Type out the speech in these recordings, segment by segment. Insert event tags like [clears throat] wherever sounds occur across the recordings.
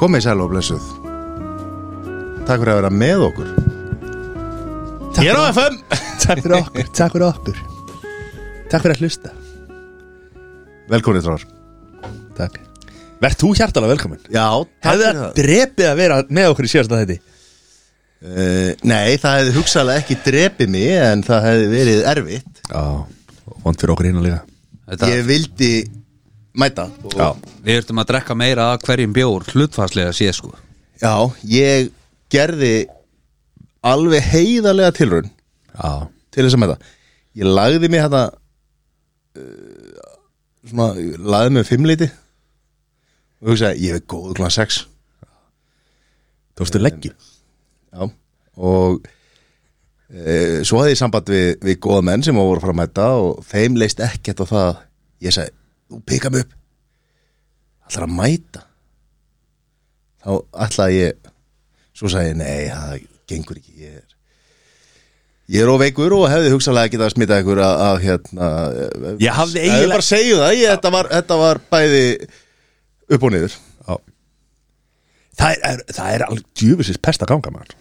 Komið sæl og blessuð Takk fyrir að vera með okkur Takk fyrir, Hér á ok- FM takk fyrir okkur, takk fyrir okkur Takk fyrir að hlusta Velkomin þráðar Takk Vert þú hjartalega velkominn Já, takk fyrir Hefði það það drepið að vera með okkur í síðasta þetta uh, Nei, það hefði hugsaðlega ekki drepið mig En það hefði verið erfitt Já, vond fyrir okkur hinn að líka Þetta, Ég vildi mæta og, Já, Við ertum að drekka meira að hverjum bjór hlutfarslega sé sko já, ég gerði alveg heiðarlega tilraun já, Til þess að mæta Ég lagði mig þetta uh, Svona, ég lagði mig fimmleiti Og hugsaði, ég er góð kláðan sex tókstu leggju Já, og e, svo hafði ég samband við, við góða menn sem voru að fara að mæta og þeim leist ekkert á það ég sagði, þú pika mig upp ætlar að mæta þá ætlaði ég svo sagði ég, nei, það gengur ekki ég er Ég er óveikur og hefði hugsalega getað að smita ykkur að, að hérna Ég Ef hafði Ég eiginlega- bara segju það, ég, þetta, var, þetta var bæði upp og niður Já Það er, er, það er alveg djúfisins pest að ganga maður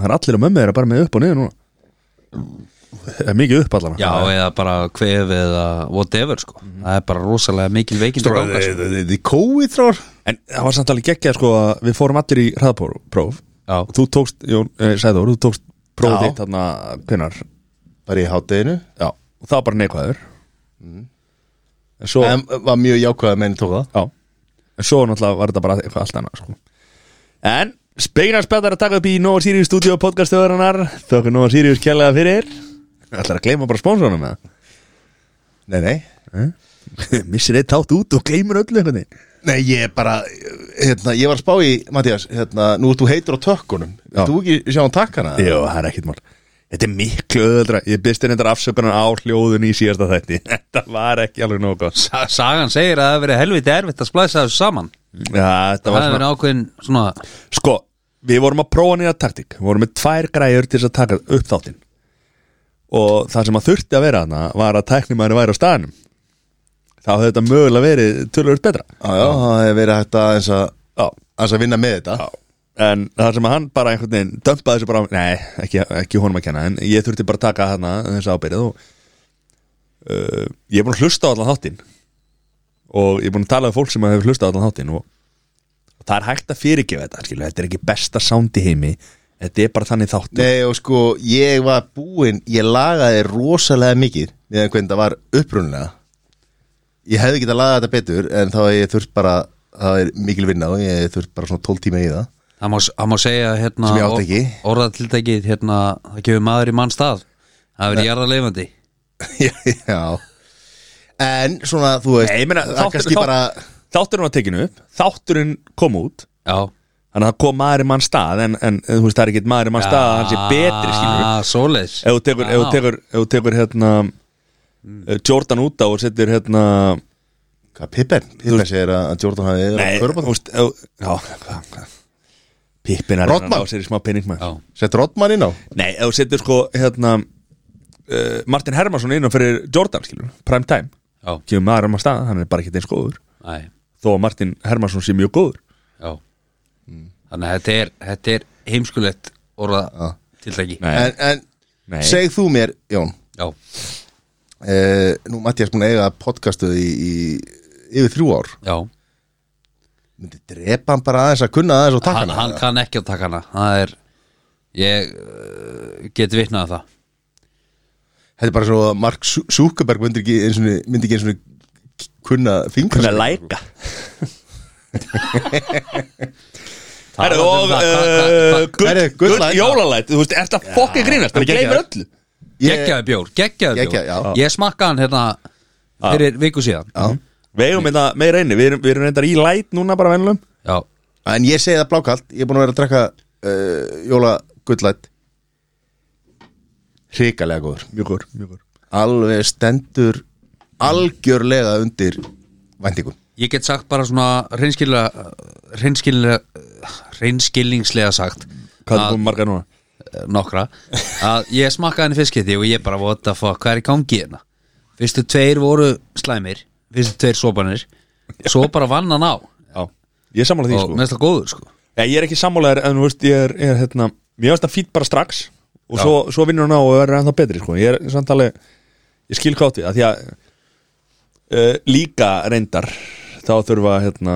Það er allir að mömmu þeirra bara með upp og niður núna Það er mikið upp allan Já, eða bara kvef eða whatever sko Það er bara rosalega mikil veikind að ganga sko. Þetta er kóið þrór En það var samt alveg geggjað sko að við fórum allir í hraðpróf Já. Þú tókst, Jón, eh, Sæður, þú tókst prófið Já. þitt þarna, hvenar? Bara í hátteginu Já, og það var bara neikvæður En svo, En var mjög jákvæða menn tók það já En svo náttúrulega var þetta bara eitthvað allt annað sko En, speignarspjall er að taka upp í Nova Sirius Studio podcastöðurinnar Þökkur Nova Sirius kjærlega fyrir Ætlar að gleyma bara spónsornum með Nei, nei það [laughs] Missir eitt tátt út og gleymur öllu einhvernig Nei, ég er bara, hérna, ég var að spá í, Mattias, hérna, nú ert þú heitur á tökkunum Já. Þú ekki sjá hann takkana Jó, það er ekkit mál Þetta er miklu öðra, ég byrst einhverjar afsökunar á hljóðun í síðasta þætti [laughs] Þetta var ekki alveg nóg gott Sa- Sagan segir að það hefur verið helviti erfitt að splæsa þessu saman Já, þetta Það var hefur svona verið ákveðin svona Sko, við vorum að prófa nýja taktík Við vorum með tvær græjur til þess að taka upp þáttinn Og það sem að þurfti að vera hana Var að tæknimæri væri á staðanum Þá hefði þetta mögulega verið Tölvöld betra Já, já, það hefur verið hægt að, eins að, Já, eins að vinna með þetta En það sem að hann bara einhvern veginn Dömpaði þessu bara, á- nei, ekki, ekki honum að kenna En ég þurfti bara að taka hana þess ábyrð og, uh, Ég er búin að hlusta á allan þáttinn Og ég er búin að tala við fólk sem hefur hlustað á allan þáttinn og, og það er hægt að fyrirgefa þetta skilu. Þetta er ekki besta sound í heimi Þetta er bara þannig þáttur Nei, og sko, ég var búinn, ég lagaði rosalega mikið Við hvernig þetta var upprunlega Ég hefði getað lagað þetta betur En þá hef ég þurft bara, það er mikil vinna Og ég hef þurft bara svona 12 tíma í [laughs] það Það má, það má segja hérna Sem ég átti ekki. Orðatiltækið hérna Það gefur maður í mann stað Það hefur verið jarða leifandi Já En svona, þú veist, Nei, ég meina, það er þáttur, kannski þátt, bara þátturinn var tekinu upp Þátturinn kom út Já Þannig að það kom maður í mann stað En, en þú veist, það er ekkert maður í mann stað að Hann sé betri, skilur við. Ah, svoleiðis Ef þú tekur, ef þú Já. tekur, ef þú tekur hérna eh, Jordan út á og setur hérna Hvað, Pippen? Pippen segir að að Jordan hafi yfir á Nei, körbótt þú veist ef- Já, hvað, hvað Pippin er að Rodman. reyna að ná sér í smá penning Já. maður Sett Rodman inn á Nei, ef þú setur sko hérna uh, Martin Hermansson inn á fyrir Jordan, skilur við, Prime time Já, Kemur maður í mann stað, hann er bara ekki eins góður næ, Þó að Martin Hermansson sé mjög góður já Þannig að þetta er, þetta er heimskulegt orða tiltæki En, en Nei. segð þú mér, Jón Já, eh, Nú Mattias búin að eiga podcastuð í, í yfir þrjú ár já Myndi drepa hann bara aðeins að kunna aðeins og taka hann, hana hann kann ekki að taka hana Það er, ég uh, get vitnað að það Þetta er bara svo að Mark Zu- Zuckerberg myndi ekki eins og myndi ekki eins og kunna fingra Kunna sig. læka Það Herru, og uh, Herru, gull- gull gull læka. jólalæt Þú veist, er þetta fokkin grínast Það Þetta er gleymir geggjað. öllu Gekkjaði bjór, geggjaði Geggjaður, já. bjór Ég smakkaði hann hérna fyrir viku síðan Já, Við eigum þetta meira inni Við erum, við erum reyndar í læt núna bara venlum En ég segi það blákalt, ég er búin að vera að drekka uh, Jóla gullætt Hrikalega góður Mjög gór, mjög gór Alveg stendur algjörlega undir væntingum ég get sagt bara svona reynskillega reynskillega reynskilningslega sagt Ah. Hvað er búin marga núna? eh, nokkra að ég smakkaði henni fiskiti og ég bara what the fuck, hvað er í gangi hérna fyrstu tveir voru slæmir fyrstu tveir sopanir svo bara vann hann á Já Ég er sammála því og sko meðslega góður sko Ég, ég er ekki sammálaður en þú veist ég er, ég er hérna, mér finnst það fýtt bara strax og svo, svo vinnur hann á og verður ennþá betri sko. ég er samt alveg, ég skil kátt við að því að uh, líka reyndar þá þurfa hérna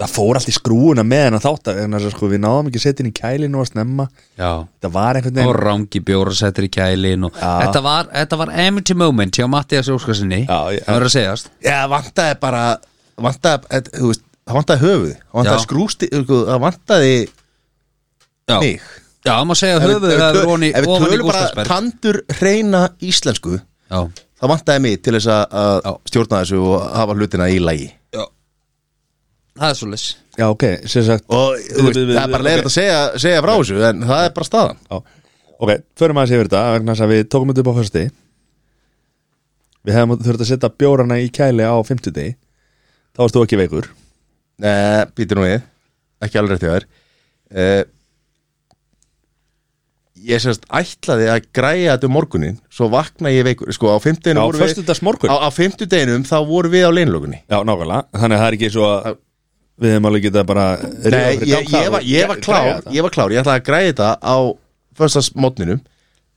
það fór allt í skrúuna með hennar þátt en þess að sko við náðum ekki setin í kælinu að snemma Já það var einhvern og veginn rangi bjóra settir í kælin og Já. þetta var, þetta var emity moment hjá Mattias Óskarsinni Já, já. það verður að segjast Já, vantaði bara vantaði, et, þú veist, það vantaði höfuð það vantaði Já. skrústi, sko, það vantaði já, mig já maður segja Ef við- höfuð ef við það er töl- ofan í ef við ofan í tölum bara Gústafsberg tandur reyna íslensku já, það vantaði mig til þess að- Já. að stjórna þessu og hafa hlutina í lagi já það er svo leys já ok, sem sagt og þú veist, það er bara leiðið að segja, segja frá þessu en það er bara staðan Já, ok, förum aðeins yfir þetta vegna þess að við tókum þetta upp á fösti Við hefum þurft að setja bjórana í kæli á 50 degi Þá varst þú ekki veikur Nei, býtur nú við ekki alveg rétt hjá þér uh, ég semst ætlaði að græja þetta um morgunin svo vakna ég veikur sko á Já, fimmtudeginu voru við föstudags morgun á, á fimmtudeginum þá voru við á leinlögunni Já, nákvæmlega, þannig að það er ekki svo að Við hefum alveg getað bara ríða Nei, fyrir ég, gang þar ég, var, og ég var græja klár þetta. ég var klár, ég ætlaði að græja þetta á föstasmótninum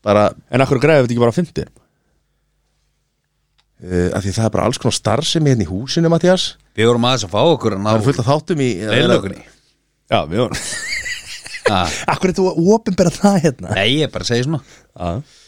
bara En akkur græði þetta ekki bara á 50 uh, af því það er bara alls konar starfsemi hérna í húsinu Mattias, við vorum aðeins að fá okkur að það er ná fullt af þáttum í leilökunni Já, við vorum Ah. [laughs] nei, Akkur er þú opinbera það hérna ég er bara að segja svona Já,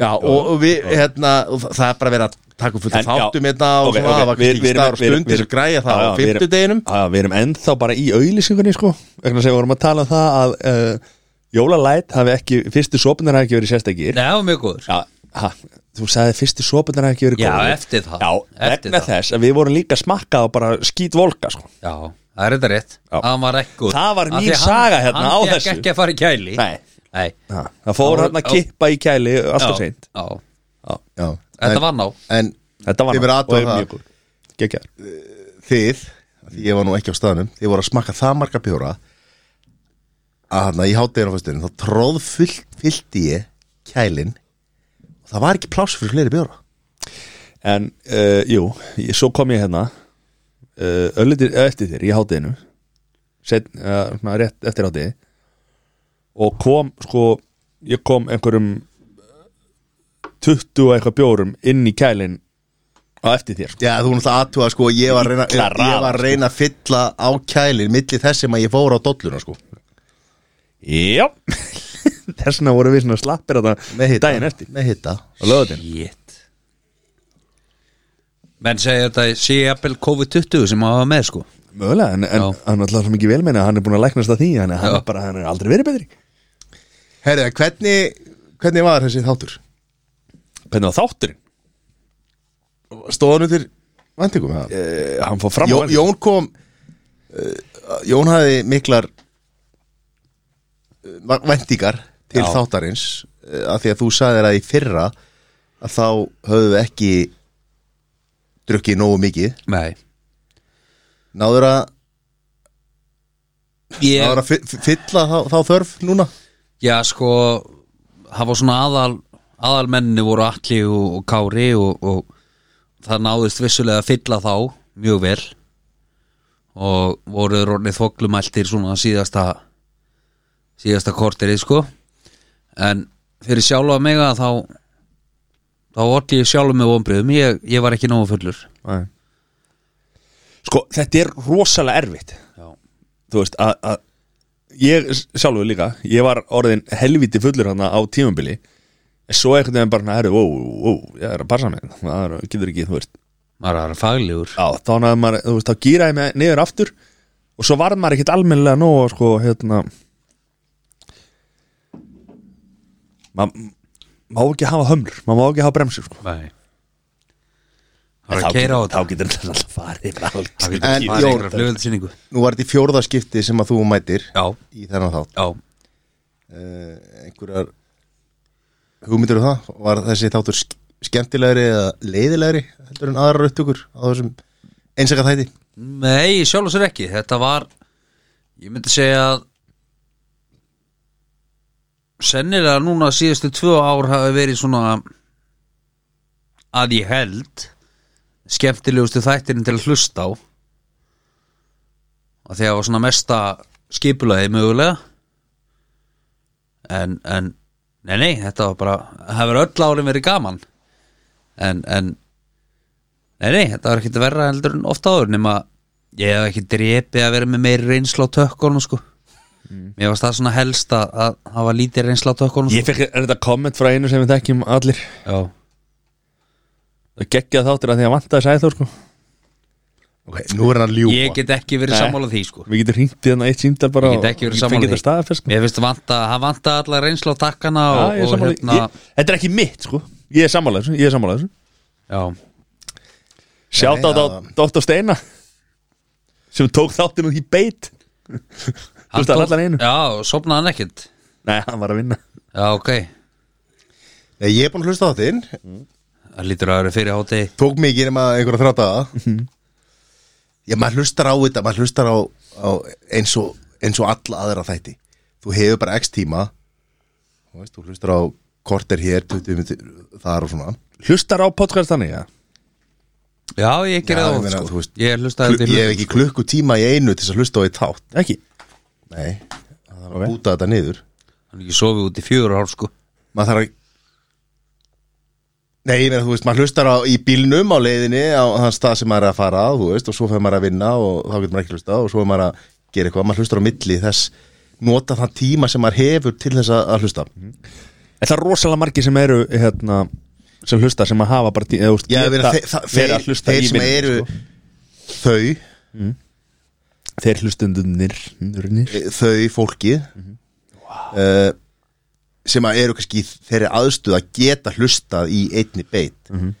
Já, og, og við, hérna, og þa- það er bara verið að taka upp fullt af En, já, þáttum hérna og ok, svona, það ok, var við- kannski ekki við erum- staður og við erum- stund til þess við að græja það á Já, já, við erum- fimmtudeginum Já, já, við erum ennþá bara í auðlýsingunni sko vegna þess að við vorum að tala um það að uh, Jólalæt hafi ekki, fyrstu sopunar hafi ekki verið sérstakir nei, það var mjög góður Já, ha, þú sagði fyrstu sopunar hafi ekki verið Já, góðir. eftir það. Já, Eftir vegna það. þess að við vorum líka smakkað og bara skýt volka sko já, það er þetta rétt Já. það var ekki góður Það var Af því mín hann- saga hérna á hann þessu. fekk ekki að fara í kæli Nei. nei ha, Það fór Já, hann að já. kippa í kæli alltaf Já, seint já. Já, Já, þetta en, var ná en Þetta var Þið verið að athuga það. Gekjar þið, því ég var nú ekki á staðnum þið voru að smakka það marga bjóra að hérna í hátteginu á föstudeginu þá tróð fyllti ég kælin og það var ekki pláss fyrir fleiri bjóra En, uh, jú, ég, svo kom ég hérna uh, Öllitir eftir þér í hátæðinu Sett, uh, svona rétt eftir hátæði Og kom, sko Ég kom einhverjum 20 og eitthvað bjórum Inn í kælin Á eftir þér, sko Já, þú náttúrulega aðtúa, sko, ég var að reyna, Illa raðað, ég var að, reyna að fylla á kælin milli þess sem að ég fór á dolluna, sko Já [laughs] Þess vegna vorum við svona slappir með þetta hitta, Daginn eftir, með hitta. á löðin Shit Menn segja þetta sé jafnvel COVID-20 sem hafa með sko Mögulega, en, en Já. hann er alltaf svo mikið velmeina Hann er búin að læknast að því, hann, hann, Já. er, bara, hann er aldrei verið betri Herðu, hvernig, hvernig var þessi þáttur? Hvernig var þátturinn? Stóðan undir vendingum eða? Uh, hann fór Eh, fram á Jón, endann. Jón kom uh, Jón hafði miklar uh, vendingar til Já. þáttarins uh, af því að þú sagðir að í fyrra að þá höfðu við ekki drukkið nógu mikið Nei náður að, ég, náður að fy- fylla þá, þá þörf núna Já sko Það var svona aðal aðalmenni voru Atli og, og Kári og, og það náðist vissulega að fylla þá mjög vel og voru orðið þvoglumæltir svona síðasta síðasta korterið sko en fyrir sjálfa mig að þá þá orði ég sjálfa mig vonbröðum ég, ég var ekki nógu fullur Nei. Sko, þetta er rosalega erfitt Já Þú veist, að, að Ég s- sjálfur líka, ég var orðin helviti fullur hana á tímabili En svo einhvern veginn bara, herru, ó, ó, ég er að passa mig Það er- getur ekki, þú veist maður er faglegur Já, þá náðum maður, þú veist, þá gýraði mig niður aftur Og svo varð maður ekkert almennilega nóg, sko, hérna Maður má ekki hafa hömlur, maður má ekki hafa bremsur, sko Nei Það er að keira á þá þetta getur þetta alltaf farið sko. bara allt. En Það getur Jón- farið einhverja flugvöldasýningu nú var þetta í fjórðaskipti sem að þú mætir Já, í þennan þátt já uh, einhverjar hugmyndir um það var þessi þáttur sk- skemmtilegri eða leiðilegri heldur en aðrar upptökur á þessum einsaka þætti Nei, sjálf og sér ekki Þetta var Ég myndi segja að Sennilega núna síðustu tvö ár hafi verið svona að ég held skemmtilegustu þættirinn til að hlusta á að því að það var svona mesta skipulagi mögulega en, en nei, nei, þetta var bara það hefur öll árin verið gaman en, en nei, nei, þetta var ekkit verra heldur en ofta áður nema ég hef ekki drepið að vera með meiri reynsla á tökkunum sko mér varst það svona helst að, að hafa lítið reynsla á tökkunum Mm. Ég fekk er þetta komment frá einu sem við þekkjum allir sko. já, Það geggjað þáttir að því að vantaði Sæþór sko Ok, nú er hann að ljúa ég get ekki verið Nei. sammála því sko Við getum hringt í þannig eitt síndal bara Ég get ekki og verið sammála fengið því. þetta staðfest sko. Mér finnst vanta, hann vanta allar reynsla á takkana Já, og, ég er og sammála því. hérna Ég- Þetta er ekki mitt sko Ég er sammála þessu, ég er sammála þessu já, Sjátt á Nei, Dr. Steina sem tók þáttinn út í beit Þú veist að allan einu Já, og sofnaði hann ekkert Nei, hann var að vinna Já, ok, Nei, ég er búin að hlusta á þinn það lítur að vera fyrir háti Tók mikið nema einhverja þráta Mhm. Já, maður hlustar á þetta Maður hlustar á, á eins, og, eins og alla aðra þætti Þú hefur bara x tíma Þú veist, þú hlustar á korter hér 20 myndir þar og svona Hlustar á podcast þannig, já Já, ég Já, gerði það ég oft, meina, þú sko. veist, Ég hlustaði Klu, þetta í Ég hef hlut- ekki klukku tíma í einu til þess að hlusta á eitt þátt Ekki Nei, það þarf Ok. að búta þetta niður Hann ekki sofið út í fjögur ár, sko maður þarf að Nei, ég meina, þú veist, maður hlustar á, í bílnum á leiðinni á þann stað sem maður er að fara á, þú veist, og svo fer maður að vinna og þá getur maður ekki hlusta og svo er maður að gera eitthvað, maður hlustar á milli þess, nota þann tíma sem maður hefur til þess að, að hlusta. En það er rosalega margir sem eru hérna, sem hlusta, sem að hafa bara tí, eða, úst, Já, ég meina, geta þeir, það- verið þeir, að hlusta þeir í sem vinnunni, eru sko. þau, Þeir hlustundunir nurnir. Eh, þau fólkið uh, sem að eru kannski í þeirri aðstuð að geta hlustað í einni beit mm -hmm.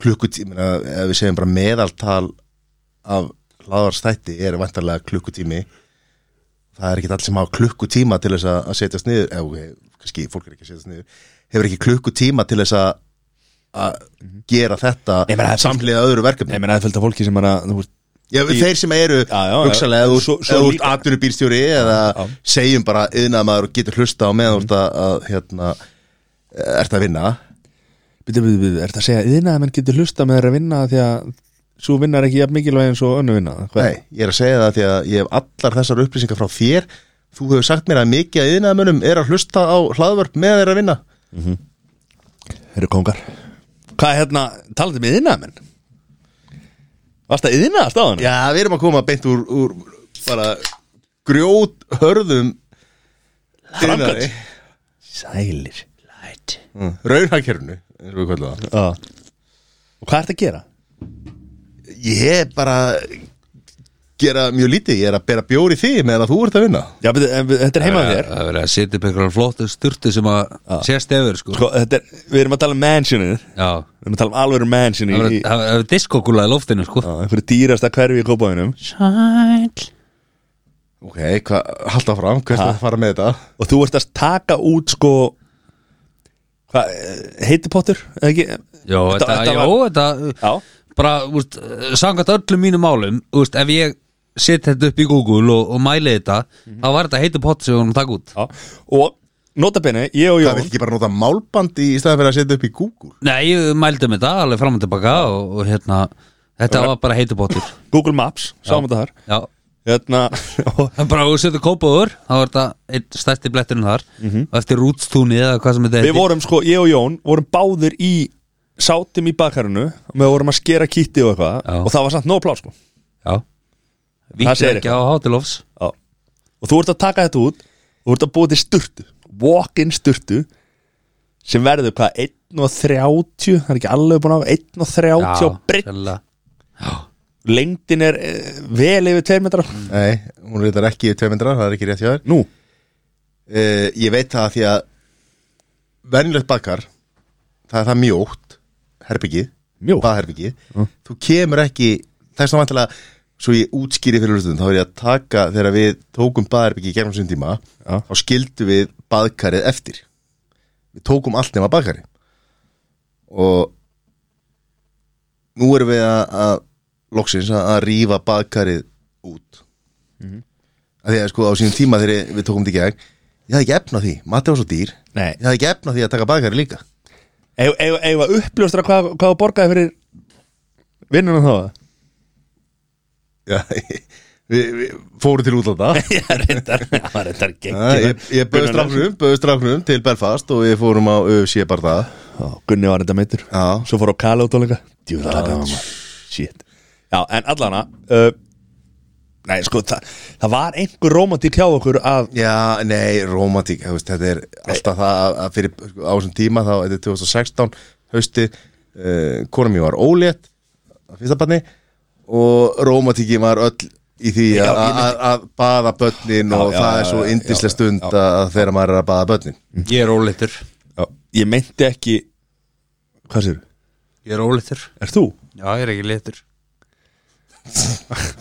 klukkutími ef við segjum bara meðaltal af hláðarstætti er vantarlega klukkutími það er ekki allir sem hafa klukkutíma til þess að að setjast niður eða okay, kannski fólk er ekki að setjast niður hefur ekki klukkutíma til þess að að gera þetta Nei, menn, það er- samlega öðru verkefni Nei, menn að fylgta fólki sem er að þú veist, Já, Í- þeir sem eru Já, já, já. hugsalega eða Svo- þú- svo eða þú ert líka- atvinnubílstjóri eða Já. segjum bara yðnað maður og getur hlusta á meðan þú ert að, að hérna, ert að vinna byrju, byrju, byrju, er það að segja yðna að menn getur hlusta með þeirra vinna því að svo vinnar ekki jafn mikilvæg eins og önnu vinna Hvað? Nei, ég er að segja það því að ég hef allar þessar upplýsingar frá þér Þú hefur sagt mér að mikið að yðnaðmönnum er að hlusta á hlaðvörp meðan þeir eru að vinna Þeir eru kongar Hvað er hérna, talandi með yðna menn? Varst það yðna að stáðan? Já, við erum að koma beint úr, úr bara grjót hörðum Framkvæmt. Sælir Læt Raunhagkerfinu, eins og við kvöldum það Já. Og hvað ertu að gera? Ég er bara að gera mjög lítið, ég er að bera bjóri þig meðan að þú ert að vinna Já, byrju, en við- þetta er heima þér Það verið að setja upp einhverjar flottu sturtu sem að sést yfir, sko Sko, þetta er, við erum að tala um mansionið Já, Við erum að tala um alvöru mansion í, það í verið- það verið diskokúlaði loftinu, sko á, einhverju dýrasta hverfi í kópaðinum Sæl Ok, hva, halda fram, hvernig Ha? það fara með þetta? og þú ert að taka út sko hvað, heitipottur eða ekki? Jó, Þetta- þetta, þetta jó, var- þetta Já, bara, úrst, sangat öllum mínum málum úrst, ef ég set þetta upp í Google og, og mæli þetta Mhm. þá var þetta heitu pott sem við vorum að taka út já og notabene, ég og Það vil Jón ekki bara nota málband í staðan fyrir að setja upp í Google Nei, ég mældi með þetta alveg fram og tilbaka og, og hérna, þetta var bara heitu pottur Google Maps, sáum þetta þar Já, hérna, og, en bara við setjum kópaður þá er þetta einn stærsti bletturinn þar og eftir rútstúni eða hvað sem þetta Mhm. við vorum sko, ég og Jón vorum báðir í sátum í bakarinu og við vorum að skera kitti og eitthvað Já. og það var samt nóg plás sko Já Það segir Víkir ekki á hátilofs já. og þú ert að taka þetta út og þú ert að búa til sturtu walk-in sturtu sem verður hvað, 1.30 það er ekki alveg búin á, 1.30 breytt sennilega. lengdin er eh, vel yfir 2 metrar Nei, hún reyndar ekki í 200, það er ekki rétt hjá þér Mm, nú, uh, Ég veit það því að venjulegt bakar það er það mjótt herbyggið, Mjótt? baðherbyggið þú kemur ekki, þess að vantilega svo ég útskýri fyrir hlustum, þá er ég að taka þegar við tókum baðherbyggið í gegnum sinni tíma, Já. þá skildu við baðkarið eftir við tókum allt nema baðkarið og nú erum við að, að loksins að, að rífa baðkarið út Mhm. af því að sko á sínum tíma þegar við tókum þetta í gegn ég hafði ekki efna því, mati var svo dýr Nei. ég hafði ekki efna því að taka baðkari líka eigum að uppljóstra hvað, hvað þú borgaði fyrir vinnunum þá já, [laughs] Við, við fórum til [laughs] útlanda [laughs] Já, reyndar, það var reyndar Ja, geggjum Ég, ég bauð strafnum, bauð strafnum til Belfast og við fórum á UFC bara það Gunni var reyndar meitur Já. Svo fór á Kala út og lenga Djú, það lakaði mamma Shit Já, en allana uh, Nei, sko, það, það var einhver romantík hjá okkur að Já, nei, romantík, þú veist, þetta er alltaf það að- að fyrir sko, á þessum tíma þá, þetta er 2016, hausti uh, konum ég var ólétt að fyrsta barni og romantíkin var öll í því Já, að- ég myndi- að að baða börnin og já, það er já, svo já, indislega já, stund já. að þegar maður er að baða börnin Ég er óleitur Já. Ég meinti ekki Hvað sér? Ég er óleitur Er þú? Já, ég er ekki leitur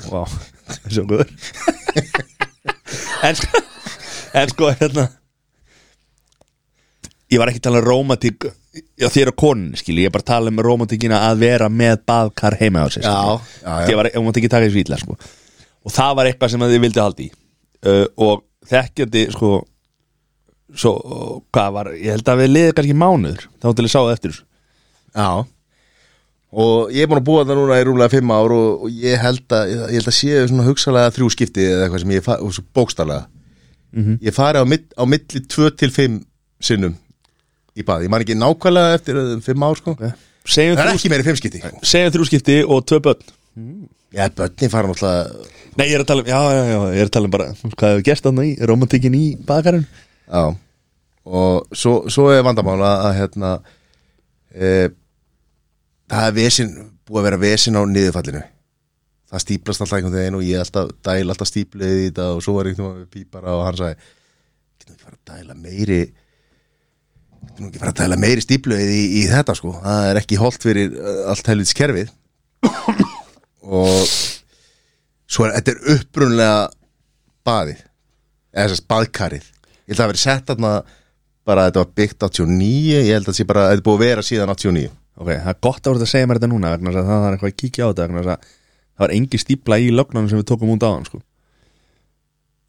Vá, þessi okkur en, sko- en sko, hérna Ég var ekki að tala um rómatík Já, þér og konin, skil Ég er bara að tala um rómatíkina að vera með baðkar heima á sér skilji. Já, já, já. Ég var, ég mátti ekki taka þessu ítla, sko Og það var eitthvað sem að þið vildi haldi í uh, Og þekkjandi, sko Svo, hvað var Ég held að við liðið kannski mánuður Þá til ég sá það eftir þessu Já Og ég er búin að búa það núna í rúmlega fimm ár og, og ég held að, ég held að séu svona hugsalega þrjú skipti eða eitthvað sem ég fa- og svo bókstarlega Ég fari á, mitt, á milli tvö til fimm sinnum í bað, ég man ekki nákvæmlega eftir eh, fimm ár sko Segjum Það er þrjú, ekki meiri fimm skipti segjum þrjú skipti og tvö börn Já, börnin fara náttúrulega Nei, ég er að tala um, já, já, já, ég er að tala um bara hvað hefur gert þarna í, romantikin í bakarinn Já Og svo, svo er vandamál að, að hérna e, Það er vesin búið að vera vesin á niðurfallinu Það stíplast alltaf einhvern veginn og ég alltaf dæla alltaf stíplið í þetta og svo var einhvern veginn pípara og hann sagði Getum við ekki fara að dæla meiri Getum við ekki fara að dæla meiri stíplið í, í þetta sko Það er ekki holdt fyrir eh, allt helvits kerfið [coughs] Og svo er þetta er upprunlega baðið eða þess að baðkarið ég held að það hafi verið sett þarna bara að þetta var byggt 89 ég held að það sé bara að þetta er búið að vera síðan 89 Ok, það er gott að voru að segja mér þetta núna vegna þess að það er eitthvað að kíkja á þetta vegna þess að það var engi stípla í lögnanum sem við tókum út á hann, sko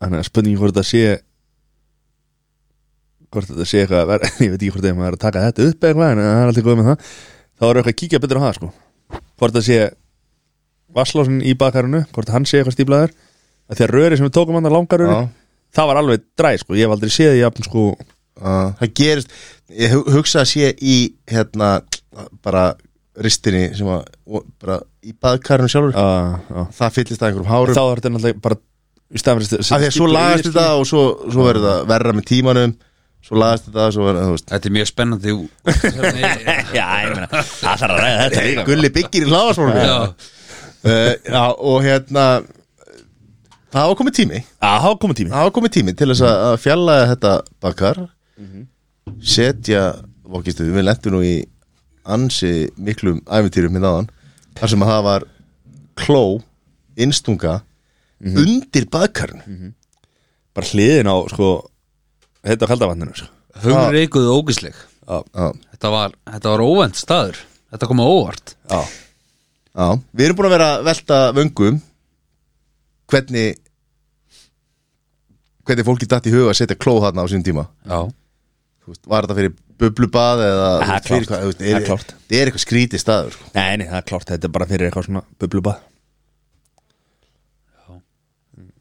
Þannig að spurningi hvort þetta sé hvort þetta sé eitthvað að vera [laughs] ég veit ekki hvort það er að taka þetta upp eða eitthvað en það er alltaf góð með það þá er eitthvað að kíkja betur á það, sko hvort það sé vasslósin í bakarinu hvort hann sé eitthvað stíplaður þegar röri sem við tókum hann að langaröri Já. það var alveg dræ, sko, ég hef aldrei séð jafn, sko, uh, það gerist, ég hu- hugsa að sé í hérna bara ristinni sem að og bara í baðkarinu sjálfur Já, já. það fyllist að einhverjum hárum þá er þetta náttúrulega bara í staðan fyrir af því að svo lagast þetta og svo, svo verður það verra með tímanum svo lagast þetta svo verður, þú veist Þetta er mjög spennandi ú- [laughs] já, ég meina, það þarf að ræða þetta líka Gulli byggir í hláðarsvónu Já, já, og hérna það var komið tími já, þá komið tími Það var komið tími til þess að að fjalla þetta bakkar setja vokistu, við lentum nú í ansi miklum æfintýrum minn áðan, þar sem að það var kló, innstunga undir bakkarn bara hliðin á, sko, þetta á kaldavatninu sko. hugur reikuðu ógisleg já, já, Þetta var, þetta var óvænt staður Þetta kom á óvart já, já, við erum búin að vera að velta vöngum hvernig hvernig fólki datt í huga að setja kló þarna á sín tíma Já, Þú veist, var þetta fyrir bublubað eða þú Það er veist, fyrir klárt. hvað, þú veist, Það er klárt. er, er eitthvað skrítið staður sko. nei, nei, það er klárt þetta er bara fyrir eitthvað svona bublubað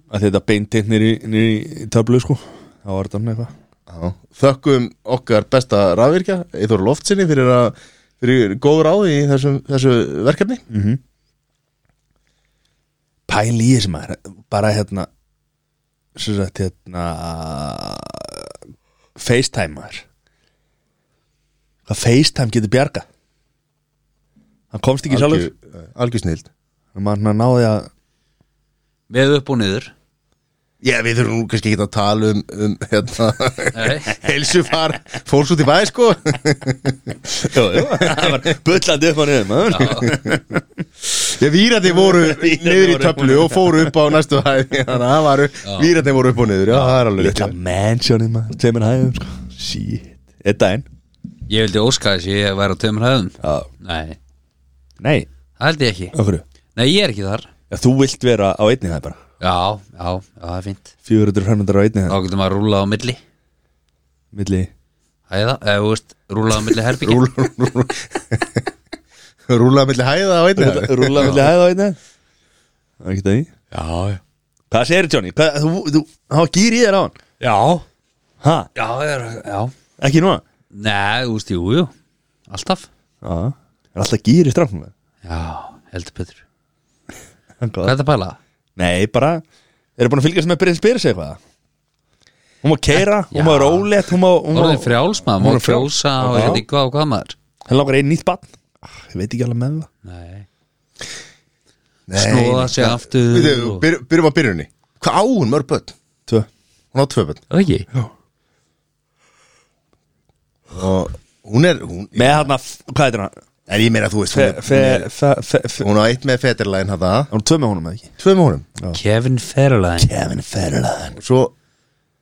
að þetta beintinn nýri, nýri töflu, sko þá var þetta svona eitthvað Já, þökkum okkar besta rafvirkja Eithor Loftsinni fyrir að fyrir góð ráð í þessu, þessu verkefni pæl í þessi maður bara hérna sem sagt hérna FaceTime maður hvað FaceTime getur bjarga hann komst ekki sjálfur algjör snild hann náði að með upp og [laughs] niður Já, við þurfum nú kannski ekki að tala um, um hérna, [laughs] Nei, helsufar fólks út í bæ, sko jú, jú, hann var bullandi upp á niður maður Ég vírandi voru [laughs] Vírarnir niður í voru upp og töflu niður. og fóru upp á næstu hæð [laughs] Þannig að það varu, vírandi voru upp og niður Já, það er alveg litla mansionið maður tveimur hæðum sko. shit, einn daginn ég vildi óska þess að ég væri á tveimur hæðum Já. Nei, nei, það held ég ekki okkur Nei, ég er ekki þar ja, þú vilt vera á einni hæð bara Já, já, já, það er fínt 400 fermetrar á einni Þá hæð getum að rúla á milli milli Hæða, eða, þú veist, rúla á milli herbyggja Rúla milli hæða á einni rúla milli hæð á einni hæð það er ekki það í Já, já Hvað segir Johnny? Hvað, þú, þú, þá gýr í þér á hann Já, Ha? já, ég er- já Ekki núna? Nei, þú veist, jú, jú, alltaf Já Er alltaf gýr í strafnum Já, heldur Petur Hvað það? er það að pæla? Nei, bara Eru búin að fylgjast með Brynn Spyrs eitthvað? Hún má keira, hún má Já. rólegt Hún má, hún Orðin má frjáls maður, Hún er maður frjáls. kjósa og Já. ég veit ekki hvað og hvað maður Henn langar einn nýtt barn Ah, Ég veit ekki alveg með það Nei, Nei, snúa nei. sig aftur Við þau, og- byr- byrjum að byrjunni Hvað á hún mörg börn? Tvö Hún á tvö börn Er það ekki? Og hún er, hún, Með þarna, f- hvað heitir hann? er ég meira þú veist Fe, hún, fe, er, fe, fe, fe hún á eitt með fetirlæðin hana Hún tvö með honum eða ekki? Tvö með honum Kevin Fairline Kevin Ferlan Og Svo,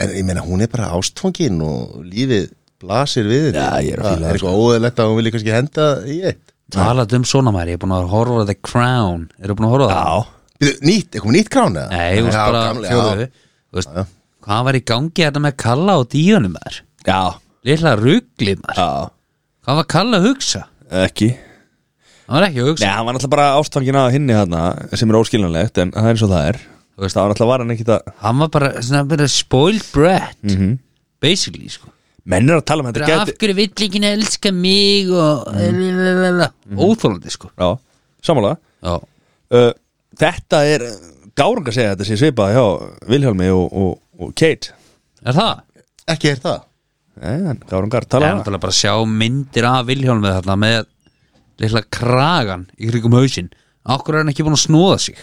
en ég meina hún er bara ástfangin og lífið blasir við henni. Já, sko. ég er að Það fíla það, Er eitthvað óðurlegt að hún vilja kannski henda í eitt Talat um svona maður, ég er búin að horfa á The Crown Eru búin að horfa á það? Já Bíddu, Nýtt, er komið nýtt krán eða? Nei, þú veist Já, bara gamli, fjóðu já. Þú veist, hvað var í gangi þetta með Kalla og Díunum maður? Já Lilla ruglið maður Já Hvað var Kalla að hugsa? Ekki Hann var ekki að hugsa Nei, hann var náttúrulega bara ástfangin að hinni þarna sem er óskiljanlegt en það er eins og það er Þú veist, það var náttúrulega var hann ekkit að Hann var bara, svona, bara spoiled brat Basically, sko menn er að tala um þetta Af gæti- hverju vill ekki elska mig og mm. Óþólandi, sko Já, samanlega Já, uh, Þetta er gárung að segja þetta sé svipað hjá Vilhjálmi og, og, og Kate er það? Ekki er það Nei, en gárungar Það tala er um það náttúrulega bara að sjá myndir af Vilhjálmi þarna með litla kragan í krigum hausinn Akkur er hann ekki búin að snúða sig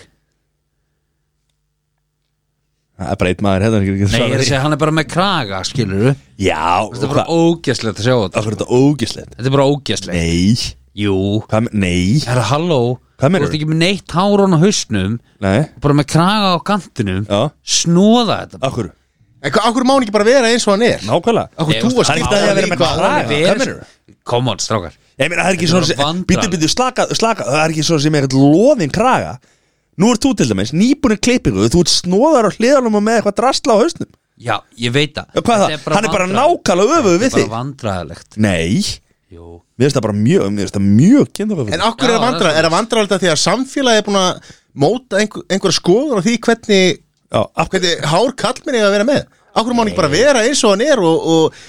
Það er bara einn maður hefðan ekki Nei, ég er að svarað því. segja hann er bara með kraga, skilur þú Já, Þetta er bara hvað ógæslegt að sjá þetta Það er þetta ógislegt Þetta er bara ógæslegt Nei, Jú, hvað með, nei herra halló Hvað Þú meinarðu? ert ekki með neitt hárun á hausnum Nei, bara með kraga á kantinum já, Snúða þetta akkur En hvað, akkur má hann ekki bara vera eins og hann er? Nákvæmlega Akkur Nei, þú að þú veist, hann skipta er ekki að hann í vera með hvað kraga. hann er? hvað meinarðu? Come on, strákar Ég meina, það er ekki Þetta er svona bara Býtu, vandræðalegt. býtu, slaka, slaka Það er ekki svona sem er eitthvað loðin kraga Nú ert þú til dæmis, nýbúin að klippingu Þú ert snóðar á hliðanum og með eitthvað drastla á hausnum Já, ég veit það Já, Hvað er Þetta það? Hann er bara vandræðalegt. nákvæmlega öfuð Þetta við er bara þig vandræðilegt Nei, Jú mér finnst það bara mjög Mér finnst það mjög kynþokka En akkur Já, er að vandra, það er er að vandra alltaf því að samfélagi er búin að móta einhver, einhverja skoður á því hvernig, hvernig hár kallmenni er að vera með Akkur má hann ekki bara vera eins og hann er og, og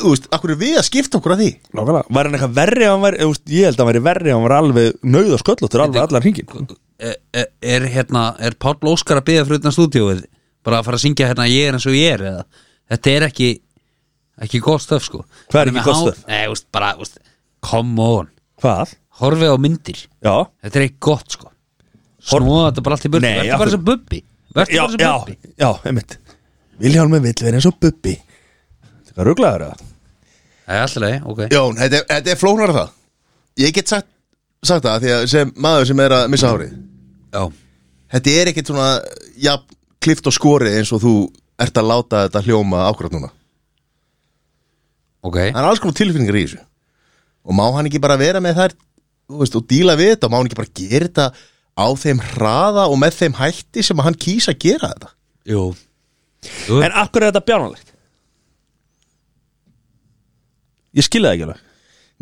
þú veist, akkur er við að skipta okkur að því Nákvæmlega Var hann eitthvað verri að hann væri þú veist, Ég held að hann væri verri að hann væri alveg Nauð og sköllóttur alveg allan hringin er, er- E, er hérna, er Páll Óskar að byggja fyrir utan stúdíóið bara að fara að syngja hérna ég er eins og ég er eða þetta er ekki ekki gott stöf sko Hvað er ekki Með gott hár- stöf? Nei, úst, bara, úst, come on, Hvað? horfið á myndir Já þetta er ekki gott sko snúa þetta bara allt í burtu, Nei, af verður bara hverju- sem bubbi verður Já, bara sem já, bubbi já, einmitt Vilhjálmi vill vera eins og bubbi Þetta er rugglaður að það er alltaf leið, ok Jón, þetta, er- þetta er flóknar að það Ég get sagt, sagt það því að sem maður sem er að missa hárið já. Þetta er ekkit svona, já, klift og skori eins og þú ert að láta þetta hljóma ákvæmt núna ok, Það er alls konar tilfinningar í þessu Og má hann ekki bara vera með þær þú veist, og díla við þetta og má hann ekki bara gera þetta á þeim hraða og með þeim hætti sem hann kýsa að gera þetta jú En akkur er þetta bjánalegt? Ég skilja það ekki alveg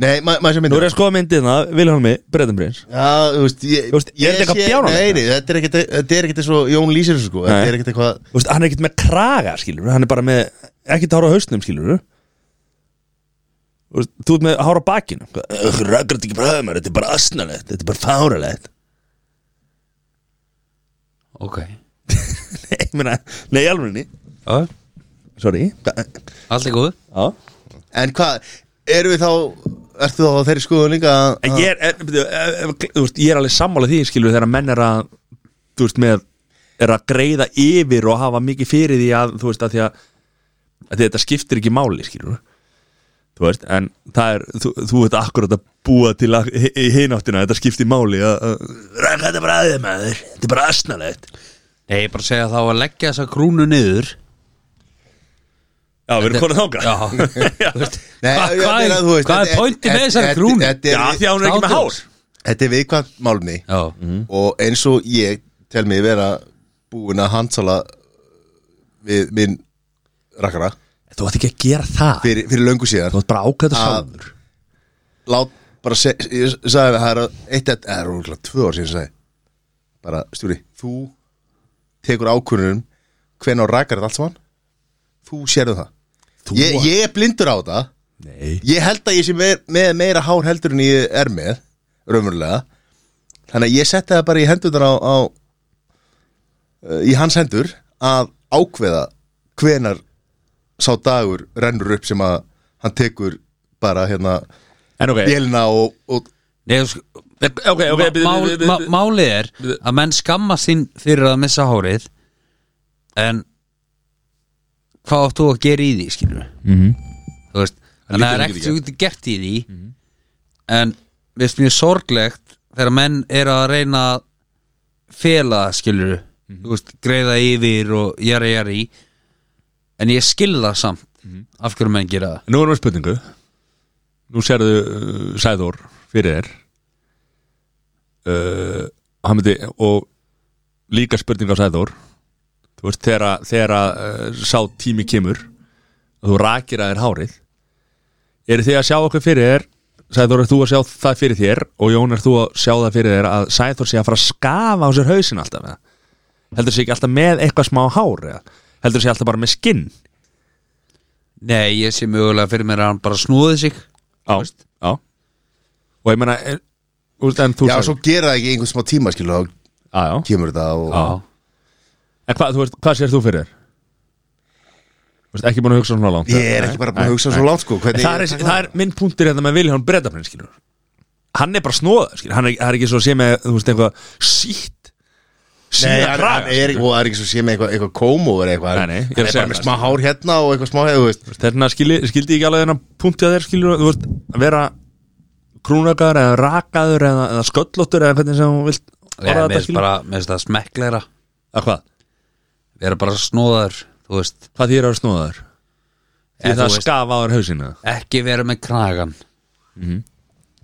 Nei, ma maður sem Nú myndir er ég að skoða myndið það, Vilhelmi, Bretton Brins Já, þú veist, ég, Þú veist, er ég þetta eitthvað sé- bjánalegt? Nei, nei, þetta er ekkit- þetta er ekkit eins og Jón lýsir þessu sko Þetta Nei. er ekkit eitthvað Þú veist, hann er ekkert með kraga, skilur Hann er bara með, ekki tára á hausnum, skilur Þú veist, þú ert með hára á bakinu Rakkar þetta ekki bara höfum, þetta er bara asnalegt Þetta er bara fáralegt [laughs] ok Nei, ég meina, nei, alveg ný Já, Sorry Já, allt er góð já En hvað, eru við þá Ertu þá á þeirri skoðun líka að- En ég er, eh, byrju, eh, eh, þú veist, ég er alveg sammála því, skilur Þegar menn er að, þú veist, með Er að greiða yfir og hafa mikið fyrir því að Þú veist, að því að, að því að Þetta skiptir ekki máli, skilur Þú veist, en það er Þú, þú veit akkurat að búa til að Í hináttina, þetta skiptir máli að, að Rækka þetta bara aðeins maður Þetta er bara asnalegt nei, ég bara segja þá að leggja þessa krúnu niður Já, við erum konið þangað [laughs] já, [laughs] þú veist Nei, Hvað- ég hvað meina, er- þú veist, hvað er þetta- pointið með þetta- þessari krúnu? þetta Já, er- því að hún er ekki með hár Slátur. Þetta er viðkvæmt málmi já, Mm. og eins og ég tel mig vera búin að handsala við minn rakkara Þú ætti ekki að gera það fyrir, fyrir löngu síðan Þú ætti bara ákveða Að- sjálfur lát bara se, ég sagði við það er að- eitt að, eða rúglega tvö ár síðan ég sagði bara stjúri, þú tekur ákvörunum hvenær rakar þetta allt saman þú sérðu það Þú- ég, ég er blindur á þetta Nei ég held að ég sé meir, með meira hár heldur en ég er með raunverulega þannig að ég setti það bara í hendunar á, á eh, í hans hendur að ákveða hvenar sá dagur rennur upp sem að hann tekur bara hérna En ok bélina og, og Nei, þú sk- Ok, ok, byrju, Mál- byrju, byrju, ma- byrju. Málið er að menn skamma sín fyrir að missa hárið En hvað átt þú að gera í því, skilur við? Þú veist, þannig að það lítur er ekkert ekki Mhm. sem þú getur gert í því En við veist mjög sorglegt þegar menn eru að reyna að fela, skilur við Mhm. Þú veist, greiða yfir og jari jari En ég skil það samt Mhm. af hverju menn gera það Nú erum við spurningu Nú sérðu uh, Sæður fyrir þér uh, hann myndi, og líka spurning á Sæður þú veist, þegar, að- þegar að, uh, sá tími kemur og þú rakir að þér hárið eru þið að sjá okkur fyrir þér Sæður, er þú að sjá það fyrir þér og Jón, er þú að sjá það fyrir þér að Sæður sé að fara að skafa á sér hausin alltaf eða? heldur sé ekki alltaf með eitthvað smá hár eða? heldur sé alltaf bara með skinn Nei, ég sé mögulega fyrir mér að hann bara snúði sig Já, já Og ég meina er, úst, En þú já, sagði- svo gera það ekki einhvern smá tíma skilu þá já, já. kemur þetta og Já. En hvað, þú veist, hvað sér þú fyrir? Þú veist, ekki búin að hugsa svona langt ég er ekki bara búin að hugsa svo langt sko En hvernig það er, það er minn punktur hérna með Vilhjón Bretafnin skilur Hann er bara snóð skilur Hann er, það er ekki svo að sé með, þú veist, eitthvað Sýtt Nei, Sýra hann, hann kraga er, og það er ekki svo sé með eitthvað, eitthvað kómó eða eitthvað, Nei, nei, ég hann er að er segja bara með smá það, sko. hár hérna og eitthvað smá hefðu, veist Þarna skildi, Hérna skildi ég ekki alveg þennan punkt að þér skilur Þú veist, að vera krúnakaður eða rakaður eða, eða sköllóttur eða hvernig sem hún vilt Ég, orða mér þetta finnst skilur bara, mér finnst það smekkleira Að hvað? Við erum bara snóðar, þú veist Hvað þýr að snóða þér? Því Eða það þú veist... veist, skafa á þér hausina Ekki vera með kragan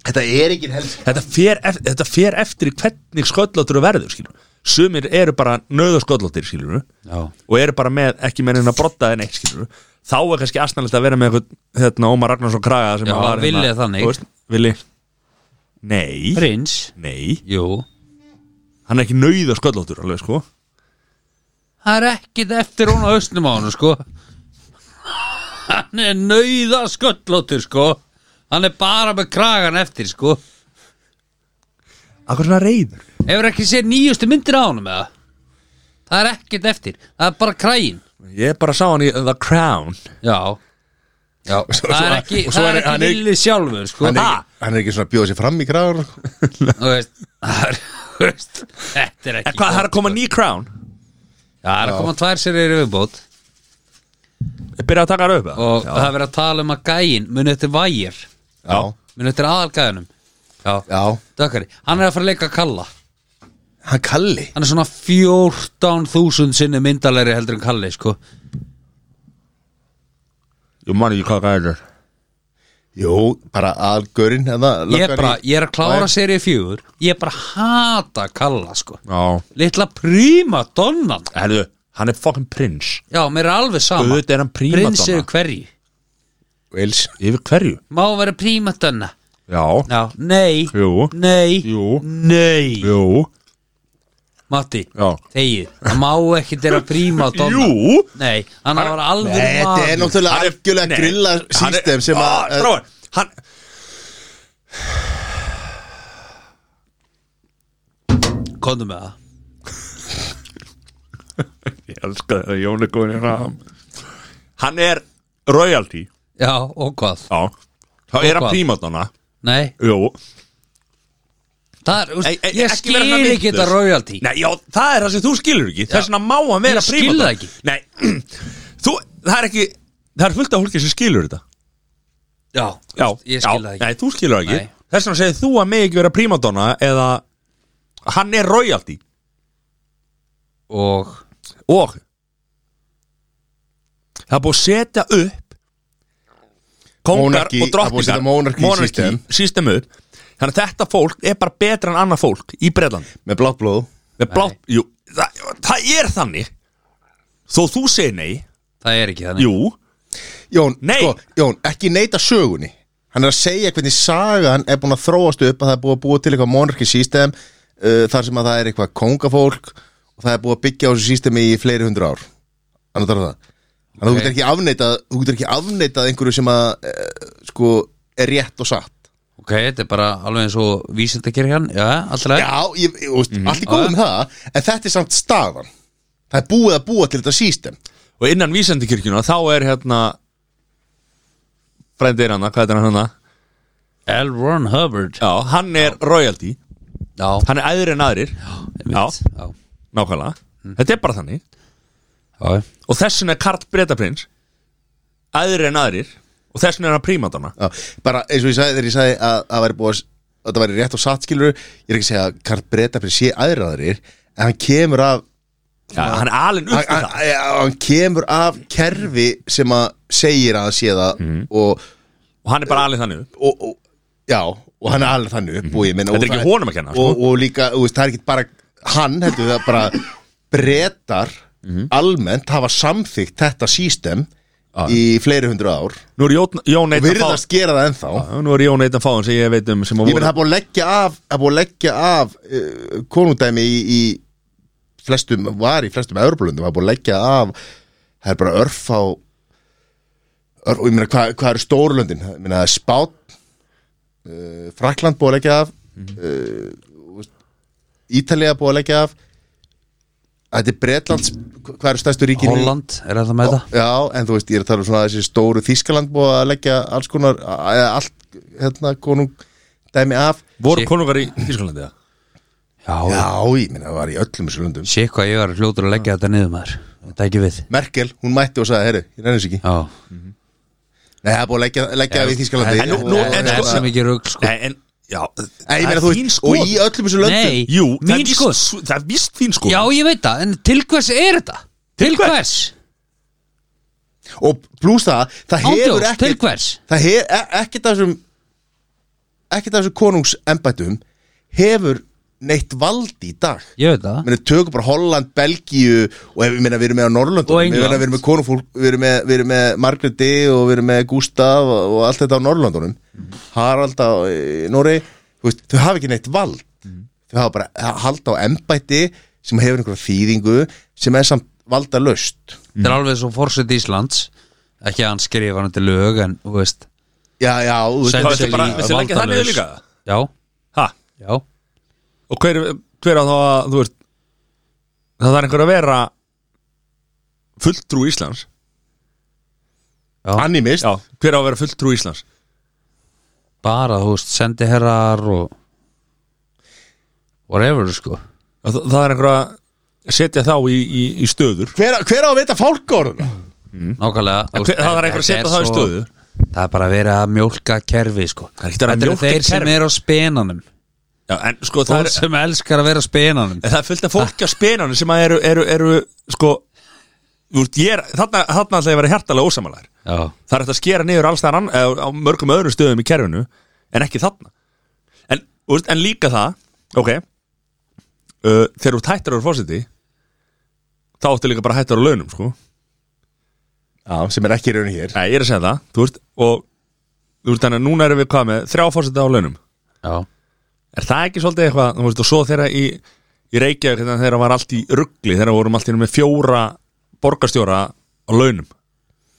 Þetta er ekki helst þetta fer, ef- þetta fer eftir í hvernig sköllóttur þú verður skilur Sumir eru bara nöðu sköllóttir skilur Já, Og eru bara með, ekki með neina brotta en eitt skilur Þá er kannski asnalegt að vera með eitthvað hérna Ómar Ragnarsson Kraga sem Já, að var Villi er þannig. þú veist, Villi Nei, prins nei Jú, Hann er ekki nöðu sköllóttur alveg sko það er ekkit eftir hún á austnum á hann, sko Hann er nauða sköllóttur, sko Hann er bara með kragan eftir, sko Akkur svona reyður Hefur ekki séð nýjustu myndir á hann með það Það er ekkit eftir, það er bara krægin Ég bara sá hann í The Crown Já Já, það er ekki, og svo það er- er hann ekki er- villið sjálfur, sko hann er, Ha? ekki, hann er ekki svona að bjóða sér fram í sko. gráður Þú veist, [laughs] það er- þú veist, Þetta er En ekki Eh, hvað, það er að koma ný Crown? Já, það er að koma tvær serið viðbót Ég byrja að taka það upp eða? Og það er verið að tala um að gæin Muni eftir vægir Já, Muni eftir aðalgæðunum Já, já, dökkari Hann er að fara að leika að kalla hann kalli Hann er svona 14.000 sinni myndalegri heldur en kalli sko. Ég man ekki hvað það er Jú, bara algörinn eða ég, er löggan í- bara, ég er að klára Væ- serið fjögur Ég er bara að hata kalla sko. Já Litla príma donnan Herðu, hann er fucking prins Já, mér er alveg sama Auðvitað er hann prímadonna. Prins yfir hverju Wales Yfir hverju? Má vera príma donna Já Já, nei, Jú. nei, Jú. nei Jú Matti, Já. þegið Það má ekki þeirra príma donna Jú Nei, hann var alveg Nei, þetta er náttúrulega algjörlega grilla system sem að eh, Stráin, hann Kondu með það Ég elska það, Jón er góðin hérna Hann er royalty Já, og hvað? Já Þá er hann hvað? prímadonna Nei, Jú það er, úst, Ei, ei, ég ekki skil vera svona ekki vitlaus. þetta royalty Nei, já, það er það sem þú skilur ekki Þess vegna má hann vera Ég skil það prímadonna. Nei, [clears throat] þú, það er ekki Það er fullt af hólki sem skilur þetta Já, Já, ég skil það já, ekki Nei, þú skilur það ekki Nei. Þess vegna segir þú að mig ekki vera prímadonna eða hann er royalty Og, og það er búið að setja upp kongar Monarchy- það er og búið að setja drottningar monarchy system. system upp þannig að þetta fólk er bara betra en annað fólk í Breitland með blátt blóð með blátt, jú, það, það er þannig þó þú segir nei það er ekki þannig jú, Jón, Nei. sko, Jón, ekki neita sögunni Hann er að segja hvernig sagan er búin að þróast upp að það er búið að búa til eitthvað monarchy system uh, þar sem að það er eitthvað kongafólk og það er búið að byggja á þessu sístemi í fleiri hundru ár Þannig þarf það Þannig að þú Ok. getur ekki afneitað þú getur ekki afneitað einhverju sem að e, sko er rétt og satt Ok, þetta er bara alveg eins og vísindakirkjan Já, alltaf Já, ég, ég, þú veist, allt í góðum það en þetta er samt staðan Það er búið að búa til þetta sístem Og innan vísendikirkjuna þá er hérna Frændir hana, hvað er hann hana? L. Ron Hubbard Já, hann er royalty Já, Hann er æðri en aðrir Já, já, nákvæmlega Þetta er bara þannig já. Og þessin er Karl Bretaprins Æðri en aðrir Og þessin er hann prímadonna Já, bara eins og ég sagði þegar ég sagði að það væri búið að að það væri rétt og satt skilur ég er ekki að segja að Karl Bretaprins sé aðraðarir en hann kemur af Já, hann er alinn upp hann, í hann, það já, hann kemur af kerfi sem að segir að hann sé það Mhm. og, Og hann er bara alinn þannig upp og, og já, og hann er alveg þannig upp og ég menna Mhm. Þetta er ekki honum að kenna, sko. og, og líka, þú veist, það er ekki bara hann, heldur það bara bretar Mhm. almennt hafa samþygt þetta sístem í fleiri hundru ár Nú er Jón, Jón og eitt að virðast gera það ennþá Ah. fá Nú er Jón eitt að fá sem ég veit um sem að Ég menn voru það er búið að leggja af, það er búið að leggja af uh, konundæmi í, í flestum, var í flestum Evropalundum, það er búið að leggja af það er bara örf á örf, og ég meina hvað hva eru stórlöndin ég meina það er Spán uh, Frakland búið að leggja af uh, Ítalía búið að leggja af Þetta er Bretlands hvað eru stærstu ríkin í- Holland, er það með það? Já, en þú veist, ég er að tala um svona þessi stóru Þískaland búið að leggja alls konar eða allt, hérna, konung dæmi af Voru konungar í Ískalandi það? Já, Já, ég minna, það var í öllum þessu löndum sé hvað ég var fljótur að leggja þetta niður maður Þetta ekki við Merkel, hún mætti og sagði, herru, ég reynis ekki Já, Nei, það er búið að leggja, leggja við í Þískalandi en nú- nú- en það sko- er sem ekki rugg sko Nei, en, já Nei, ég það meina, er þú þín veist, skoðun. og í öllum þessu löndum Nei, Jú, það er mín víst- sko Það er víst þín sko Já, ég veit það, en til hvers er þetta? Til hvers? Og pluss það, það hefur Ándjós, til ekkert hvers? Það hefur ekkert af þessum ekkert af þessum konungsembættum hefur neitt vald í dag Ég veit það Ég meina, tökum bara Holland, Belgíu og ef, ég meina, við erum með á Norrlöndum Og Ég meina, England. við erum með konufólk, við erum með, við erum með Margaret D og við erum með Gustaf og, og allt þetta á Norrlöndunum Harald á e, Nóri veist, þau hafa ekki neitt vald þau hafa bara að halda á embætti sem hefur einhverja þýðingu sem er samt valda löst Þetta er alveg svo fórsett Íslands Ekki að hann skrifa hann til lög en, þú veist já, já, þú veist, það- Sendir- þetta Sendill bara- í þessi leggja það niður valdalaus. líka? Já, Ha, já og hver, hver á þá að, þú veist Það þarf einhver að vera Fulltrú Íslands hann í mist Já, hver á að vera fulltrú Íslands Bara, þú veist, sendi herrar og Whatever, sko Og þa- Það er einhver að setja þá í, í, í stöður hver, á- hver á að vita fálkóruna? Nákvæmlega þú Mm. En veist, hver- það þarf einhver að þetta setja er það í svo- stöðu. Það er bara að vera að mjólka kerfi, sko Það er ekki að vera að Þetta mjólka eru þeir sem kerfi. eru á spenanum Já, en sko það Þeir er, sem elskar að vera á [laughs] spenanum en það er fullt af fólki á spenanum sem að eru, eru, eru sko þú veist, ég er, þarna, þarna ætla ég að vera hjartalega ósamalæður Já, Það er eftir að skera niður alls þar ann- eða á mörgum öðrum stöðum í kerfinu en ekki þarna en, þú veist, en líka það ok uh, þegar þú tættar að vera fósiti þá áttu líka bara að hættar á launum sko. já, sem er ekki í raun hér Nei, ég er að segja það þú veist, og þú veist, þannig að núna erum við hvað með þrjá fósiti á launum já, er það ekki svolítið eitthvað þú veist, og svo þeirra í, í Reykjavík hérna, þeirra var allt í ruggli, þeirra vorum allt í einu með fjóra borgarstjóra á launum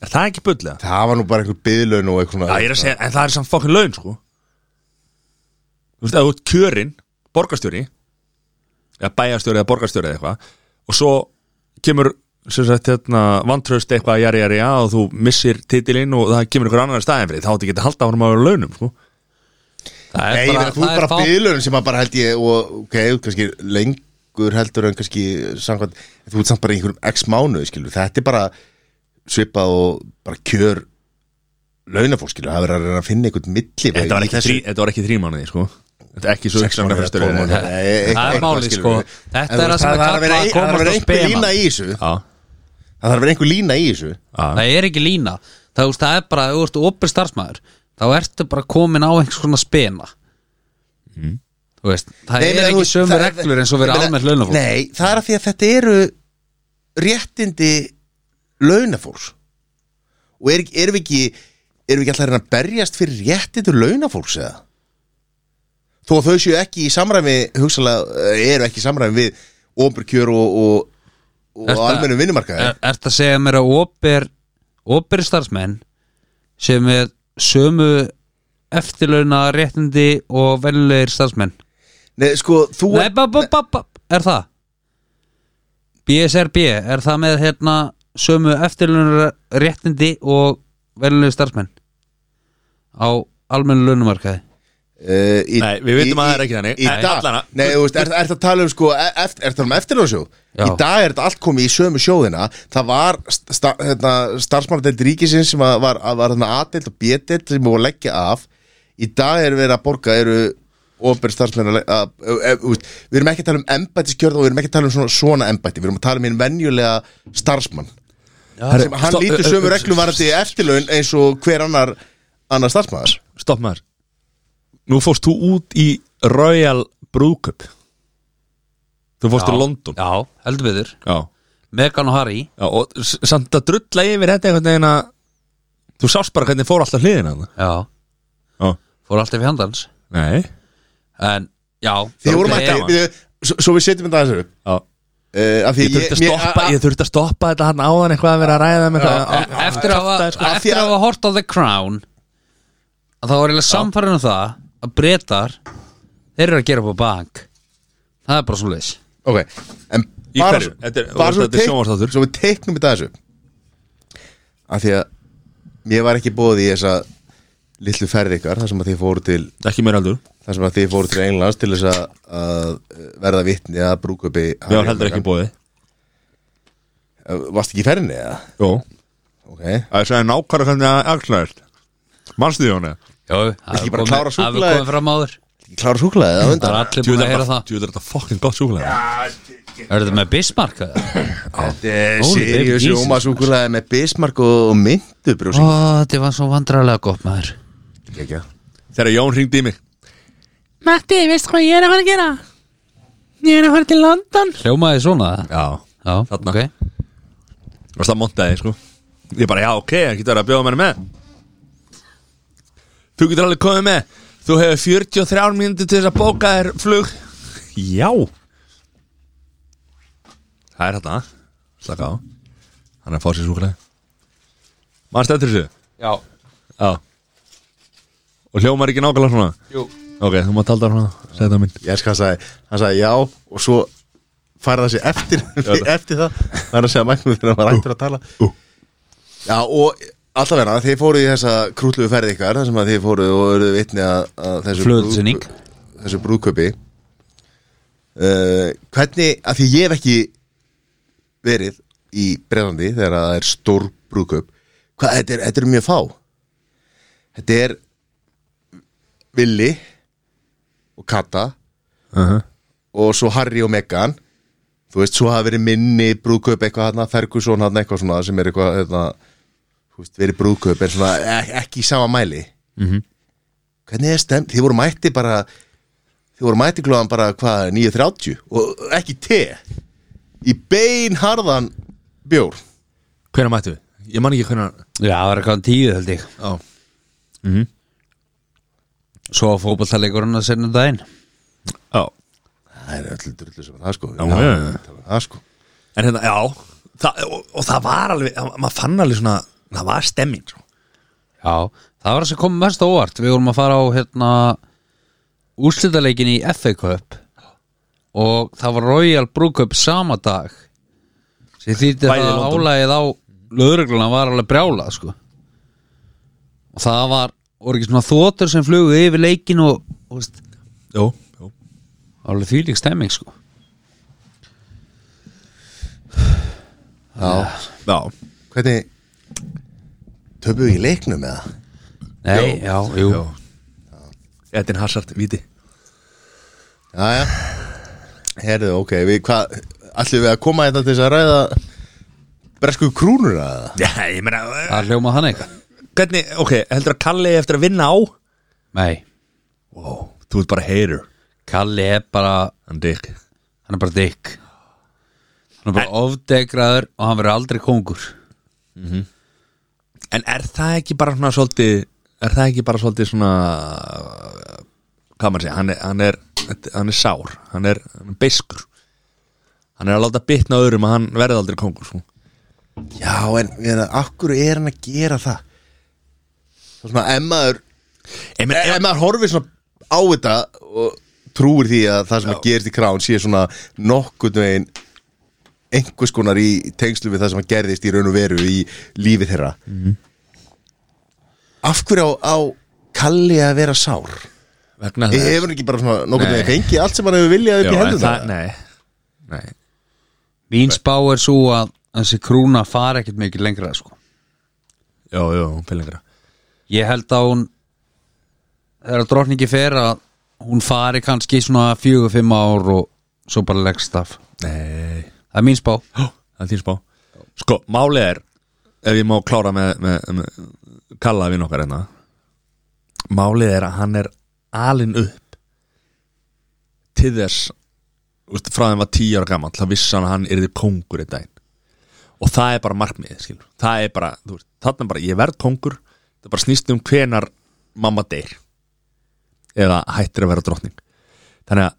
er það ekki bullega? það var nú bara einhver byðlaun og eitthvað Já, ég er að segja, en það er samt fokkin laun, sko Þú veist, að þú ert kjörinn borgarstjóri eða bæjarstjóri eða borgarstjóri eða eitthvað og svo kemur sem sagt, hérna, vantraust eitthvað jari, jari, já og þú missir titilinn og það kemur einhver annar staðin fyrir, þá átti ekki að halda honum á launum, sko það Nei, er ég bara, meina, þú það er er bara fá- byðlun sem að bara held ég og, ok, kannski lengur heldur en kannski samkvæmt, þú ert samt bara í einhverjum x mánuði, skilur, þetta er bara svipað og bara kjör launafólk, skilur, það verður að reyna að finna einhvern milli Þetta var ekki, þrí, þetta var ekki þrí mánuði, sko Þetta er ekki svo Sex mánuði, fyrir stjóri tólf mánuði. Já, Nei, eitthvað- Það er eitthvað, málið, skilur sko. við. Þetta En þú veist, er það sem er þarf að vera kallað ein- að það þarf að vera komast á einhver spenan. lína í þessu það já, þarf að vera einhver lína í þessu Það er ekki lína Það, þú veist, það er bara, ef þú ert opið starfsmæður Þá ertu bara komin á einhvers konar spena Þú veist, það Nei, er meina, þú ekki veist, sömu það- reglur eins og vera Ég meina, almennt launafólk Nei, það er að því að þetta eru réttindi launafólks og er, erum við ekki erum við ekki alltaf að reyna að berjast fyrir réttindi launafólks eða? Þó að þau séu ekki í samræmi hugsalega, eh, eru ekki í samræmi við ofnbyrkjör og, og, og Þetta- almennum vinnumarkaði er, Ertu að segja mér að óper óper starfsmenn sem er sömu eftirlauna réttindi og venlegir starfsmenn Nei, sko, þú Nei, bap, bap, bap, bap, er það BSRB, er það með hérna sömu eftirlauna réttindi og venlegir starfsmenn á almennu launumarkaði Uh, í, Nei, við vitum að það er ekki þannig. Í Nei, dag, allan að- nei, þú veist, er, er það að tala um sko eftir, Er það um eftirlöfsjóð Já. Í dag er þetta allt komið í sömu sjóðina Það var sta, hérna, starfsmannadeild ríkisins sem að var, að var hérna, A-deild og B-deild sem voru að leggja af Í dag er verið að borga eru ofnbyrð starfsmenn að, að, e- að, að, að, Við erum ekki að tala um embættiskjörð og við erum ekki að tala um svona, svona embætti Við erum að tala um einn venjulega starfsmann sem, Hann Stopp, e- lítur ö, ö, sömu ö, reglum varandi eftirlaun eins og hver annar, annar starfsmæður Stopp maður Nú fórst þú út í Royal Brúkup Þú fórst í London Já, heldur betur Já. Megan og Harry Já, og s- samt að drulla yfir þetta einhvern veginn að Þú sást bara hvernig fór alltaf hliðina þarna. Já, Já. fór alltaf í handans Nei En, já Þið vorum ok, ekki, við, svo, svo við setjum þetta aðeins upp Já. uh, af því Ég þurfti að mér- stoppa, a- ég þurfti að stoppa þetta hann áðan eitthvað að vera að ræða með eitthvað E- Eftir að hafa sko. Af því Eftir að að- hafa hort á The Crown að Það var eiginlega samfærin um það að breytar þeir eru að gera upp á bank Það er bara svo leis a- ok, en Í bara, hverju? svo- Þetta er- bara svo, þetta er sjónvarpsþáttur. teik, svo við teiknum þetta aðeins upp af því að mér var ekki bóð í þessa litlu ferð ykkar þar sem að þið fóru til Ekki mér aldur þar sem að þið fóru til Englands til þess að, að eh, verða vitni að brúkupi Mér var heldur ekki bóði varst Eh, ekki í ferðinni eða? Jó ok, Það er svo nákvæmlega hvernig að axlaðist Manstu því hún eða? Jó, það ekki er bara komið- klára það er súkkulaði? komið fram áður ekki klára súklaðið á Það er undan allir búin að heyra það Tjóður þetta fucking gott súkulega Er þetta með Bismarck? eða? þetta er Holy seriós Jesus. jóma súklaðið með Bismarck og myndubrúsi Ó, þetta var svo vandræðlega gott maður oh. Þegar Jón hringdi í mig Matti, veistu hvað ég er að fara að gera? Ég er að fara til London Hljómaði svona það? Já Já, Þarna. ok Og það montaði, sko Ég bara, já, ok, það getur verið að bjóða mér með Þú getur alveg komið með Þú hefur 43 mínútur til þess að bóka þér flug Já Það er þetta Slaka á Hann er að fá sér súkulega Mann stættur þessu? Já, Já Og hljómar ekki nákvæmlega svona? jú Ok, þú mátt halda svona Segð það minn ég elska hann sagði, hann sagði já og svo færði hann sig eftir eftir það, það er að segja mæknum þegar hann var ættur að tala Ú. já og allavega þið fóruð í þessa krútluðu ferð ykkar þar sem að þið fóruð og eruð vitni að, að þessu Flugulsýning. brúðkaup- þessu brúðköpi uh, hvernig, að því ég hef ekki verið í Breðlandi þegar það er stór brúðköp hvað, þetta er, þetta er mjög fá þetta er Willi og Kata uh -huh. og svo Harry og Meghan þú veist, svo hafa verið minni brúðkaup eitthvað hann, Ferguson hann eitthvað svona sem er eitthvað, hérna, þú veist, verið brúðkaup en svona ek- ekki í sama mæli -hmm. Mhm. hvernig er stemt? Þið voru mætti bara þið voru mætti klóðan bara hvað, 9.30 og ekki te í beinharðan bjór Hvernig mættu við? Ég man ekki hvernig Já, það var eitthvað um tíu held ég Mhm. Já Svo fótballtalegurinn að senna daginn Já það er öllu drullu sem það sko já, já. það sko En hérna, já það, og, og það var alveg, það- maður fann alveg svona Það var stemming sko. Já, það var það sem kom mest á óvart Við vorum að fara á hérna úrslitaleikin í FA Cup og það var Royal Brúkup sama dag sem þýtti Bæði það í að London. álægið á lögregluna var alveg brjála sko. og það var voru ekki svona þotur sem flugu yfir leikin og þú veist, Jó, jó alveg þvílík stemming sko. Já, hvernig töpuðu í leiknum með það? Nei, já, jú jó Edin Hazard, viti Jæja Herðu, ok, við hvað Ætlum við að koma þetta til þess að ræða Bresku krúnur að það? Já, ég meina eh, Það hljóma þannig Hvernig, ok, heldur að Kalli eigi eftir að vinna á Nei, Wow, þú ert bara hater Kalli er bara Hann Dick hann er bara dykk hann er bara ofdegraður og hann verður aldrei kongur En er það ekki bara svona svolítið Er það ekki bara svolítið svona Hvað maður segja, hann er Hann er, hann er sár, hann er, hann er beiskur hann er að láta bitna á öðrum að hann verði aldrei kongur sko. Já, en en akkur er hann að gera það Það er svona emmaður Emmaður horfir svona á þetta og trúir því að það sem að gerist í krán sé svona nokkurn veginn einhvers konar í tengslu við það sem að gerðist í raun og veru í lífi þeirra Af hverju á, á Kalli að vera sár? vegna þess. Hefur hann ekki bara svona nokkurn Nei. veginn fengið allt sem hann hefur viljað upp Já, í en hendur það- nei, nei Mín spá er svo að þessi krúna fara ekkert mikið lengra sko. já, já, pelingra Ég held að hún þegar drottningi fer að hún fari kannski svona fjögur, fimm ár og svo bara leggst af nei, Það er mín spá það er þín spá sko, málið er ef ég má klára með, með, með kalla við nokkar hérna málið er að hann er alin upp til þess úst, frá þeim var tíu ára gamall þá vissi hann að hann yrði kongur í daginn og það er bara markmiðið skilur. það er bara, þú veist, þarna bara ég verð kongur það bara snýst um hvenar mamma deyr eða hættir að vera drottning þannig að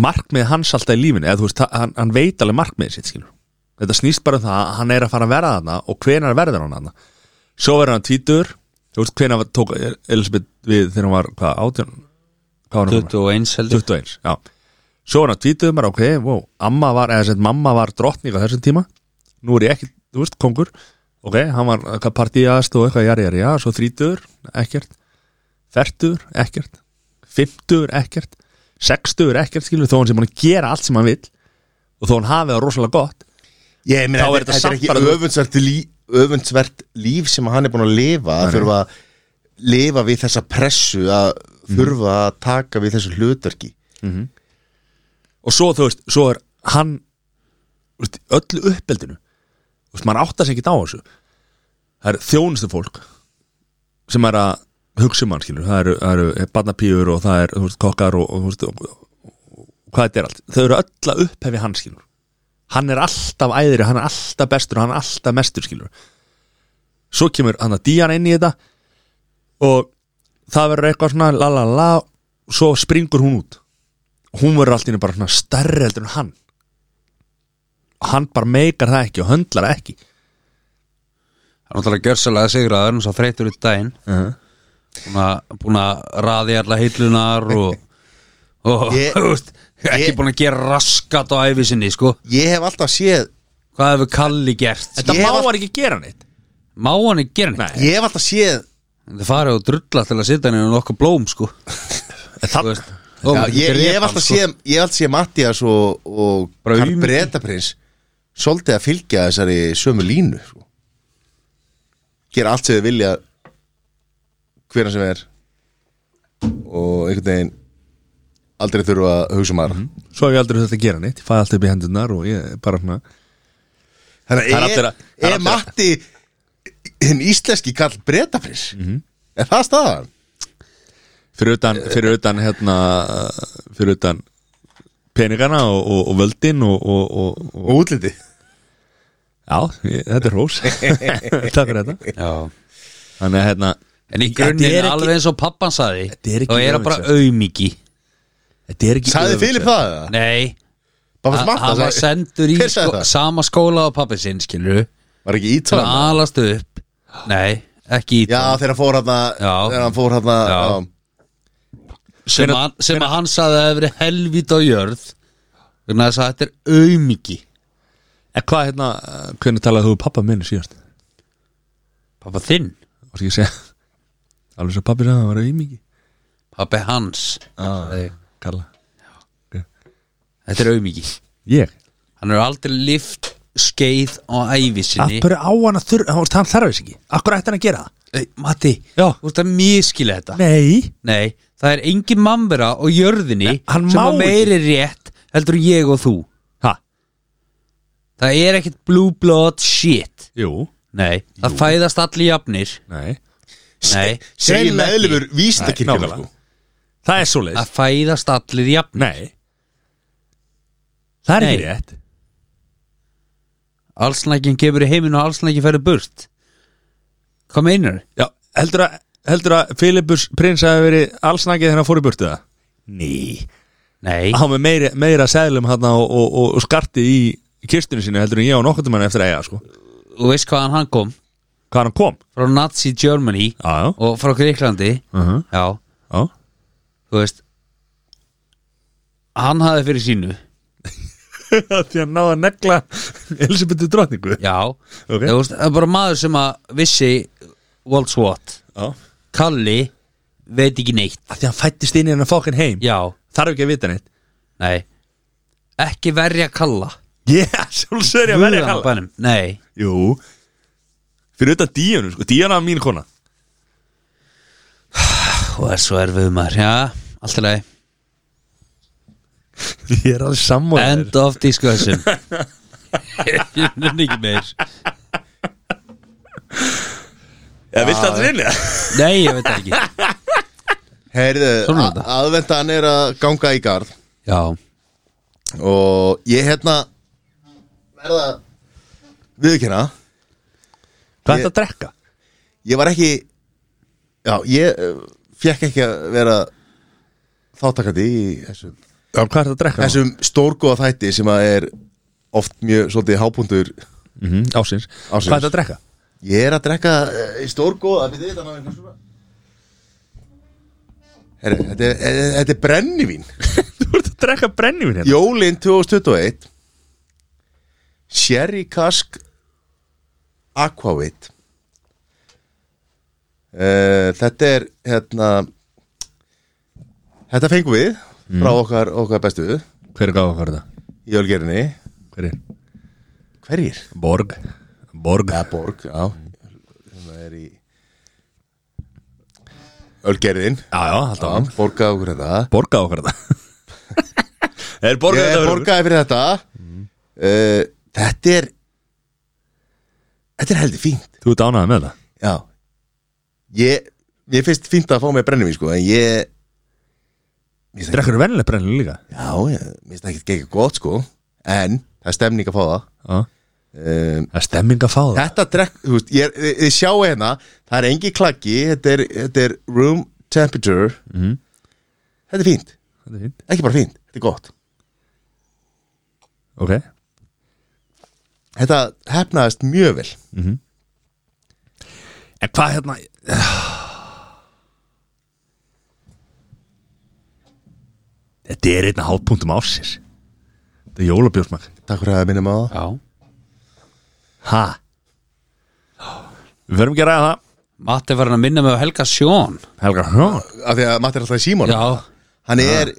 markmið hans alltaf í lífinu eða þú veist, það- hann, hann veit alveg markmiðið sitt skilur. þetta snýst bara um það að hann er að fara að verða þarna og hvenar verður hann þarna svo verður hann tvítur þú veist, hvenar tók Elisabeth við þegar hún var, hvað, átján hvað var hún? 21 heldur 21, já Svo var hann tvítuðum bara, ok, wow, amma var eða sem sagt, mamma var drottning á þessum tíma nú er ég ekki, þú veist, kongur ok, hann var eitthvað partíast og eitthvað jari, jari, já, svo þrítuður, ekkert fertuður, ekkert fimmtuður, ekkert sextuður, ekkert, skilur þó hann sem hann gera allt sem hann vil og þó hann hafi það rosalega gott Ég meina, Þá er þetta, þetta þetta er samt ekki bara- öfundsvert, lí, öfundsvert líf sem hann er búin að lifa að þurfa að lifa við þessa pressu að Mhm. þurfa að taka við þessu hlutverki og svo, þú veist, svo er hann þú veist, öllu uppeldinu þú veist, maður áttar sig ekki á þessu það eru þjónustu fólk sem er að hugsa um hann, skilur það eru, það eru barnapíur og það eru þú veist, kokkar og, og, þú veist, og, og, og hvað þetta er allt, þau eru öll að upphefi hann, skilur hann er alltaf æðri, hann er alltaf bestur hann er alltaf mestur, skilur svo kemur hann að dýjan inn í þetta og það verður eitthvað svona la la la, svo springur hún út hún verður allt í henni bara svona stærri heldur en hann og hann bara meikar það ekki og höndlar það ekki Það er náttúrulega gjörsalega sigraður og svo þreytur út daginn búin að- búin að raði alla hillunar og, og Ég- [laughs] þú veist, ekki ég- búin að gera raskat á æfi sinni sko. Ég hef alltaf séð Hvað hefur Kalli gert? þetta Ég má var- hann ekki gera neitt Má hann ekki gera neitt? Nei, Ég hef alltaf séð Það farið og drulla til að sitja hann og nokkuð blóm sko það, veist, Já, Ó, ég, ég hef drepa alltaf hann, sko. séð, ég hef alltaf séð Mattias og, og Bara Karl auðmýkja. Bretaprins svolítið að fylgja þessari sömu línu sko. gera allt sem þið vilja hverna sem er og einhvern veginn aldrei þurfa að hugsa um aðra svo hef ég aldrei þetta að gera neitt ég fæði allt upp í hendunar og ég er bara svona Þannig Það er að allir er, að- það er er allir að- Matti hinn íslenski kall bretaprins er það staðan? fyrir utan, fyrir utan hérna uh, fyrir utan peningana og, og, og völdin og, og, og, og Og útliti já, ég, þetta er rós [laughs] takk fyrir þetta Já. þannig að hérna En í Þetta er grunninn ekki- alveg eins og pappan saði Þetta er ekki Þá er það bara öfundsvert. auðmiki þetta er ekki Sæði öfundsvert. Filip það? eða? Nei, Babas hann Matta hann var sagði- sendur í Hver sagði sko, það? sama skóla á pappi sinn skilur Var ekki Til að ítala? alast upp Nei, ekki í Já þegar hann fór hann Já. þegar hann fór hann Já. já. sem, Hvenær- hann, sem að hann saði að það hefur verið helvít á jörð Þannig að þess að þetta er auðmiki en hvað hérna, uh, hvernig talaði þú við pappa minni síðast Pappa þinn, var ekki að segja alveg svo pappi sagði að það var auðmiki pappi hans Ah. sagði, Kalla Þetta er auðmiki Ég? Hann er aldrei lift skeið á ævi Af sinni hverju á hann að þurfa, hann, hann þarf þess ekki Af hverju ætti hann að gera það? Ei, Matti, Já. þú ert að miskila þetta Nei Nei, það er engin mannvera á jörðinni Nei, hann sem má að meiri rétt heldur en ég og þú Ha? Það er ekkert blue blood shit Jú Nei, það fæðast allir jafnir Nei Nei, Segir greinlega meðlumur vístakirkjum nákvæmlega. sko. Það er svo ekki. Það fæðast allir jafnir Nei Það er Nei. ekki rétt Allsnækin kemur í heiminn og allsnækin ferður burt Hvað meinar? Já, heldur að, heldur að Filipus prins hafi verið allsnakið þegar hann fór í burtu það? Ný Nei, hann var með meira, meira seglum hann og, og, og, og skarti í kistunni sínu heldur en ég og nokkuð mann eftir að eiga sko. þú veist hvaðan hann kom hvað hann kom frá Nazi Germany já, já, og frá Greiklandi Mhm. já, [laughs] já. þú veist hann hafði fyrir sínu því að náða að negla Elisabethi drotningu já, Ok. þú veist, það er bara maður sem að vissi Waltz Watt að Kalli veit ekki neitt því að hann fættist inn í hennar fókin heim já, þarf ekki að vita neitt [laughs] nei ekki verja Kalla ég, sjálfsögur ég að velja Guðan á kalla bænum, nei jú, fyrir utan díjanu sko, díjana var mín kona og það er svo erfið maður, já, allt í lagi [laughs] ég er alveg sammóð end of [laughs] discussion ég nenni ekki meir eða viltu að það inni nei, ég veit það ekki Heyrðu, Svona er þetta. aðvendan er að ganga í garð já, og ég hérna verða viðkynna hvað er það að drekka? ég var ekki já, ég uh, fekk ekki að vera þáttakandi í þessum, Já, hvað er það að drekka? Þessu... þessum stórgóða þætti sem að er oft mjög svolítið hápundur Mm -hmm, ásins. Ársins. Hvað er það að drekka? ég er að drekka uh, í stórgóða við þetta ná einhvern svona Herri, þetta er, er, þetta er brennivín [laughs] Þú ert að drekka brennivinn hérna Jólin 2021 Sherry Kask Aquavit uh, Þetta er hérna Þetta fengum við frá okkar, okkar bestu í Hver er gáða hvað er það? ölgerinni Hver er? Hverjir? Borg Borg Eða Borg, já Það er í Ölgerðin Já, já, alltaf Já, Borgaði okkur þetta Borga á hverða [laughs] Er borga Ég þetta borgaði fyrir þetta uh, Þetta er Þetta er heldur fínt Þú ert ánægð með það Já Ég, ég finnst fínt að fá mig brennivín sko En ég Mér finnst ekki- Drekkur er vennileg brennivinn líka Já, ég, mér finnst ekki ekki gott sko En það er stemning að fá það Já um, Það er stemming að fá það Þetta drekk, þú veist, ég, ég, ég sjá hérna Það er engi klakki, þetta er, þetta er room temperature Mhm. Þetta er fínt, Þetta er fínt ekki bara fínt, þetta er gott Ok Þetta hefnaðist mjög vel En hvað hérna Þetta er einna hátpunktum ásins Þetta er jólabjórsmak Takk fyrir að minna maður já Ha Við verðum ekki að ræða það Matti var hann að minna mig á Helga Sjón Helga Hjón Af því að Matti er alltaf í símónu já, Hann er, hann þetta er,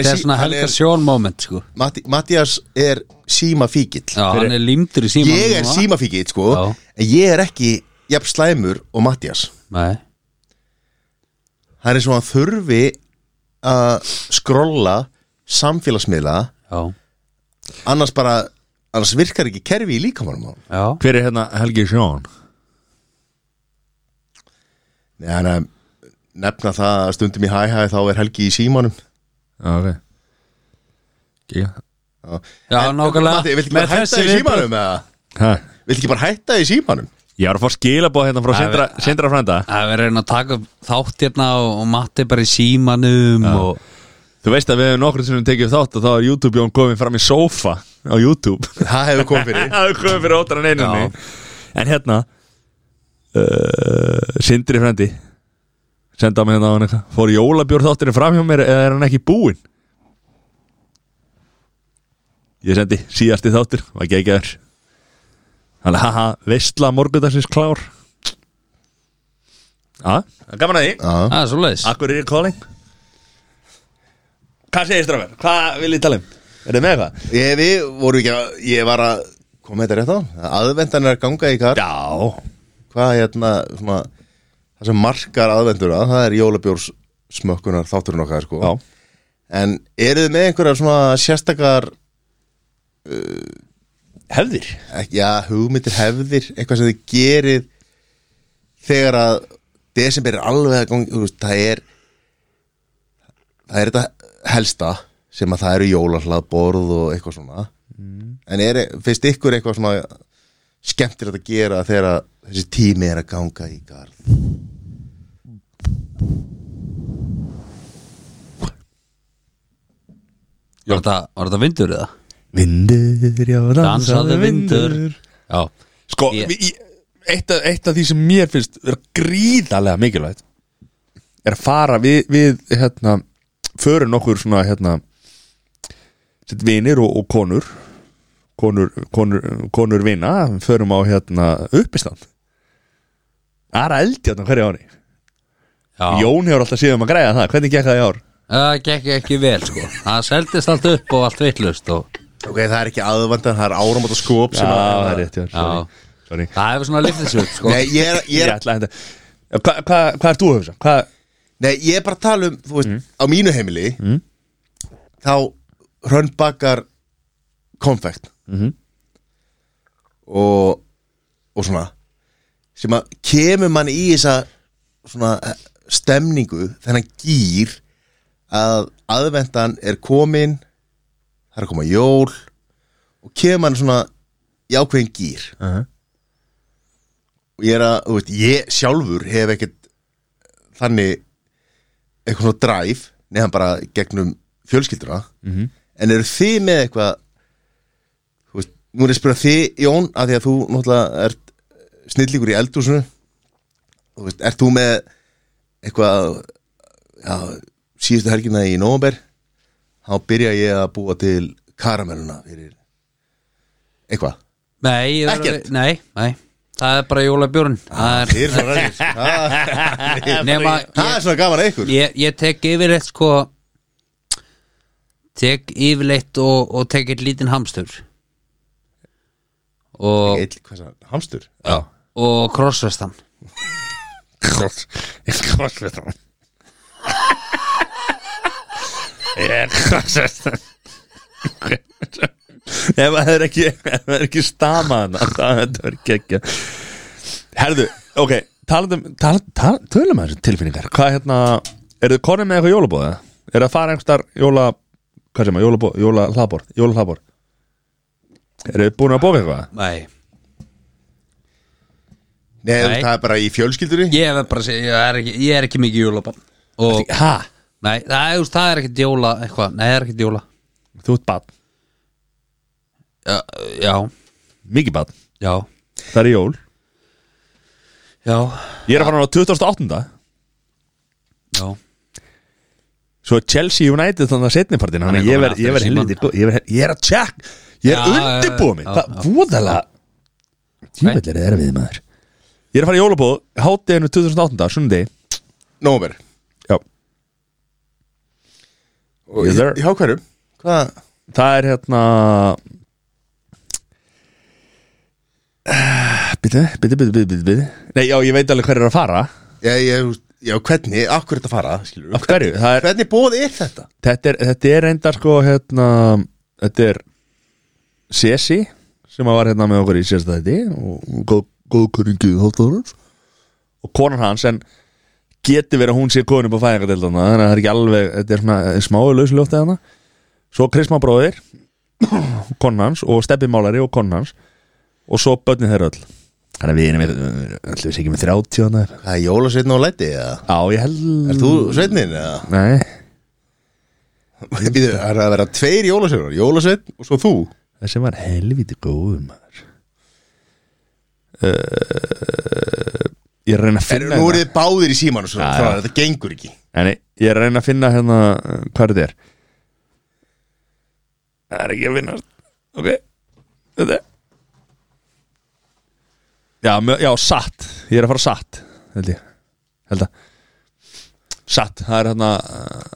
er sí- svona hann Helga er, Sjón moment sko Matti, Mattias er símafíkill já, hann er límdur í síma ég er símafíkitt sko Já. en ég er ekki jafn slæmur og Mattias nei, það er eins og hann þurfi að skrolla samfélagsmiðla já, annars bara, annars virkar ekki kerfi í líkamannum á honum. já Hver er hérna Helgi Sjón? Nei, hann er að nefna það að stundum í hæhæ þá er helgi í símanum Já, ok Gíga Já, nákvæmlega. Matti, viltu ekki Með bara hætta þessi í símanum eða? Hæ Viltu ekki bara hætta í símanum? Ég var að fá skilabóð hérna frá Æ, Sindra, Sindra frænda Það er reyna að taka upp þátt hérna og, og Matti bara í símanum og Þú veist að við hefum nokkur sem tekið upp þátt og þá er YouTube jón komin fram í sofa á YouTube Það hefur komið fyrir [laughs] Það er komin fyrir ótran einunni En hérna uh, Sindri frændi senda mig hérna á hann eitthvað Fór jólabjór þátturinn fram hjá mér eða er hann ekki búinn? Ég sendi síðasti þáttur var geggjaður Þannig haha, veistla morgundagsins klár Já, það er gaman að því Já. það er svo leiðis Akkur er ég calling? Hvað segir strafgar? Hvað vil ég tala um? Er þið með eitthvað? Ég, við vorum ekki að, ég var að koma þetta rétt á, aðvendan er að ganga í kar Já hvað hérna svona, það sem markar aðvenduna það er jólabjórs smökkunar þátturinn okkar sko en eru þið með einhverjar svona sérstakar uh, Hefðir ekki- já, hugmyndir hefðir eitthvað sem þið gerir þegar að desember er alveg að gangi, þú veist, það er það er þetta helsta sem að það eru jólahlað borð og eitthvað svona en er, finnst ykkur eitthvað svona skemmtilegt að gera þegar að þessi tími er að ganga í garð Var þetta, var þetta vindur eða? Vindur, já, Dansaði vindur Já, Sko, Ég- ég... eitt, af, eitt af því sem mér finnst er gríðarlega mikilvægt er að fara við, við hérna, förum nokkur svona hérna, sitt vinir og, og konur konur, konur, konur vina förum á hérna uppistand það er eldi hérna á hverju ári já Jón hefur alltaf síðan um að græja það, hvernig gekk það í ár? Það gekk ekki vel sko Það seldist allt upp og allt vittlust og Ok, það er ekki aðvöndan, það er áramóta skóp sem að það er rétt, já, Já. sorry, sorry. það hefur svona liftið sér upp sko Nei, ég er, Ég ég, er, ætla að henda- Já, Hva, hva, hvað er þú að hugsa? Hva, nei, ég er bara að tala um, þú veist, á mínu heimili Þá hrönnbakar konfekt og, og svona Sem að kemur mann í þessa svona eh, stemningu, þennan gýr Að aðvendan er komin, það er að koma jól Og kemur mann svona í ákveðin gýr og ég er að, þú veist, ég sjálfur hef ekkert þannig eitthvað svona drive nefn bara gegnum fjölskylduna Mhm. -hmm. en eru þið með eitthvað þú veist, nú er ég að spyrja þið Jón, að því að þú náttúrulega ert snillíkur í eldúsinu þú veist, ert þú með eitthvað já, síðustu helgina í nómber þá byrja ég að búa til karamelluna fyrir eitthvað Nei, ég er, Ekkert. nei, nei Það er bara jólabjörn Það er, Þið eru svona ræðis [laughs] nema, Það er svona gaman að ykkur ég, ég tek yfirleitt sko tek yfirleitt og, og tek eitt lítinn hamstur og, Eitt, hvað sagði, hann? hamstur já, og krossvestan Kross Ég krossveit hann Ég er krossveit hann Ef það er ekki ef það er ekki stamaðan það er ekki ekki Herðu, ok talandum, tal, tal, Tölum að þessu tilfinningar Hvað hérna, eru þið konum með eitthvað jólabóð? Er það að fara einhverstar jóla Hvað sem að, jólabóð, jóla hlaðbór Jóla hlaðbór Eru þið búin að bóka eitthvað? nei, Nei, Nei. það er bara í fjölskyldunni ég er bara að segja ég er ekki, ég er ekki mikið jólabann og Ha? nei, það, er- þú veist, það er ekkert jóla eitthvað, nei, það er ekkert jóla Þú ert bad, já, já, mikið bad já, Það er jól já, Ég er að fara hann á 2008. já. Svo er Chelsea United þannig að setni partin Þannig að Hann er ég komin verð ég aftur verð í símann. helviti gó- Ég verð- ég er að check Ég er Já, undirbúið já, mig já, Það já. voðalega Tímall er erfið maður Ég er að fara í jólabóð Hátteginu 2008. sundi Nómer Já Og Yes, yes, sir. hjá hverjum? Hvað? Það er hérna [sighs] Bitti, bitti, bitti, bitti, bitti Nei, já, ég veit alveg hver er að fara Já, ég, þú veist, já, hvernig, akkur þetta fara, skilur Af hverju? Það er Hvernig bóð er þetta? þetta er, þetta er reyndar sko hérna, þetta er Sesi sem að var hérna með okkur í sérstæði og góð, góð kunningi þáttarans og konan hans en geti verið að hún sé konum á fæðingadeildana þannig að það er ekki alveg, þetta er svona smáu lausljóftið hana svo Krisma bróðir konan hans og Steppi Málari og konan hans og svo börnin þeirra öll þannig að við erum allir við sér ekki með 30 hana Hvað er jólasveitn og læti, eða? á ég held Er þú sveitnin, eða? Nei, Ég býðu, það er að vera tveir jólasveitnar, jólasveitn og svo þú þessi var helviti góður maður uh, Eh, ég er að reyna að er, Nú finna eru hérna. þið báðir í símanu, svona, Já, svona, já. þetta gengur ekki Nei, nei, ég er að reyna að finna hérna uh, hvað þetta er það er ekki að finna ok þetta er já, mjö, já, satt ég er að fara satt held ég held að satt, það er hérna uh,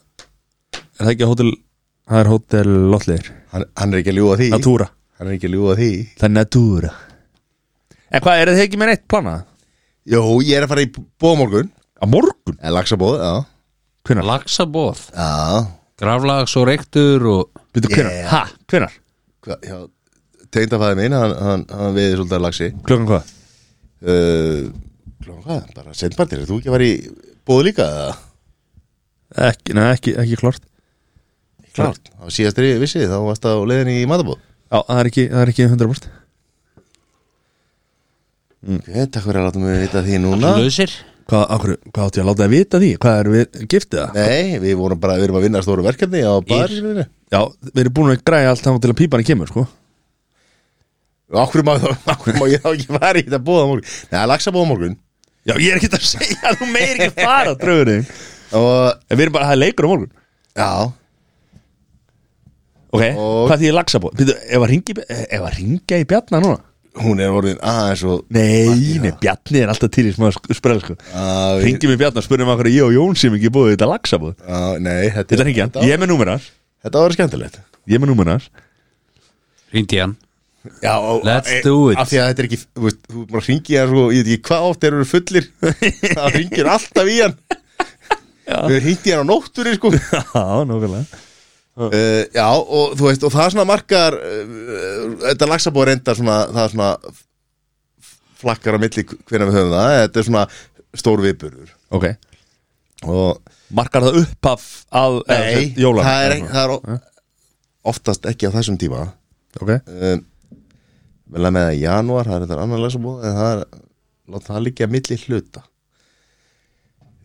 er það ekki hótel það er hótel Lottleir Hann, hann er ekki að ljúga því Natúra Hann er ekki að ljúga því Það er natúra En hvað, er þið ekki með neitt planað? Jó, ég er að fara í bóðmorgun Á morgun? Eða laxabóð, já Hvenar? laxabóð, Já, graflags og reyktur og Býttu hvenar? Yeah. Ha? Hvenar? hvað, já Tegndafæði minn, hann, hann, hann veiði svolítið laxi Klukkan hvað? uh, Klokkan hvað? Bara sendpartir, er þú ekki að vera í bóð líka? eða? Ekki, neða, ekki, ekki klart Klárt Á síðastri vissi þá varst á leiðin í matabóð Já, það er ekki, það er ekki 100% Ok, Mm, takk fyrir að láta mig vita því núna lausir Hvað, akkur, hvað áttu ég að láta það vita því? Hvað er við giftið það? Nei, við vorum bara, við erum að vinna stóru verkefni á bar Já, við erum búin að græja allt þannig til að pípan kemur sko Akkur má, akkur má ég þá ekki fara í þetta bóða morgun Nei, lagsa bóða morgun Já, ég er ekki að [laughs] segja, að þú meir ekki fara draugur þig Og, En við erum bara, það er leikur á morgun já, Ok, Og- hvað því ég lagsa bóð? Býtu, ef að ringi, ef að ringja í Bjarna núna? hún er orðin aðeins og Nei, nei, Bjarni er alltaf til í smá sprell sko að, Ringjum í Bjarna og spurðum okkur að ég og Jón sem ekki búið þetta lagsa bóð að, Nei, þetta Þetta ringja, ég er með númerar Þetta var skemmtilegt Ég er með númerar Hringdi í hann já, og- Let's e- do it. Af því að þetta er ekki, þú veist, þú bara ringið hann svo Ég veit ekki hvað oft þeir eru [laughs] fullir Það ringir alltaf í hann Við ringið hann á nóttur sko. uh, Já, nákvæmlega Eh, Já, og þú veist, og það svona markar uh, Þetta lagsa bóða reyndar svona Það er svona flakkar á milli hvernig við höfum það eh, Þetta er svona stór viðburður Ok, og markar það upphaf að Nei, jólan það er, ekki- það er o- oftast ekki á þessum tíma Ok, um, vel að með að janúar það er þetta annar lesabóð en það er, láta það líka milli hluta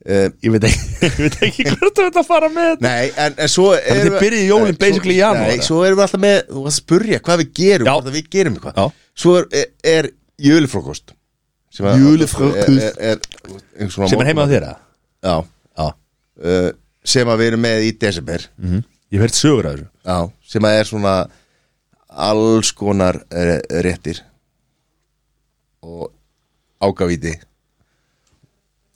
um, ég veit ekki, [laughs] ég veit ekki hvert þú ert að fara með þetta Nei, en, en svo Þannig erum þið við- byrjið jólin Nei, basically í svo- janúar, Nei, eða? svo erum við alltaf með, þú varst að spurja hvað við gerum, Já. hvort að við gerum eitthvað Já. Svo er, er, er júlifrókost Jólafrókost. er, er, er, einhver svona Sem er heima á morgun- þér að Já, Já, uh, sem að við erum með í desember ég verð sögur að þessu Já, sem að er svona alls konar eh, réttir og ágavíti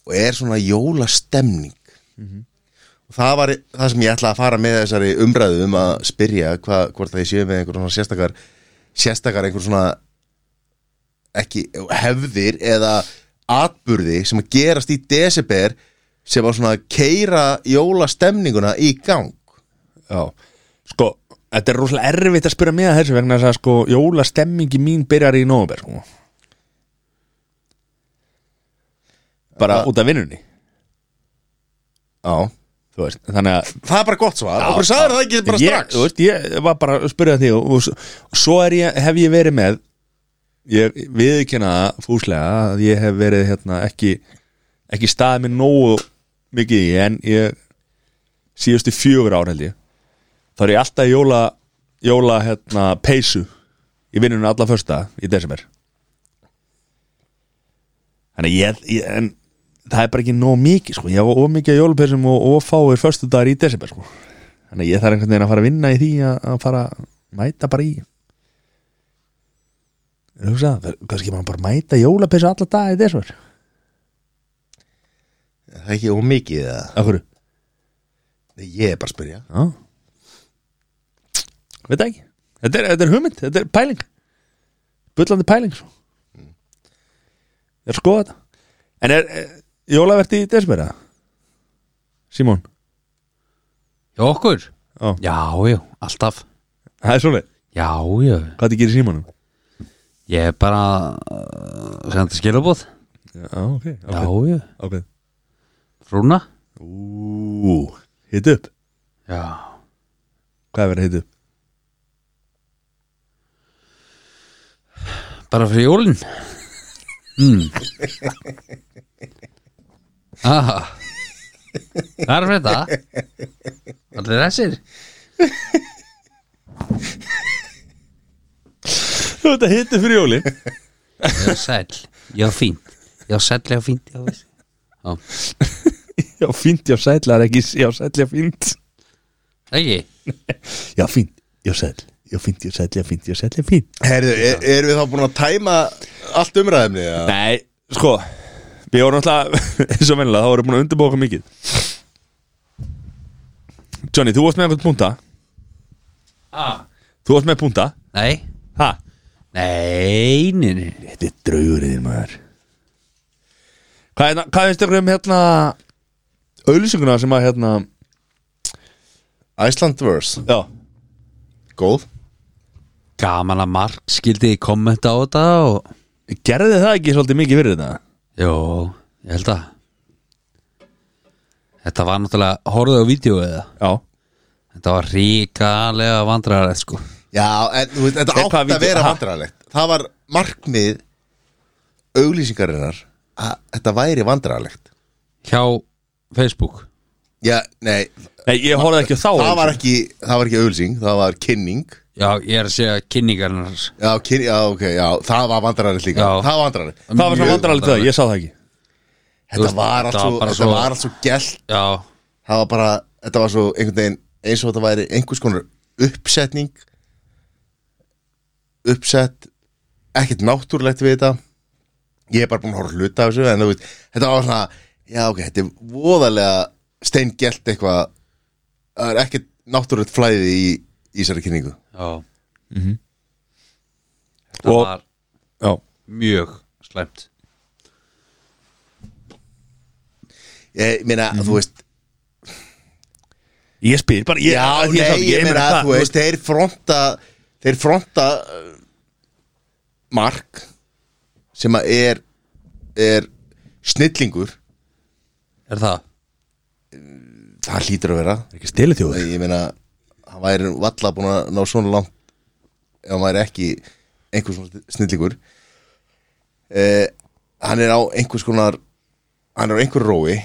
og er svona jólastemning og það var það sem ég ætla að fara með þessari umræðu um að spyrja hva, hvort það ég séu með einhver svona sérstakar sérstakar einhver svona ekki hefðir eða atburði sem að gerast í desember sem að svona keira jólastemninguna í gang Já, sko, þetta er rosalega erfitt að spyrja mig að þessu vegna þess að sko, jólastemmingi mín byrjar í nóvember sko. Bara út af vinnunni Já Þú veist, þannig að Það er bara gott svar, Já, okkur sagður það ekki bara ég, strax þú veist, Ég var bara að spyrja því og, og, s- og svo er ég, hef ég verið með ég viðkynna fúslega að ég hef verið hérna ekki ekki staðið mér nógu mikið í en ég síðustu fjögur ár held ég þá er ég alltaf í jóla jóla hérna peysu í vinnunum alla fösta í desember þannig að ég, ég en það er bara ekki nóg mikið sko, ég hafa of mikið af jólapeysum og, og fáir föstudagar í desember sko Þannig að ég þarf einhvern veginn að fara að vinna í því að, að fara að mæta bara í Er hugsa, kannski maður bara mæta í jólapeysu alla dag í desvar Það er ekki ómikið það Af hverju? Ég er bara að spyrja Já Veit það ekki þetta er, þetta er hugmynd, þetta er pæling Bullandi pæling svo Ég er að skoða þetta En er, er jólavert í desvar eða? Simón Já, okkur? Já. Já, já, alltaf Það er svoleið, Já, já, hvað þið gerir um? Simónum? ég er bara uh, sendi skilabóð Já, ok, Já, ok, já, ok frúna Ú, hit upp Já, Hvað er verið að hit upp? bara fyrir jólin mm. Aha Það er fyrir þetta Allir þessir Þú ert að hitta fyrir jólin Já, sæll, já, fínt Já, sæll, já, fínt Já, veist. Já, Já, fínt, já, sæll, það er ekki Já, sæll, já, fínt ekki Já, fínt, já, sæll Já, fínt, já, sæll, já, fínt, já, sæll, já, fínt Herðu, er, e- erum við þá búin að tæma allt umræðumni? Ja? Nei, sko Við vorum alltaf, [laughs] eins og vennilega, þá vorum við búin að undirbúa okkur mikið Johnny, þú varst með einhvern punta ah. Þú varst með punta Nei, Ha? nei, nei, nei Þetta er draugurinn, maður Hvað, hérna- hvað finnst ykkur um hérna Auðlýsinguna sem að hérna Iceland verse, Já, góð Gaman að Mark skildi kommenta á þetta og gerði það ekki svolítið mikið fyrir þetta? Jó, ég held að Þetta var náttúrulega horfðu á vídeo eða Já Þetta var ríkalega vandræðarætt sko Já, en þú veist, þetta Er átt hvað að vídeo- vera Ha? vandræðalegt Það var markmið auglýsingarinnar að þetta væri vandræðalegt Hjá Facebook Já, nei, Nei, ég horfði ekki á þá það var ekki, það var ekki auðlýsing, það var kynning Já, ég er að segja kynningarnar Já, kynning, já, ok, já, það var vandrarinn líka Já. Það var vandrarinn Það var svo vandrarlegt það, ég sá það ekki Þetta veist, var allt þetta svo, var bara þetta svo- var allt svo gælt Já, Það var bara, þetta var svo einhvern veginn eins og þetta væri einhvers konar uppsetning Uppsett Ekkert náttúrulegt við þetta Ég er bara búin að horfa á hluta af þessu En þú veit, þetta var svona Já, ok, þetta er voðalega steingelt eitthvað Það er ekkert náttúrulegt flæði í, í þessari kynningu já Mhm. Það Og- var Já, mjög slæmt Ég meina, þú veist ég spyr bara ég, Já, ég, sá nei, það, ég meina það, að þú veist, þeir fronta þeir fronta uh, mark sem að er er snillingur Er það? það hlýtur að vera Ekki stili þjóður ég meina, hann væri valla búin að ná svona langt ef hann væri ekki einhvers svona snillingur eh, hann er á einhvers konar hann er á einhver rói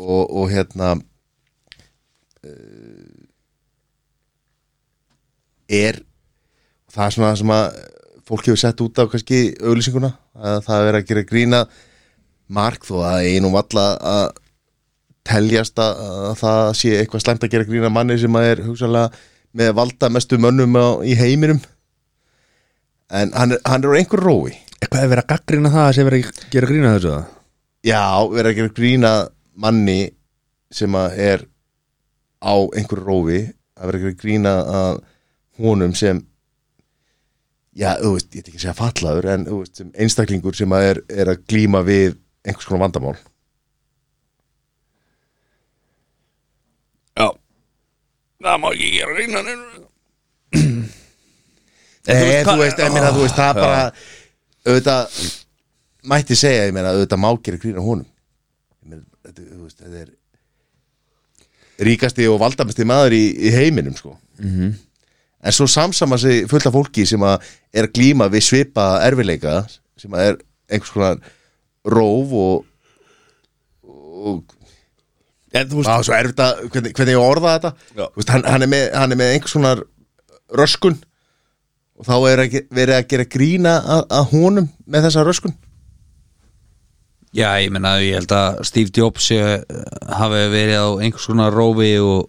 og, og hérna e, eh, er það er svona það sem að fólk hefur sett út af kannski auðlýsinguna að það er verið að gera grína mark þó að einum valla að teljast að, að það sé eitthvað slæmt að gera grína manni sem að er hugsalega með valda mestu mönnum á, í heiminum en hann er, hann er á einhver rói Eitthvað er verið að gaggrina það sem er að gera grína þessu það já, verið að gera grína manni sem að er á einhver rói að vera að gera grína að honum sem já, þú veist, ég ætla ekki að segja fallaður en þú veist, sem einstaklingur sem að er, er að glíma við einhvers konar vandamál Já Það má ekki gera grína neinu Nei, Eh, þú hvað- veist, ég meina, þú veist, það bara auðvitað mætti segja, ég meina, auðvitað má gera grína honum ég meina, þetta, þú veist, þetta er ríkasti og valdamesti maður í, í heiminum, sko -hmm. en svo samsama sig fullt af fólki sem að er að glíma við svipa erfileika, sem að er einhvers konar róf og og En þú veist það er svo erfitt að, hvernig, hvernig ég á að orða þetta Já. Þú veist, hann, hann, er með, hann er með einhvers sonar röskun og þá er ekki, verið að gera grína að, að honum með þessa röskun Já, ég meina, ég held að Steve Jobs sé, eh, hafi verið á einhvers konar rófi og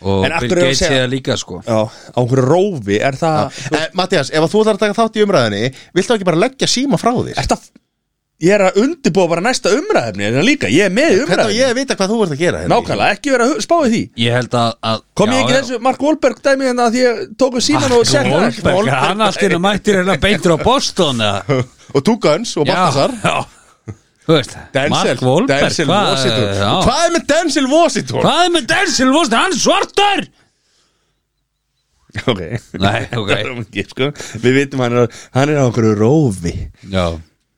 og En af Bill hverju er að Gates sé segja- það líka, sko Já, á hverju rófi er það en, Mattias, Eh, ef að þú ætlar að taka þátt í umræðinni viltu ekki bara leggja síma frá þér? Er það Ég er að undirbúa bara næsta umræðefni En líka, ég er með Hvernig í á umræðefni ég að vita hvað þú ert að gera? hérna? Nákvæmlega, ekki vera að hu- spá í því Ég held að, að Kom já, ég ekki já. þessu Mark Wahlberg dæmi hérna að því ég tóku síman og [laughs] Mark sett það Wahlberg, hann allt innan mættir hérna beintur á Boston eða? Og Tugans og Baltasar Já, já. Þú veist, Mark Wahlberg Denzel hvað- Washington já. Hvað er með Denzel Washington? Hvað er með Denzel Washington, hann er svartar Ok Nei, ok Það [laughs] erum ekki, sko. Við vitum hann er, hann er á einhverju rófi Já,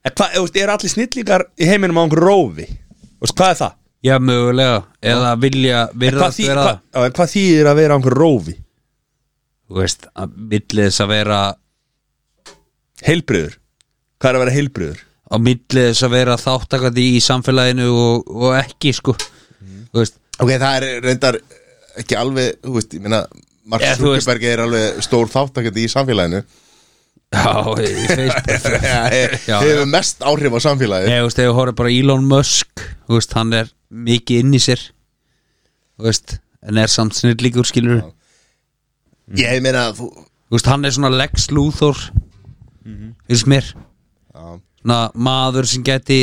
En Hvað, þú veist, eru allir snillingar í heiminum á einhverju rófi Þú veist, Hvað er það? já mögulega Eða vilja Hvað, virðast þý, vera hvað, á, en hvað þýðir að vera á einhverju rófi? Þú veist, að milli þess að vera Heilbriður Hvað er að vera heilbriður? Á milli þess að vera þáttakandi í samfélaginu og, og ekki, sko Þú veist, Ok, það er reyndar ekki alveg, þú veist, ég meina Mark Já, þú veist. Zuckerberg er alveg stór þáttakandi í samfélaginu já, í Facebook [laughs] Já, Já, Eh. hefur mest áhrif á samfélagi Nei, þú veist, ef við horfum bara á Elon Musk þú veist, hann er mikið inn í sér þú veist, en er samt snillíkur skilur þú ég meina þú veist, hann er svona Lex Luthor finnst mér svona maður sem geti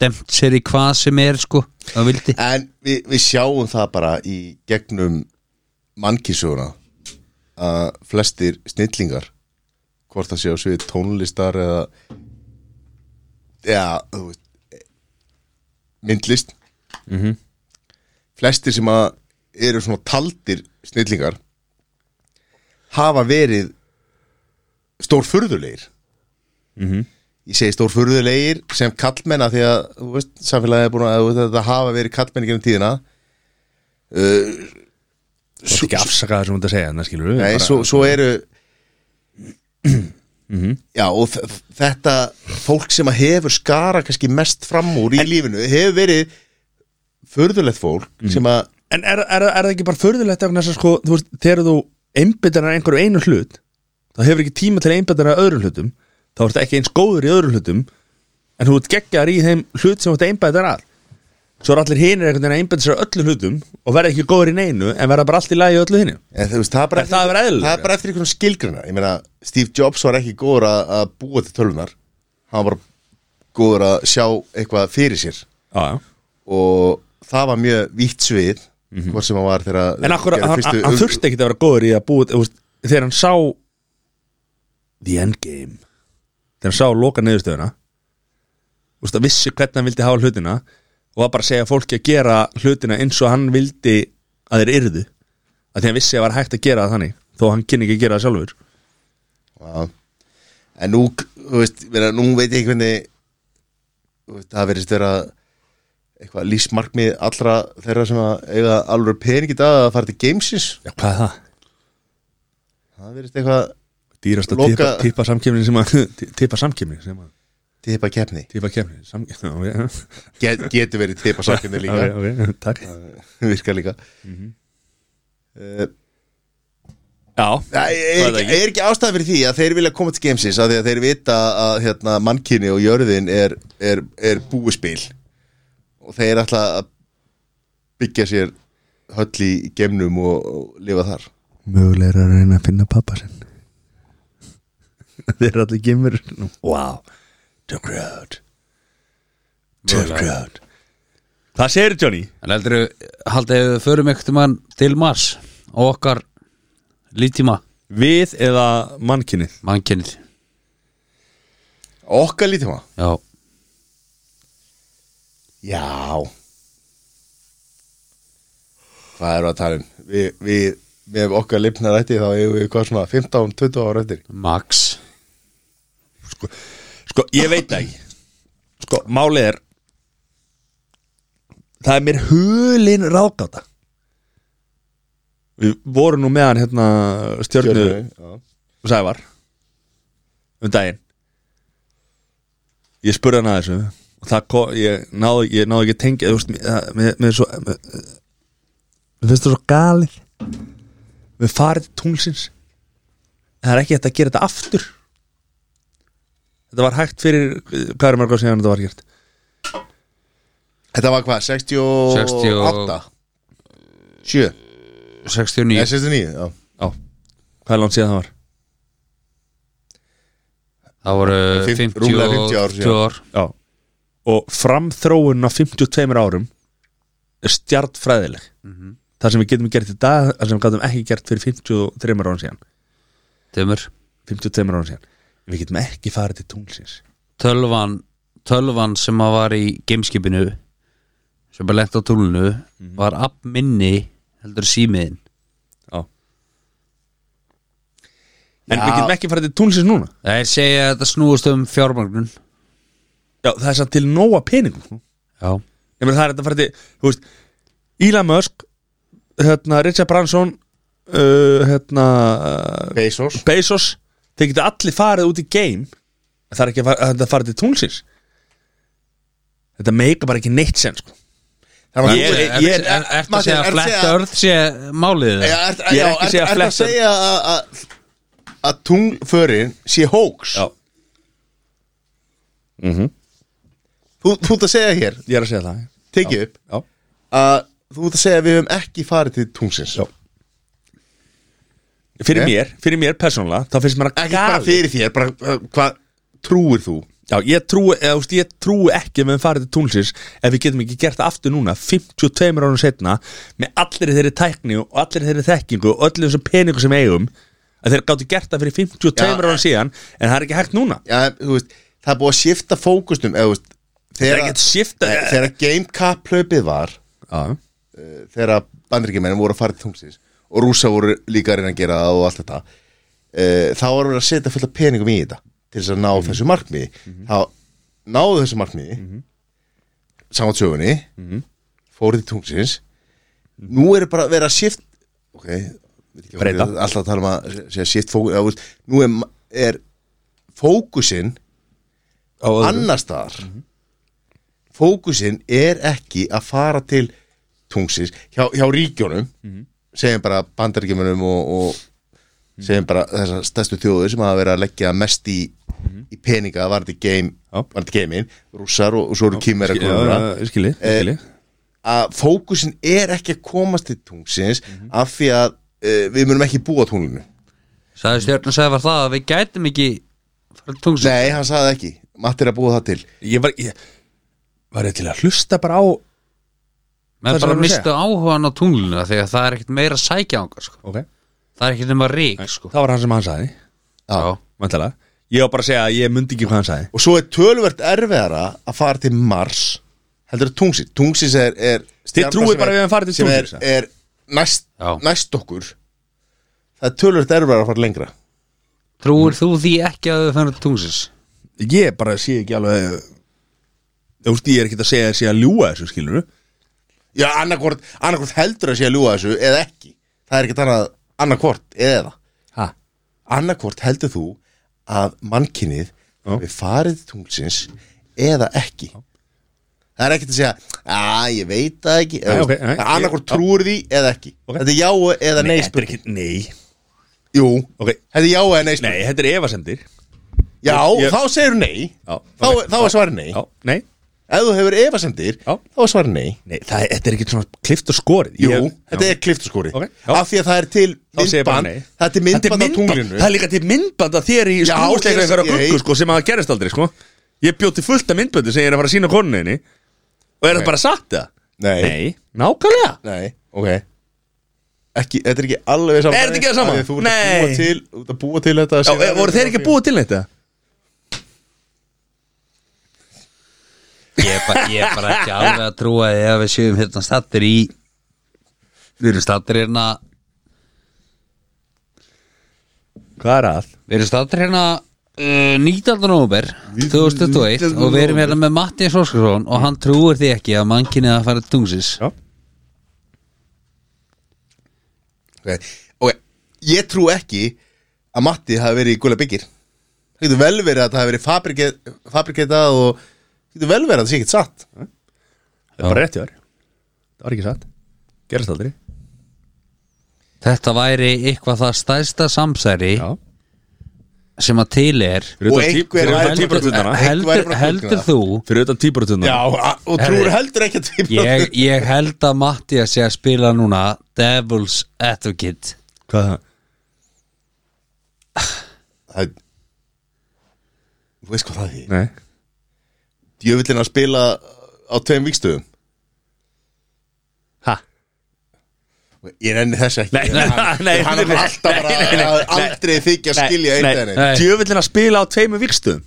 demt sér í hvað sem er sko, það vildi en við, við sjáum það bara í gegnum mannkísuguna að flestir snillingar hvort það sé á svið tónlistar eða já, þú veist myndlist flestir sem að eru svona taldir snillingar hafa verið stórfurðulegir ég segi stórfurðulegir sem kallmenna því að þú veist, samfélagið er búin að þú veist, þetta hafa verið kallmenni genum tíðina Þú veist ekki afsaka það sem þú ert að segja, þannig skilur við Nei, svo, svo eru Já, og þ- þ- þetta fólk sem að hefur skara kannski mest fram úr í lífinu hefur verið förðulegt fólk sem að En er, er, er það ekki bara förðulegt vegna þess að sko, þú veist, þegar þú einbyttar að einhverju einu hlut þá hefur ekki tíma til að einbyttar að öðrum hlutum þá ertu ekki eins góður í öðrum hlutum en þú ert geggjar í þeim hlut sem þú ert einbyttar að svo er allir hinir einhvern veginn að einbyttar sér öllum hlutum og verða ekki góður í neinu en verða bara allt í lagi í öllu hinu En þú veist, það er bara Er það að vera eðlilegra? það er bara eftir einhvern skilgrina Ég meina, Steve Jobs var ekki góður að, að búa til tölunar Hann var bara góður að sjá eitthvað fyrir sér Já, já Og það var mjög vítt svið Hvort sem hann var þegar að En akkur, gera hann, fyrstu hann, hann um- þurfti ekki að vera góður í að búið veist, Þegar hann sá The Endgame Þegar hann sá loka niðurstöðuna Þú veist að vissi hvernig hann vildi hafa hlutina Og var bara að segja fólki að gera hlutina eins og hann vildi að þeir yrðu að því hann vissi að var hægt að gera það þannig þó hann kynni ekki að gera það sjálfur Já. En nú, þú veist, vera, nú veit ég ekki hvernig þú veist, það verðist vera eitthvað lífsmarkmið allra þeirra sem að eiga alveg pening í dag að fara til gamesins Já, hvað er það? það verðist eitthvað Dýrast að Loka- tippa, tippa samkemni sem að [laughs] tippa samkemni sem að tipa keppni tippa kemni [laughs] samkemni Get, getur verið tipa samkjöfni líka [laughs] okay, Takk virka líka Eh, Já, Það er, það ekki- er ekki ástæða fyrir því að þeir vilja koma til gamesins af því að þeir vita að hérna, mannkinni og jörðin er, er, er búispil og þeir ætla að byggja sér höll í gemnum og, og lifa þar Mögulega er að reyna að finna pappa sinn Þeir eru allir gemur Wow The crowd The Mögulega. crowd Hvað segir Johnny? En heldur við haldið við förum ekkert mann til Mars og okkar lítíma Við eða mannkinnið mannkennið okkar lítið maður Já, já hvað eru að tala um við, við með okkar lifna rætti þá eigum við hvað svona 15-20 ára rættir Max sko, sko, ég veit það ekki Sko, málið er Það er mér hulin ráðgáta Við vorum nú með hann hérna stjörnu Sævar um daginn ég spurði hann að þessu og það kom, ég náði, ég náði ekki að tengja þú veist, mér- það- mér mér er svo mér mér finnst það svo galið við farið til tunglsins en það er ekki hægt að gera þetta aftur þetta var hægt fyrir eh, hvað er margur síðan þetta var gert þetta var hvað 68 7 Nei, 69 69, já á, hvað er langt síðan það var Það voru Fimm- 50, rúmlega 50 ár 50 ár Já. og framþróun á 52 árum er stjartfræðileg það sem við getum gert í dag það sem við getum ekki gert fyrir 53 árum síðan Tömur 52 árum síðan við getum ekki farið til tunglsins tölvan, tölvan sem að var í gameskipinu sem bara lent á túlunu Mhm. var app minni heldur símiðin Já. en við getum ekki farið til tunglsins núna Það er segja að þetta snúast um fjármagnun Já, það er samt til nóa peningum Já, Ég meina það er þetta farið til, þú veist Elon Musk, hérna Richard Branson uh, hérna uh, Bezos Bezos þeir geta allir farið út í game en það er ekki að fara- að þetta farið til tunglsins Þetta meika bara ekki neitt sen sko. Það var- Ég- Þú- ég- Ertu er- er, er, að Martin, segja ertu að að fletta segja- örð sé Já, málið það? er- Ég er já, ekki að er- segja ertu að flestar. segja að- að- að tungförin sé hoax Já. Mhm. þú, þú ert að segja hér, Ég er að segja það tekið upp Já. að þú ert að segja að við höfum ekki farið til tungsins Já. Fyrir Ok. mér, fyrir mér persónulega þá finnst mér að ekki bara fyrir þér, bara uh, hvað trúir þú Já, ég trúi, eða, þú veist, ég trúi ekki að við höfum farið til tunglsins ef við getum ekki gert það aftur núna 52 árum setna með allir þeirri tækni og allir þeirri þekkingu og öllu þessu peningu sem eigum að þeir gáttu gert það fyrir 52 Já, árum síðan en það er ekki hægt núna já, þú veist, það er búið að skipta fókusnum eða, þú veist, Það er þegar, ekki skipta þegar, þegar GameCap hlaupið var Já, eh, þegar bandaríkjumennum voru að fara til tungsins og rúsa voru líka að reyna að gera það og allt þetta eh, þá voru verið að setja fullt af peningum í þetta til þess að ná þessu markmiði þá náðu þessu markmiði mm -hmm. saman sögunni fóru til tungsins nú er bara verið að shift ok, við erum Breyta. alltaf að tala um að segja shift fókus, já, þú veist, nú er, er fókusinn á öðru. annar staðar fókusinn er ekki að fara til tungsins hjá, hjá ríkjónum segjum bara bandaríkjumunum og, og segjum bara þessar stærstu þjóður sem hafa verið að leggja mest í, í peninga var þetta game, Já. var þetta gamein rússar og, og svo eru kýmera Já, já, já, ég skilji, ég Eh, skilji að fókusin er ekki að komast til tungsins af því að uh, við munum ekki búa á tunglinu Sæði stjórn að segja var það að við gætum ekki fara tungst nei, hann sagði ekki, Matti er að búa það til Ég var, ég, var ég til að hlusta bara á menn það bara sem ég vil segja. mistu áhugan á tunglinu af því að það er ekkert meira að sækja ánga sko. okay. það er ekkert nema rík sko. Það var hann sem hann sagði já. Mæntalega Ég var bara að segja að ég myndi ekki hvað hann sagði og svo er tölvert erfiðara að fara til Mars heldur að tungsins tungsins er, er stjarna trúið sem bara er- við höfum farið til sem er, tunglsins, er næst, Já. næst okkur það er tölvert erfiðara að fara lengra trúir þú því ekki að þau fara tungsins Ég bara sé ekki alveg Þú veist, ég er ekki að segja að sé að ljúga þessu skilur já, annarkvort, annarkvort heldur að sé að ljúga þessu eða ekki, það er ekkert annað annarkvort eða Ha? annarkvort heldur þú að mannkinnið Já. við farið til tunglsins eða ekki það er ekkert að segja að ég veit það ekki Nei, ok, nei, ég- annarkvort já. trúur því eða ekki Ok. þetta er já eða nei, nei þetta er ekki, nei Jú, Ok. þetta er já eða nei spurning Nei, þetta er efasemdir Já, Ég- þá segir nei Já, þá, ok. þá er svarið nei Já, nei, Ef þú hefur efasendir, Já. þá er svarið nei nei það, er- þetta er ekki svona klift og skorið Jú, Ég- þetta er kliftaskóri Ok, já. Af því að það er til Þá segir ég bara myndband nei. Það er til myndband á tunglinu Það er líka til myndband að þér í Já, skrúsleika ég- einhverja ég- gluggu sko, sem að það gerist aldrei sko. Ég bjóti fullt af myndbandi sem ég er að fara að sína konuninni og er það bara satt það? Nei. nákvæmlega Nei, ok ekki, Þetta er ekki alveg saman Er þetta ekki það sama? Þú ert að Nei. búa til, þú ert að búa til þetta Já, e, voru þeir ekki búið til þetta? ég er bara, ég er bara ekki alveg að trúa því að við séum hérna stattir í við erum stattir hérna Hvað er að? við erum stattir hérna uh, 19. november 2021 og við erum hérna með Matti Sóskarsson og hann trúir því ekki að mannkinni að fara tungsis Já. okay. ok, ég trú ekki að Matti hafi verið í gula byggir Það getur vel verið að það hafi verið fabriketað fabriketað og það getur vel verið að það sé ekkert satt Það er bara rétt í þar Það var ekki satt Gerist aldrei þetta væri eitthvað það stærsta samsæri Já sem að til er Fyrir Og utan tí- einhver- fyrir utan Heldur- tvíburatundana. Eitthvað er heldur, bara heldur tunguna. þú Fyrir utan tíbrotundan Já, a- og Herri. trúur heldur ekki að tvíbrotna ég, ég held að Matti að sé að spila núna Devil's Advocate Hvað er það? það Þú veist hvað það er Nei Djöfullin að spila á tveim vikstöðum Ha? Ég nenni þess ekki Nei, Hann- nei, Hann er nei, alltaf bara nei, nei, nei, að nei. aldrei þykja að skilja eitt en nei. eitt Djöfullin að spila á tveimu vikstöðum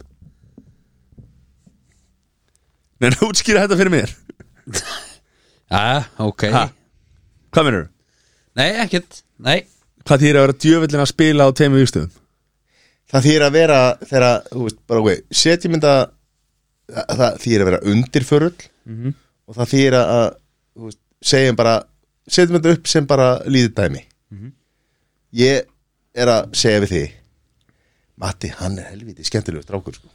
Nei, nú útskýra þetta fyrir mér [laughs] Já, ok Ha? Hvað minnur? Nei, ekkert, nei Hvað þýr að vera djöfullin að spila á tveimu vikstöðum? Það þýr að vera þegar, þú veist, bara ok Setjumynda það- Það þýr að vera undirförull Og það þýr að, þú veist, segjum bara Setjumynda upp sem bara líðið dæmi Ég er að segja við því Matti, hann er helviti skemmtilegu strákur sko.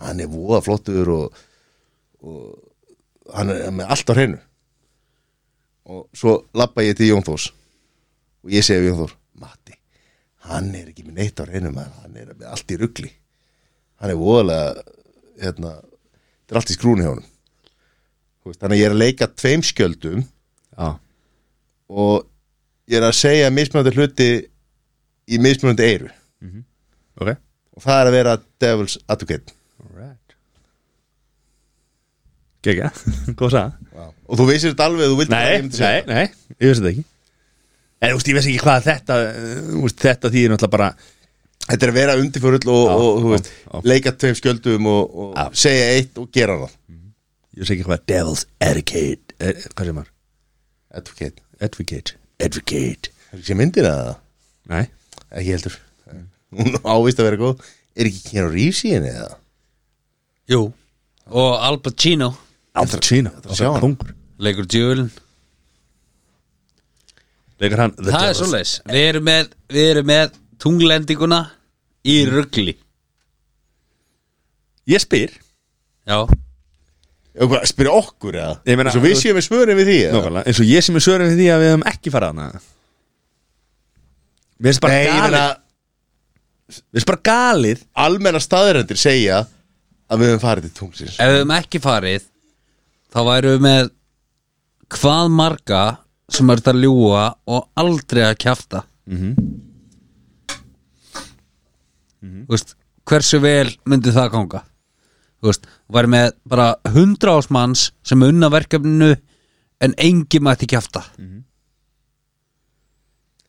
Hann er voða flottur og, og hann er með allt á hreinu og svo lappa ég til Jón Þós og ég segi við Jón Þór Matti, hann er ekki með neitt á hreinu maður, hann er með allt í ruggli hann er voðalega hérna, þetta er allt í skrúni hjá honum Þú veist, þannig að ég er að leika tveim skjöldum Já og ég er að segja mismunandi hluti í mismunandi eiru Ok og það er að vera Devil's Advocate Alright Gekja, [laughs] góð sagða og þú veisir þetta alveg, þú vildir að Nei, ég myndi segja nei, nei, ég veist þetta ekki En þú veist, ég veist ekki hvað þetta eh, þú veist, Þetta þýðir náttúrulega bara Þetta er að vera undirförull og, Já, og þú já, veist, já. leika tveim skjöldum og, og Já. segja eitt og gera það Ég veist ekki hvað Devil's Advocate er, Hvað sem var? Advocate, Advocate Advocate er ekki sem myndir að það? Nei Ekki heldur Hún ávist að vera góð Er ekki Keanu Reeves í henni eða? Jú Og Al Pacino Al Pacino að sjá hann. Kongur Leikur djúlin Legar hann The Það er Devil's svoleiðis Við erum með, við erum með tunglendinguna í ruggli Ég spyr Já, Hvað, Spyrja okkur eða? Ég meina- Eins og við séum við svörin við því eða? Nákvæmlega, eins og ég sem er svörum við því að við höfum ekki farað hana Mér finnst bara Nei, ég galið meina Mér finnst bara galið Almenna staðrendir segja að við höfum farið til tungsins ef við höfum ekki farið þá værum við með hvað marga sem er þetta ljúa og aldrei að kjafta mm -hmm. Vist, hversu vel myndi það ganga Þú veist, væri með bara hundra ásmanns sem unna verkefninu en engi mætti kjafta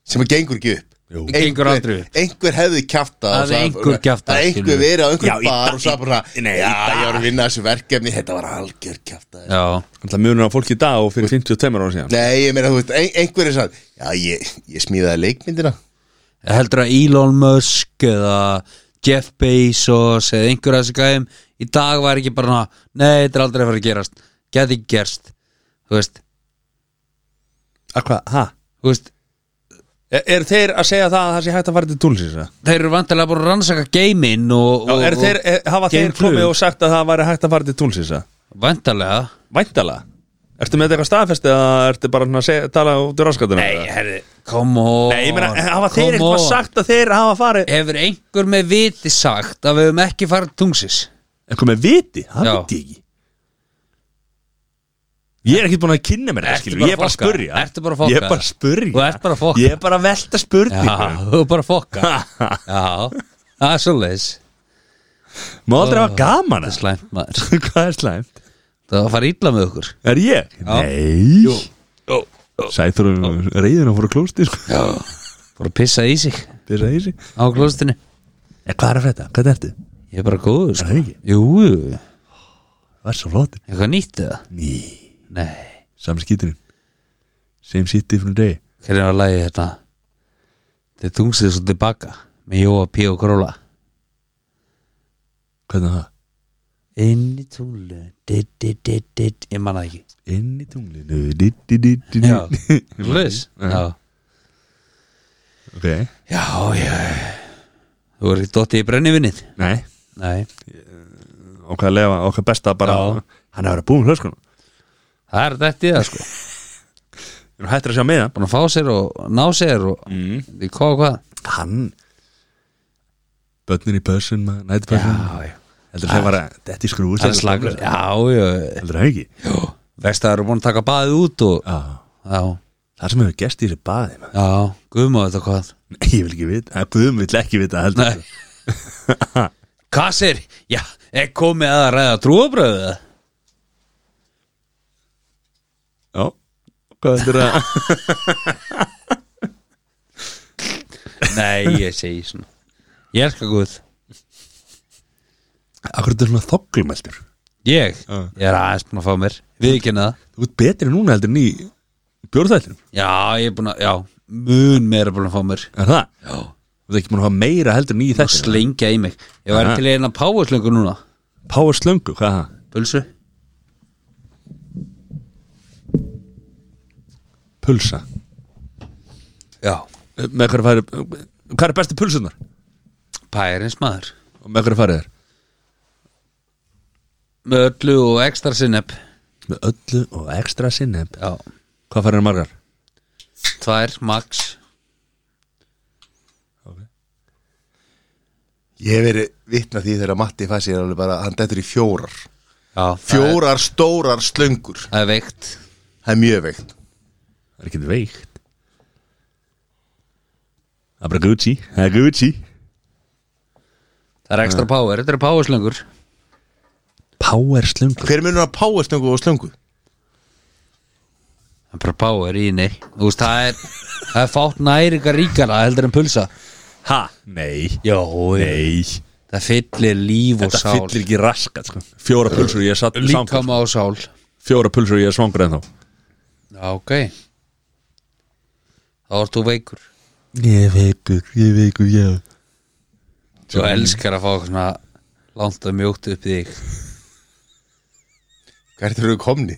sem að gengur ekki upp Jú. Gengur aldrei upp. einhver hefði kjafta Það hefði einhver kjaftað, Það hefði skilur einhver við. verið á Já, einhver í dag- bar og sagði bara í- nei, í Já, dag." ég var að vinna þessu verkefni Þetta var algjör kjafta já, Það munur á fólki í dag og fyrir 52 ára síðan Nei, ég meina, þú veist, ein, einhver er sann Já, ég, ég smíðaði leikmyndina heldur að Elon Musk eða Jeff Bezos eða einhver af þessi gæðum í dag var ekki bara svona, nei, þetta er aldrei að fara að gerast geti ekki gerst þú veist, Að hvað, ha? þú veist Er, E, eru þeir að segja það að það sé hægt að fara til túlsins? eða? þeir eru vantilega búin að rannsaka geimin og, Já, og, er þeir, er, hafa þeir Geimflug. komið og sagt að það væri hægt að fara til túlsins? eða? og vantilega Væntalega Ertu með þetta eitthvað staðfest eða ertu bara svona að segja, tala út í raskatunum? Nei, herri come on, Nei, ég meina, hafa come þeir eitthvað on. sagt að þeir hafa farið hefur einhver með viti sagt að við höfum ekki farið tungsis Eitthvað með viti? Það Já. veit ég ekki Ég er ekki búin að kynna mér það, skilur, bara ég er bara að fokka? spurja Ertu bara að fokka? Ég er bara að spurja Þú ert bara að fokka? Ég er bara að velta spurningum já, þú bara fokka já, það er svoleiðis [laughs] Má aldrei hafa gaman það er að slæmt maður [laughs] Hvað er slæmt? það var að fara illa með okkur Er ég? Nei Sæþurum reyðin að fóra klósti sko. fór að pissa í sig Pissa í sig. á klostinu En Hvað er að frétta? Hvað er þetta? Ég er bara góður Er það sko ekki? Jú, jú. Var svo flott eitthvað nýtt eða? Ný Nei Samskíturinn Same shit different day Hvernig var lagið þetta? Þið tungsið svo tilbaka með Jóa P. og Króla Hvernig er það? Inn í tunglu dit, dit, dit, dit. Ég manna ekki Inn í tunglinu di, di, di, di, di. Já, hlust Já, [laughs] Ok já, já Þú voru ekki dottið í brennivinnið Nei Nei, Okkar að lefa Okkar besta bara Já. Hann er að vera búin hlöskun það er þetta í það sko Við erum hættir að sjá með Búin að fá sér og ná sér og Mm. Þið hvað og hvað hann Hann Bötnin í pössun Næti pössun já Heldur það var að Þetta í skrúi Það er slagur Já, já Heldur það ekki Vestaðar eru búin að taka baðið út og Já Já, Það sem hefur gest í þessu baði maður. já, guðmaður þetta hvað Nei, Ég vil ekki vita að Guðum vill ekki vita heldur [laughs] Nei Kassir, já, er komið að ræða trúabröðu Já Hvað heldur að [laughs] Nei, ég segi svona Ég elska Guð Akkur þetta er svona þoklumæltur Ég, Já. ég er aðeins búin að fá mér Við ekki það Þú ert betri núna heldur en í bjórþættinum Já, ég er búin að, já, mun meira búin að fá mér Er það? Já Þú ert ekki búin að hafa meira heldur en í Það þættinum slengja í mig Ég var Aha. til eina páaslöngu núna Power slöngu, hvað er það? Pulsu Pulsa Já Með hverju færi Hvað er bestu pulsunar? Pærins maður Og með hverju færi þér? Með öllu og ekstra sinneb Með öllu og ekstra sinneb Já Hvað færi þér margar? Tvær, max Ég hef verið vitna því þegar Matti fæði sér alveg bara Hann dættur í fjórar Já, það er, Fjórar stórar slöngur það er veikt Það er mjög veikt Það er ekki veikt Það er bara Gucci Það er Gucci Það er ekstra power, þetta er páaslöngur Power slöngu Hver munur að páa slöngu og slöngu? Það er bara power í henni Þú veist, það er, það er fátt næringa ríkara heldur en pulsa Ha? Nei Jó, Nei það fyllir líf og Þetta sál fyllir ekki raskat sko. Fjóra pulsur og sko. ég er satt svangur Líkama og sál Fjóra pulsur og ég er svangur ennþá Já, ok Þá ert þú veikur Ég veikur, ég veikur, já Þú elskar að fá eitthvað svona langt og mjótt upp í þig Hvert eru við komni?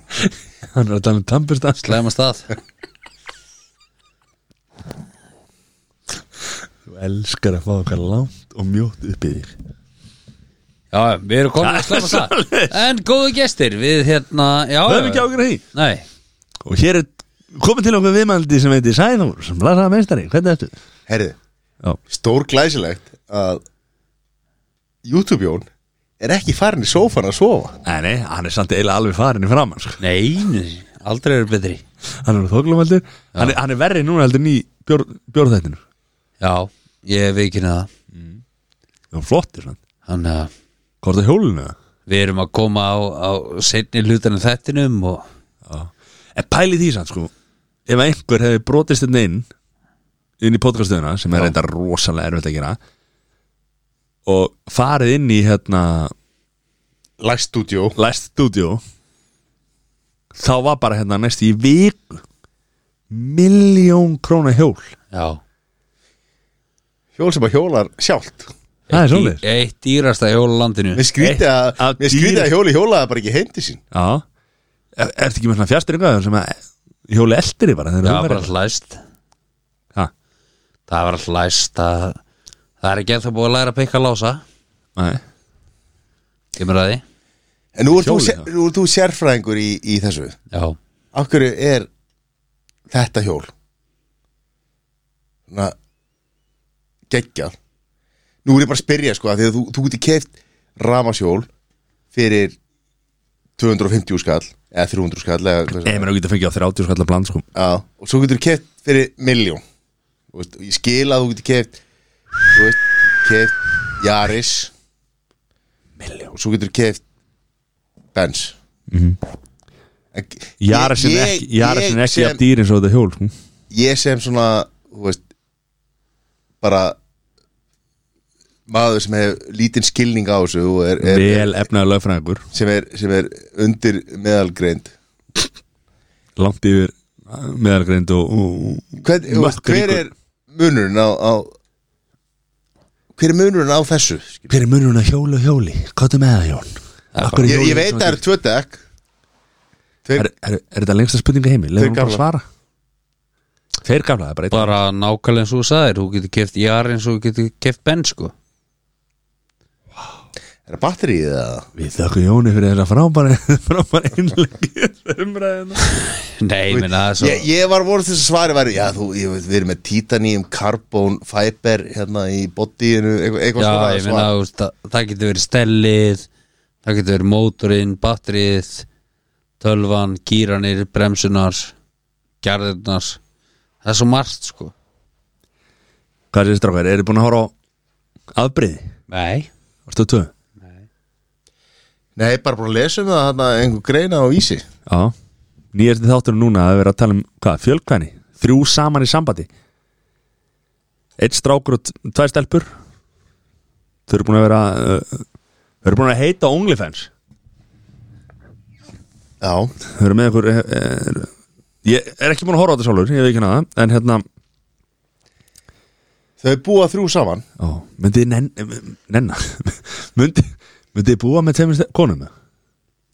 Hann er að tala um tampurstans Slæma stað [laughs] Þú elskar að fá okkar langt og mjótt upp í þig Já, já, já, við erum komin að slemma svoleiðis. það En góðu gestir, við hérna Já, höfum ekki ágjur því Nei, og hér er komin til okkur viðmældi sem heitir Sæður sem blasaða meistari, hvernig ertu? Herði, Já. stór glæsilegt að YouTube-jón er ekki farin í sófan að sofa Nei, nei, hann er samt eiginlega alveg farin í framann sko. nei, aldrei eru betri hann er þóklumældur, hann, er- hann er verri núna heldur en í bjór, bjórþættinu Já, ég hef ekki neða það var flottir, svona. Þannig að hvort er hjólinu það? við erum að koma á, á seinni hlutanum þettinum og Já. En pæli því sann sko Ef einhver hefði brotist þetta inn inn í podcastuðuna sem er reynda rosalega erfitt að gera og farið inn í hérna Læst stúdjó Læst Studio þá var bara hérna næst í vik miljón króna hjól já Hjól sem að hjólar sjálft Það er Eitt svoleiðis. dý- Eitt dýrasta hjóla landinu Mér skrýti að, Eitt af mér skrýti Eh, dýr- að hjóli hjólaði bara ekki heim til sín Já Er, ertu ekki með svona fjastringa sem að hjóli eldir í bara þegar þú Það var verður- alltaf læst Ha, Það var alltaf læst að, Það er ekki að það búið að læra að pikka lása nei. Kemur að því En nú ert þú, Hjólið, sér- já. nú ert þú sérfræðingur í, í þessu Já, Af hverju er þetta hjól Svona geggjað Nú er ég bara að spyrja sko af því að þú, þú getur keft ramasjól fyrir 250 skall eða 300 skall eða, hvað sem Nei, það er. menn þú getur fengið á 30 skallar bland sko Já, og svo getur þú keft fyrir miljón Þú veist, ég skil að þú getur keft þú veist, keft Jaris miljón og svo getur þú keft Benz mm Jara sem Ég- Mhm. ekki, Jara ég sem ekki sem- að dýr eins og þetta hjól sko. ég sem svona þú veist, bara maður sem hefur lítinn skilning á þessu og er, er, vel efnaður lögfræðingur sem, er, sem er undir meðalgreind langt yfir uh, meðalgreind og, og hver, þú veist, hver Mökkuríkur. er munurinn á, á hver er munurinn á þessu skilur? hver er munurinn að hjóla og hjóli? hvað er með það hjón? Akkur, ég, ég veit að það eru tvö dekk er, er, er þetta lengsta spurninga heimi? Tveir leiðum hún bara gamlar. að svara þeir gamla, það er bara einn bara nákvæmlega eins og þú sagðir Þú getur keft jar eins og þú getur keft benn sko er það batterið eða við þakku Jóni fyrir þessa frábæra [laughs] frábæra innleggi umræðina Nei, ég meina það er svo ég, ég var voruð þess að svari var, já, þú, ég, veit, við erum með titanium, carbon, fiber hérna í bodyinu eitthvað, eitthvað Já, svona ég svar. meina þú veist, það, það getur verið stellið Það getur verið mótorinn, batterið Tölvan, gýranir, bremsunar Gjarðirnar Það er svo margt sko hvað er þetta strákar? eru búin að horfa á afbreyði? Nei varstu tvö? Nei, ég er bara búin að lesa um það hérna einhver greina á Ísi já nýjast þáttur núna að vera að tala um hvað, fjölkvæni? þrjú saman í sambandi eitt strákur og t- tvær stelpur þau eru búin að vera uh, þau eru búin að heita OnlyFans Já, þau eru með ykkur er, er, ég er ekki búin að horfa á þetta sjálfur, ég veit ekki hana það en hérna, þau búa þrjú saman ó, myndið nenn, nenna [laughs] myndið myndið búa með tveimur ste- konum eða?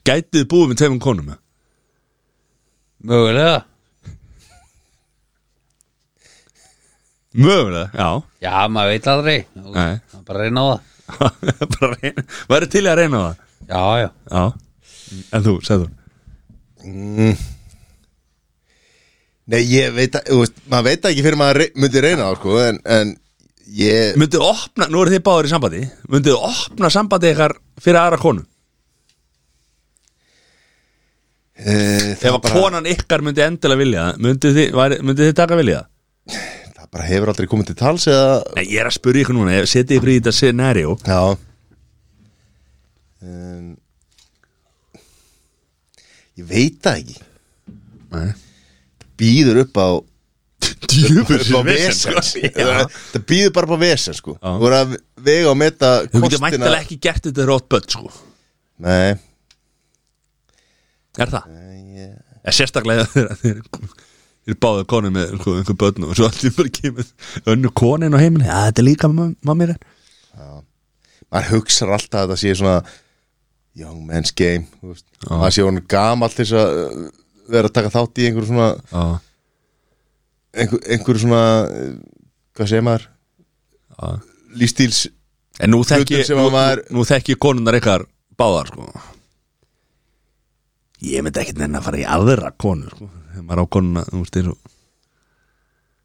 gætið þið búið með tveimur konum eða? Mögulega mögulega, já [laughs] Já, maður veit aldrei Þú- Nei. Það er bara að reyna á það bara reyna, væri til í að reyna það Já, já já, en þú, segðu Nei, ég veit að, þú veist, maður veit það ekki fyrir maður rey- myndi reyna það, sko, en, en ég, Myndið opna, nú eru þið báður í sambandi Myndið opna sambandi ykkar fyrir aðra konu e, það, Ef að bara, konan ykkar myndi endilega vilja það, Myndið þið, væri- myndið þið taka vilja það? það bara hefur aldrei komið til tals eða, Nei, ég er að spyrja ykkur núna, ég seti ykkur í þetta scenario já, um, ég veit það ekki, Nei. býður upp á, Djöfull upp á vesen, vesens, [laughs] sko. Já. það býður bara upp á vesens, sko, Já. þú voru að vega og meta Þú getur kostina, mæntilega ekki gert þetta rótt börn sko. nei, Er það? Ég, sérstaklega þegar þeir Þeir báðu konu með sko, einhver börn og svo allir bara kemur önnu konin á heiminn Já, þetta er líka mamma mér maður hugsar alltaf að það sé svona young man's game, þú veist, maður sé honum gamall til þess að uh, vera að taka þátt í einhverju svona, Já, uh, einhver, einhver svona eh, hvað segir maður já lífstíls En nú þekki, Hlutum sem að nú, maður- nú þekki konundar ykkar báðar sko. Ég myndi ekkert nefn að fara í aðra konu sko. Þegar maður á konuna þú veist, eins og-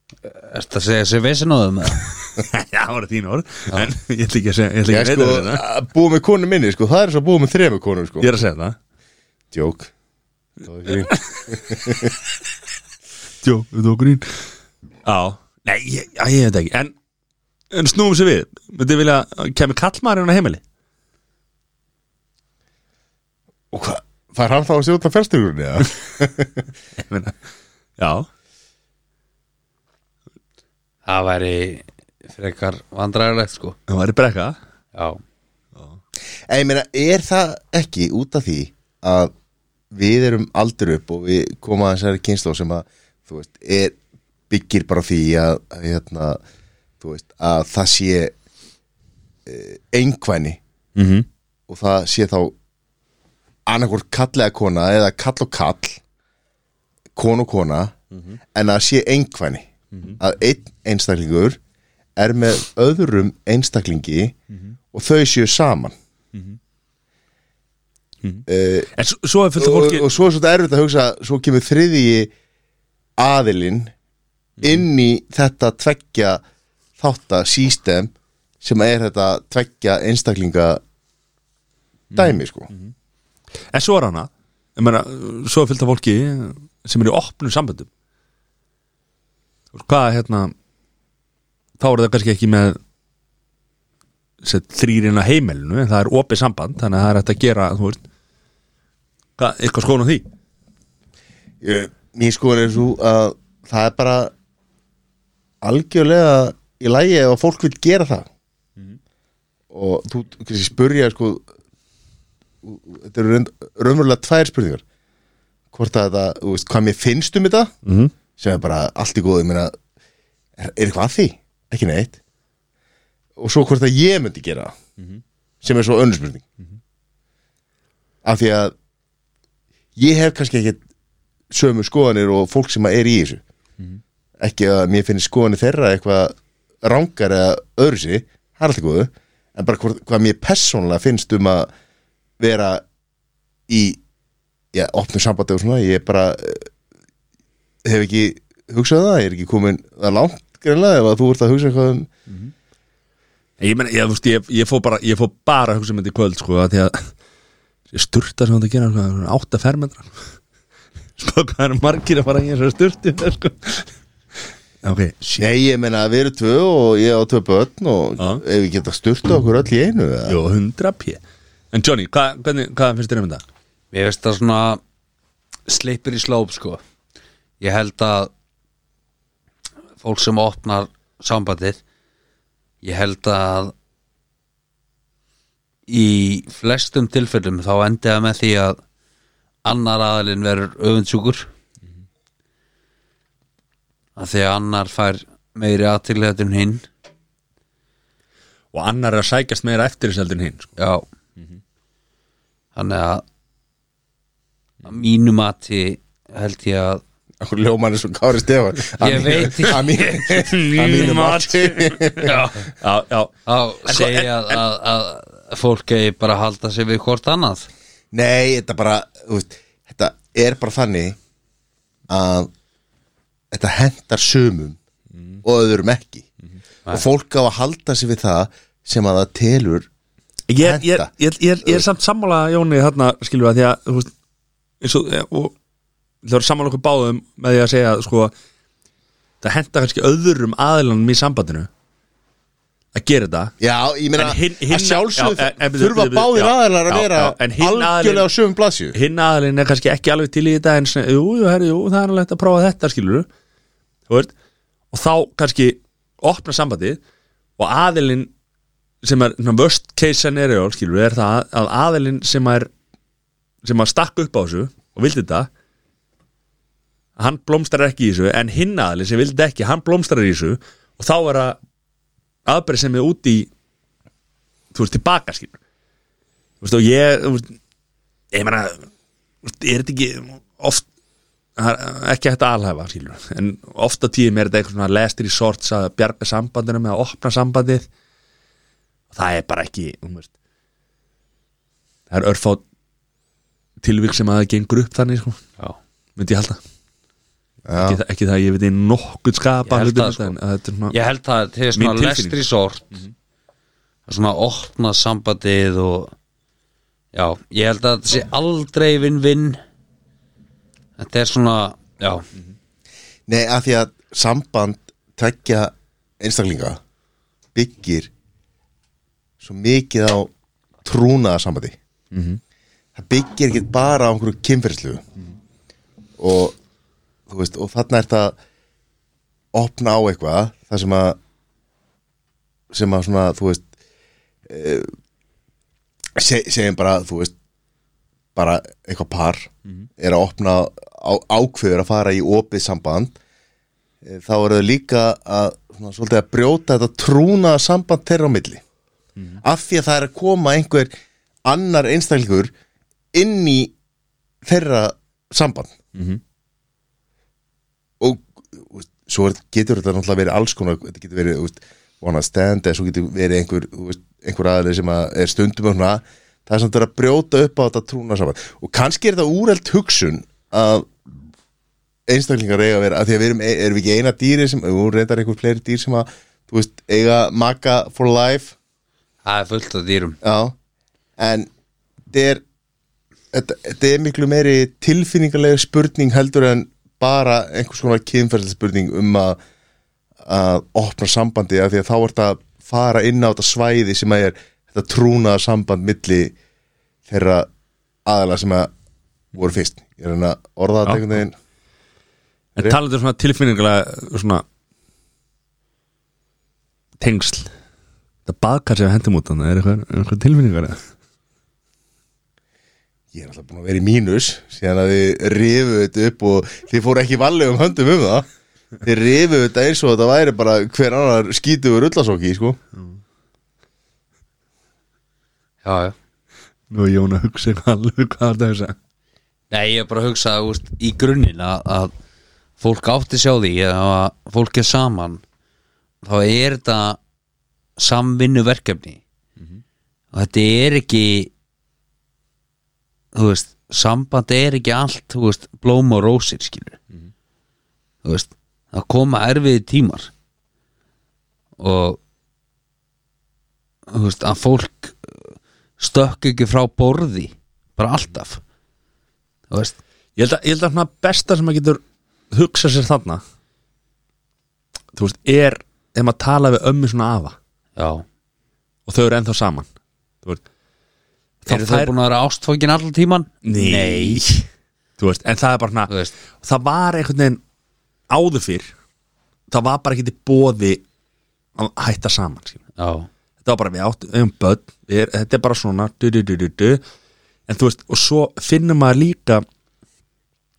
[laughs] Ertu að segja sér vissin á þeim? eða? Já, það voru þín orð En ég ætla ekki að segja Ég, ætla Ég ekki að sko, veita þér það. að búa með konu minni sko, það er svo að búa með þremur konur sko ég er að segja það Djók Það var grín. Jó, þetta var grín Já, nei, ég, já, ég veit ekki En, en snúum sér við Myndi vilja, kemur kallmaðurinn á heimili? Og hvað, fær hann þá að stjórna fjárstugurinn eða? Ég meina, já Það væri frekar vandræðilegt sko Það væri brekka Já En ég meina, er það ekki út af því að við erum aldur upp og við koma að þessari kynslu sem að, þú veist, er byggir bara á því að, að hérna, þú veist, að það sé e, einhvæni mm -hmm. og það sé þá annarkvort kallega kona eða kall og kall kon og kona en að sé einhverni að einn einstaklingur er með öðrum einstaklingi og þau séu saman uh, En svo, svo er fullt af og, fólki og svo er svolítið erfitt að hugsa svo kemur þriðji aðilinn inn í þetta tveggja þátta sístem sem er þetta tveggja einstaklinga Mm. dæmi sko En svo er hana Ég meina, svo er fullt af fólki sem er í opnum samböndum Og Hvað, hérna Þá er það kannski ekki með þrýrin að heimilinu en það er opið samband, þannig að það er hægt að gera þú veist hvað, eitthvað skoðun á því Ég- Mín skoðan er svo að það er bara algjörlega í lægi ef að fólk vil gera það og þú kannski spurja sko þetta eru raun- raunverulega tvær spurningar hvort að þetta, þú veist, hvað mér finnst um þetta -hmm. sem er bara allt í góðu ég meina, er, er eitthvað að því? ekki neitt og svo hvort að ég myndi gera það sem er svo önnur spurning af því að ég hef kannski ekki sömu skoðanir og fólk sem er í þessu ekki að mér finnst skoðanir þeirra eitthvað rangar eða öðru sig, það er alltaf góðu en bara hvort, hvað mér persónulega finnst um að vera í já, opnum sambandi og svona, ég er bara eh, hef ekki hugsað um það, ég er ekki komin það langt greinlega ef að þú ert að hugsa eitthvað um Ég meina, ég, þú veist, ég, ég fó bara ég fó bara að hugsa um þetta í kvöld, sko að því að ég sturta sem þetta gera, sko, það eru átta fermetra [laughs] sko, hvað eru margir að fara í þessari sturtu sko. [laughs] ok, Nei, ég meina við erum tvö og ég á tvö börn og Já. ef við geta styrta okkur öll í einu eða? jú, 100 p en Johnny, hvað, hvernig, hvað finnst þér um þetta? Mér veist það svona sleipur í slóp sko Ég held að fólk sem opnar sambandið ég held að í flestum tilfellum þá endi það með því að annar aðalinn verður öfundsjúkur að því að annar fær meiri aðtýrlega en hinn og annar er að sækjast meira eftir þessu heldur en [laughs] hinn sko. Já Þannig að að mínu mati held ég að Akkur ljóman er svo Kári Stefán Að Ég mínu- [laughs] veit ekki. að mínu- að mínu mati Já, [laughs] já, já, þá segja að, að, að fólk eigi bara að halda sig við hvort annað Nei, þetta bara þú veist, þetta er bara þannig að þetta hendar sumum og öðrum ekki Mhm. og fólk á að halda sig við það sem að það telur ég, ég, ég, Henta. ég, ég, ég er samt sammála Jóni þarna skilur að því að þú veist, eins og, eh, og það er sammála okkur báðum með því að segja sko, það henda kannski öðrum aðlanum í sambandinu að gera þetta Já, ég meina En hinn- hinn- að sjálfsögðu já, en- en- þurfa en- en- báðir já, aðeinar að já, vera já, en hinn aðilinn- algjörlega á sögum blaðsju hinn aðalinn er kannski ekki alveg til í þetta en svona, jú, jú, herri, jú, það er alveg hægt að prófa þetta skilur þú veist og þá kannski opna sambandið og aðilinn sem er svona, worst case scenario skilur er það að aðilinn sem er sem að stakk upp á þessu og vildi þetta hann blómstrar ekki í þessu en hinn aðilinn sem vildi ekki, hann blómstrar í þessu og þá er að aðbreið sem er út í þú veist, tilbaka skilur þú veist, og ég, þú veist ég meina er þetta ekki oft það er ekki hægt að alhæfa skilur. en ofta tíðum er þetta eitthvað svona lestir í sorts að bjarga sambandinu með að opna sambandið það er bara ekki þú veist. það er örfá tilvík sem að það gengur upp þannig sko, Já. myndi ég halda Já. ekki, það- ekki það að ég veit ég nokkuð skapa Ég held hlutum það, þetta, sko. en að þetta er svona- Ég held það til Mín svona tilfinning. lestri sort Svona opna sambandið og Já, ég held að þetta sé aldrei vinn-vinn Þetta er svona, já Nei, af því að samband tveggja einstaklinga byggir svo mikið á trúnaða sambandi það byggir ekki bara á einhverju kynferðslu og þú veist, og þarna er það opna á eitthvað það sem að sem að svona, þú veist e, se, segjum bara, þú veist bara eitthvað par er að opna á, ákveður að fara í opið samband eh, þá eru þau líka að svona, svolítið að brjóta þetta trúna samband þeirra á milli af því að það er að koma einhver annar einstaklingur inn í þeirra samband og þú veist, svo er- getur þetta náttúrulega verið alls konar þetta getur verið þú veist, one night stand eða svo getur verið einhver, þú veist, einhver aðeins sem að er stundum og svona það er samt verið að brjóta upp á þetta trúna saman og kannski er þetta úrelt hugsun að einstaklingar eiga að vera að því að við erum, e- erum við ekki eina dýri sem við reyndar einhver fleiri dýr sem að þú veist, eiga maka for life Það er fullt af dýrum Já, en þetta er, þetta, þetta er miklu meiri tilfinningarlega spurning heldur en bara einhvers konar kynferðsspurning um að, að opna sambandi af því að þá er þetta að fara inn á þetta svæði sem að er þetta trúnaða samband milli þeirra aðala sem að voru fyrst ég er hann að orða Já. þetta einhvern veginn En talandi um svona tilfinningulega svona tengsl Það baðkar sem við hendum út þannig er eitthvað, eitthvað tilfinningar ég er alltaf búin að vera í mínus síðan að þið rifu þetta upp og þið fóru ekki vallegum höndum um það þið rifu þetta eins og þetta væri bara hver annar skítugur rullasokki sko. Já, já Nú er Jón að hugsa eitthvað alveg [laughs] hvað það er þess að Nei, ég er bara að hugsa úst, í grunninn að, að fólk átti sjá því eða að fólk er saman þá er þetta samvinnu verkefni og þetta er ekki þú veist, samband er ekki allt, þú veist, blóm og rósir skilur þú veist, það koma erfiði tímar og þú veist, að fólk eh, stökk ekki frá borði bara alltaf þú veist Ég held að, ég held að svona besta sem maður getur hugsa sér þarna Þú veist, er ef maður tala við ömmu svona afa Já, og þau eru ennþá saman Þú veist, þá eru þau búin að vera ástfókin allan tíman? Nei. Þú veist, en það er bara svona Þú veist, það var einhvern veginn áður fyrr það var bara ekki til bóði að hætta saman skilur. já, þetta var bara við átt um börn við er, þetta er bara svona du, du, du, du, du. en þú veist, og svo finnum maður líka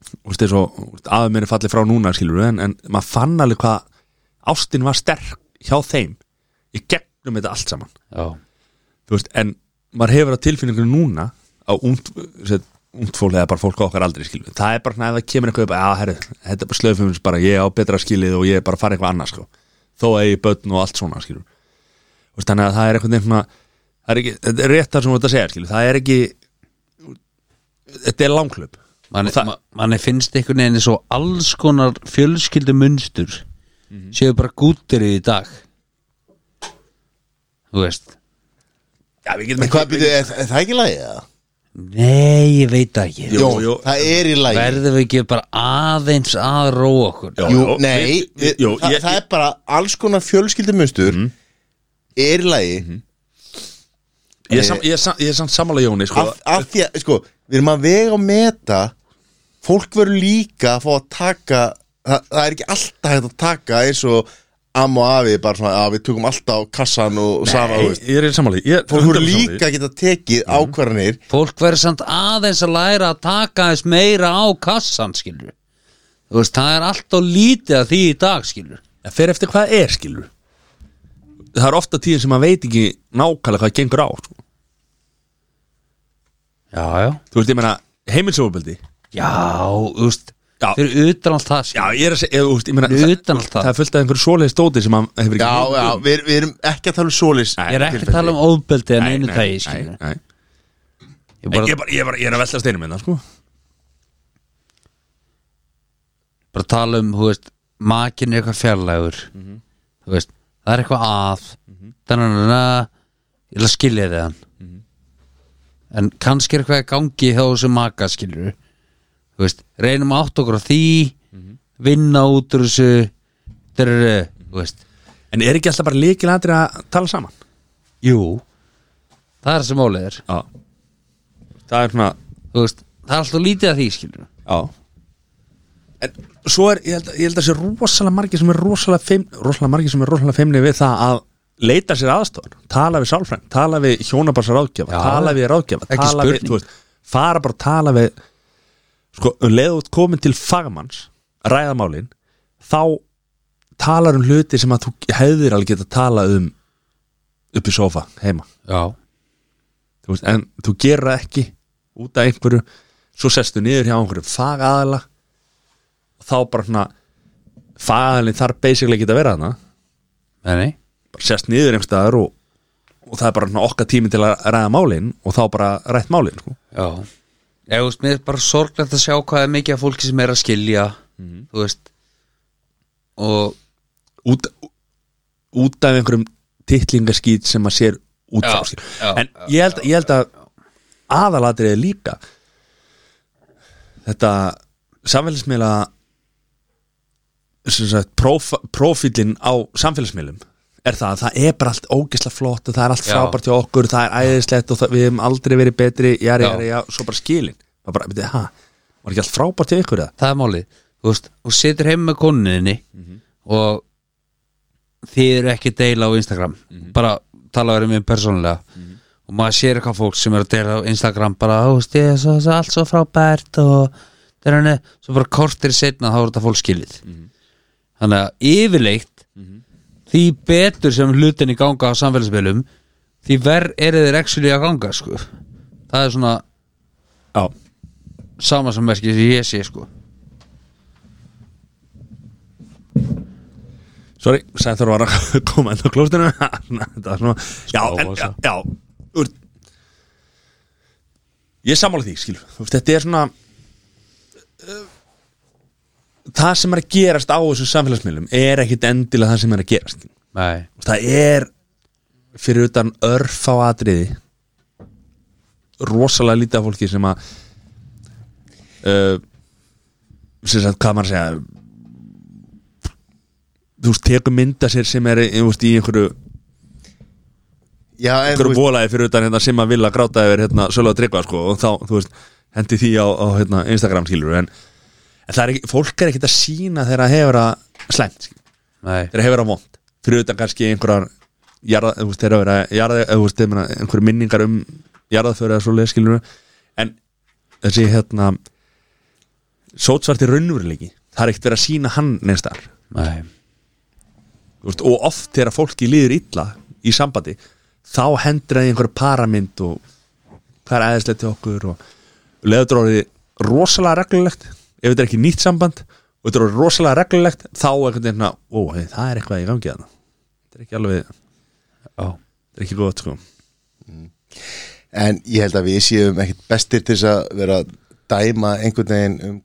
þú veist, eins og aður mér er fallið frá núna skilur, en, en maður fann alveg hvað ástin var sterk hjá þeim í gegnum þetta allt saman já, þú veist, en maður hefur á tilfinningunum núna á umt, umt fólk eða bara fólk á okkar aldrei skilur það er bara svona ef það kemur eitthvað upp að herri, þetta er bara slöfumins bara, ég á betra skilið og ég er bara að fara eitthvað annað sko þó að ég börn og allt svona skilur Þú veist, þannig að það er eitthvað nefna það er ekki, þetta er rétt það sem þú ert að segja skilur það er ekki þetta er langklöp manni, Og það- ma- manni finnst einhvern veginn svo alls konar fjölskyldu munstur Mhm. séu bara gúttir í dag Þú veist Já, við getum en hvað byrju, er, er það ekki lægið það? Nei, ég veit það ekki Jó, jú. það er í lægið Verðum við ekki bara aðeins að róa okkur Já. Jú, nei, við- við- jú, það, ég- Mhm. það er bara alls konar fjölskyldumunstur er í lægið ég er sam- ég er sam- ég er samt sammála Jóni sko, af, af því að, sko, við erum að vega og meta fólk verður líka að fá að taka það, það er ekki alltaf hægt að taka eins og am og afi bara svona að við tökum alltaf á kassan og Nei, sama þú ég, veist. ég er sammála ég er fólk um verður 100% sammála því. líka að geta tekið ákvarðanir Fólk verður samt aðeins að læra að taka aðeins meira á kassan skilur Þú veist, það er allt og lítið að því í dag skilur Það fer eftir hvað það er, skilur Það er ofta tíðin sem maður veit ekki nákvæmlega hvað gengur á sko. Já, já Þú veist, ég meina, heimilsofaböldi Já, þú veist Já. fyrir utan allt það Já, skilur. ég er að segja, ég, úst, ég meina, Fyrir það, utan allt það það er fullt af einhverju svoleiðis dóti sem hann hefur ekki Já, já, við, við erum ekki að tala um svolis Nei, Ég er ekki að tala um óbeldi en einu tægi skilur. nei, nei. Bara, Ég bara, ég, er bara, ég, er bara, ég er að velta steinum minna sko. bara tala um, þú veist makin er eitthvað fjarlægur Mhm. þú veist, það er eitthvað að þannig að ég ætla að skilja þið hann Mhm. en kannski er eitthvað í gangi hjá þessu maka skilur þú veist, reynum að átt okkur á því Mhm. vinna út úr þessu drr, þú veist En er ekki alltaf bara líkilandri að tala saman? jú, það er sem málið er Já Það er svona þú veist, það er alltaf lítið að því skilur Já En svo er, ég held, ég held að sé rosalega margir sem er rosalega feim rosalega margir sem er rosalega feimni við það að leita sér aðstofan, tala við sálfræn tala við hjónabarsar ráðgjafa, Já. tala við ráðgjafa Ekki tala við, spurning. þú veist, fara bara að tala við sko, um leið út komin til fagmanns, ræðamálin þá talar um hluti sem að þú hefðir alveg geta tala um upp í sofa heima já, þú veist, en þú gerir það ekki út af einhverju svo sestu niður hjá einhverju fagaðala og þá bara svona fagaðalinn þarf basically ekki að vera þarna nei, bara sest niður einhvers staðar og, og það er bara svona okkar tími til að ræða málin og þá bara rætt málin sko. já ég veist, mér er bara sorglegt að sjá hvað er mikið af fólki sem er að skilja þú veist og út, út af einhverjum titlingaskýt sem maður sér út Já, frá skil. já, en ég held, ég held að aðalatrið er líka þetta samfélagsmiðla sem sagt, próf, profílinn á samfélagsmiðlum er það að það er bara allt ógisla flott og það er allt Já. frábært hjá okkur, það er æðislegt og það, við hefum aldrei verið betri, jari, Já. jari, já, svo bara skilin það bara, beti, ha, var ekki allt frábært hjá ykkur eða? það er málið þú veist, og situr heim með konunni og þið eru ekki að deila á Instagram bara tala verið mér persónulega og maður sér eitthvað fólk sem er að deila á Instagram bara, þú veist, ég er svo, svo, allt svo frábært og það er henni svo bara kortir setna þá er þetta fólk skilið þannig að yfirleitt því betur sem hlutinni ganga á samfélagsmiðlum því verð eru þeir actually að ganga sko. það er svona Já, samansammerkið sem ég sé sko. Sorry, Sæþór var að [laughs] koma enda á klóstinu Þetta var svona Já, en, já, óvasa. já úr, Ég er sammála því, skil Þú veist, Þetta er svona uh, Það sem er að gerast á þessum samfélagsmiðlum er ekkit endilega það sem er að gerast skil. nei Þú veist, Það er fyrir utan örf á atriði rosalega lítið af fólki sem að uh, sem sagt, hvað maður að segja þú veist, tekur mynda sér sem er þú veist, í einhverju, Já, en þú einhverju veist, volaði fyrir utan hérna, sem að vilja gráta yfir hérna, sölu að tryggva sko, og þá, þú veist, hendi því á, á hérna, Instagram skilur en, en það er ekki, fólk er ekkert að sína þegar það hefur að slæmt, skilur Nei, þeir hefur það vond fyrir utan kannski einhverjar jarða, þú veist, þeir hefur að jarða, þú veist, þeir meina einhverjar minningar um jarðaföru eða svo leiðskilur en þessi hérna sótsvartir raunveruleiki það er ekkert verið að sína hann neins þar nei, veist, og oft þegar fólki líður illa í sambandi þá hendur það í einhverju paramynd og hvað er æðislegt til okkur og leður orðið rosalega reglulegt ef þetta er ekki nýtt samband og þetta er orðið rosalega reglulegt þá er einhvern veginn að, ó, hei, það er eitthvað í gangi þarna þetta er ekki alveg, já, þetta er ekki gott sko en ég held að við séum ekkit bestir til þess að vera að dæma einhvern veginn um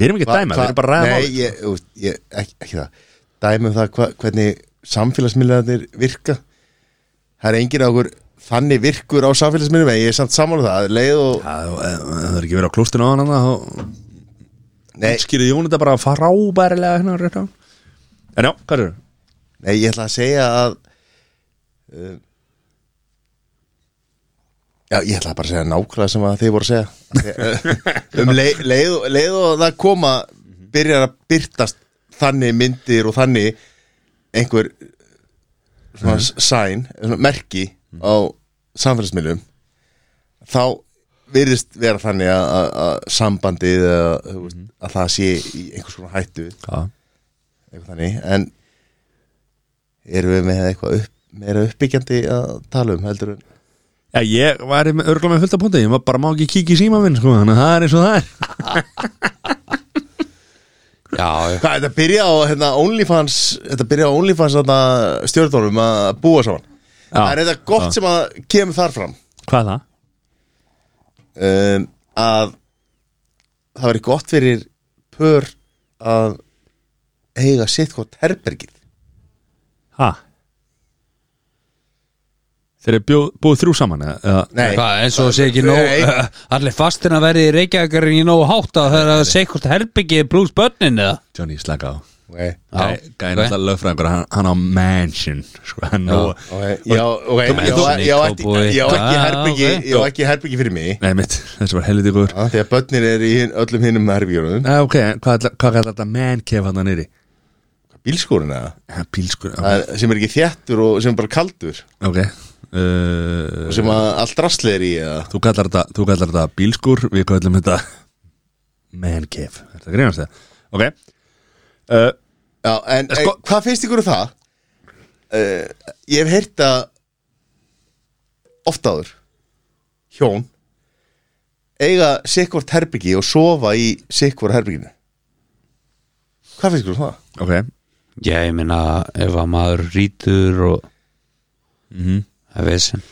við erum ekki að dæma, hva- við erum bara að ræða Nei, málið. sko. ég, þú veist, ég, ekki, ekki það Dæmi um það hva, hvernig samfélagsmiðlarnir virka Það er enginn okkur þannig virkur á samfélagsmiðlum en ég er samt saman um það leið og, Já, ef- ef- ef það er ekki verið á klóstinu á hann þá nei, skýrði Jón þetta bara frábærilega hérna rétt á en já, hvað er nei, ég ætla að segja að uh, Já, ég ætla bara að segja nákvæmlega sem að þið voru að segja Af því að, Um leið, leið, og- leið og það koma byrjar að byrtast þannig myndir og þannig einhver svona sign, svona merki á samfélagsmiðlum þá virðist vera þannig að, að, að sambandið að, mm. að það sé í einhvers konar hættu það? eitthvað þannig en erum við með eitthvað upp, meira uppbyggjandi að tala um heldur en Já, ég var örgulega með fullt af púnti, ég var bara má ekki kíkja í síma minn, sko, þannig að það er eins og það er já, já. Hvað, þetta byrja á hérna, OnlyFans Þetta byrja á OnlyFans þarna, stjórnum að búa saman Það er þetta gott sem að kemur þar fram Hvað er það? um, Að það væri gott fyrir pör að eiga sitt hvort herbergið Ha? Þeir eru bjó- búið þrjú saman eða? eða- Nei, Hvað, eins og það sé ekki Nei. nóg [laughs] Allir fastin að verði í Reykjavíkarinn í nógu hátt að það er að segja hvort herbyggið pluss börnin eða Johnny, slaka á nei Já, Gæði ok. náttúrulega lögfræðingur, hann, hann á mansion sko, hann á, Ok, Já, ok, Þú ég á- ég meinar- á ekki- Cowboy. ég á ekki Ah, herbergi ok. Ég á ekki herbergi fyrir mig Nei mitt, þessi var helviti ykkur Já, Þegar börnir er í hin- öllum hinum herbergjörunum Nei, ok, en hvað ætla- hvað kallar þetta man cave hann nýri? Bílskúrin eða Bílskur, Það er- sem er ekki þéttur og sem er bara kaldur ok uh, og sem að allt rastlið er í eða Þú kallar þetta, þú kallar þetta bílskur Við kallum þetta man cave Er þetta grínast það? Ok uh, Já, en sko, Sko- hvað finnst ykkur um það? Uh, ég hef heyrt að oft áður hjón eiga sikkvort herbyggi og sofa í sikkvort herbygginu Hvað finnst ykkur um það? Ok, Já, ég minna ef að maður rítur og Það er vesen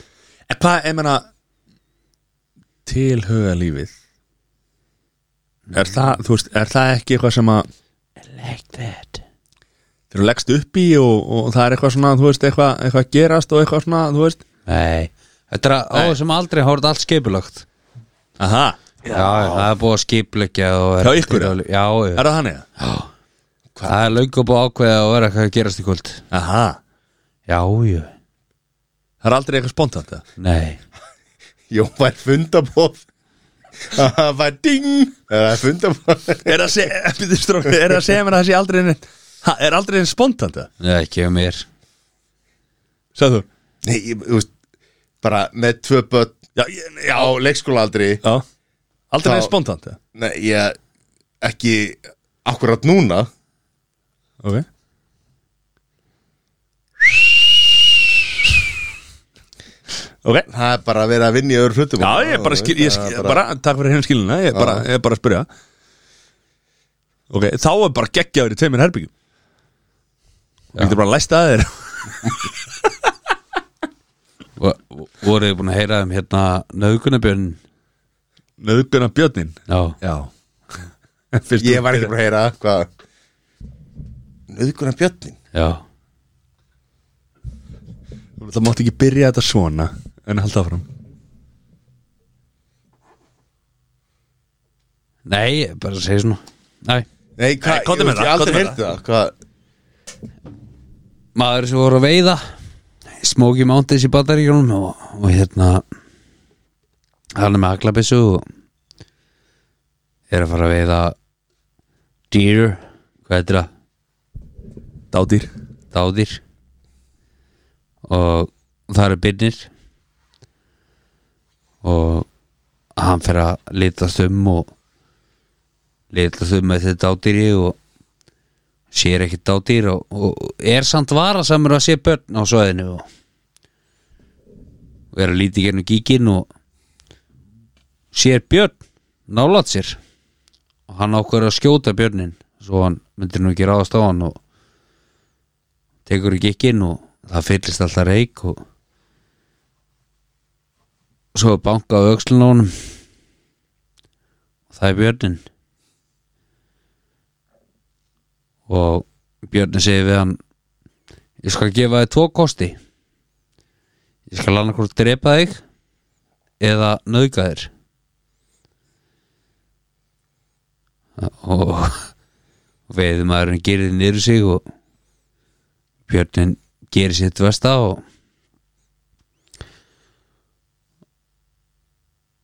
en hvað, ég meina Tilhuga lífið Er það, þú veist, er það ekki eitthvað sem að Like that Þeir eru leggst upp í og, og það er eitthvað svona, þú veist, eitthvað, eitthvað gerast og eitthvað svona, þú veist Nei, þetta er að- á þessum aldrei hort allt skipulagt Aha, Já, það er búið að skipulegja og er- Hjá ykkur, já? Já, já er það þannig? Það er löngu búið að ákveða og vera eitthvað að gerast í kvöld Aha, Já, já, það er aldrei eitthvað spontant það nei Jó, það er fundabóð Það var ding Það er fundabóð Er það [laughs] að segja mér að það sé aldrei neitt ha, Er aldrei einn spontant það? Nei, ekki um mér Sæðu þú? Nei, ég, þú veist bara með tvö börn Já, ég- já, á leikskólaaldri já Aldrei Þá- einn spontant það? Nei, ég ekki akkurat núna Ok Ok Það er bara að vera að vinna í öðru hlutum Já, ég bara skil, ég skil, bara, takk fyrir henni skilina Ég bara, ég bara að spyrja Ok, þá er bara geggjaður í tveimur herbyggjum Þú getur bara að læsta að þér Voruð þið búin að heyra um hérna nöðgunabjörn Nöðguna björnin Já, Já [laughs] Fyrst Ég var ekki bara að heyra hvað Nöðguna björnin já Það mátti ekki byrja þetta svona En halda áfram Nei, ég bara segi svona Nei, Nei, hvað, Nei, komdu ég, ég með það, komdu aldrei með heyrti það hvað, maður sem voru að veiða í Smoky Mountains í Bandaríkjónum og, og hérna hann er með aglabissu og er að fara að veiða dýr hvað heitir það? Dádýr dádýr og það eru byrnir og hann fer að litast um og litast um með þetta dádýri og sér ekki dádýr og, og er samt vara samur að sé börn á svoðinu og, og er að líti gennum gíkin og sér björn nálat sér og hann ákveður að skjóta björnin svo hann myndir nú ekki ráðast á hann og tekur í gikkin og það fyllist alltaf reik og svo er bankað á öxlun á honum og það er björnin og björnin segir við hann ég skal gefa þig tvo kosti ég skal annarkvort drepa þig eða nauðga þér og [laughs] veiðmaðurinn gerir niður sig og Björnin gerir sitt versta og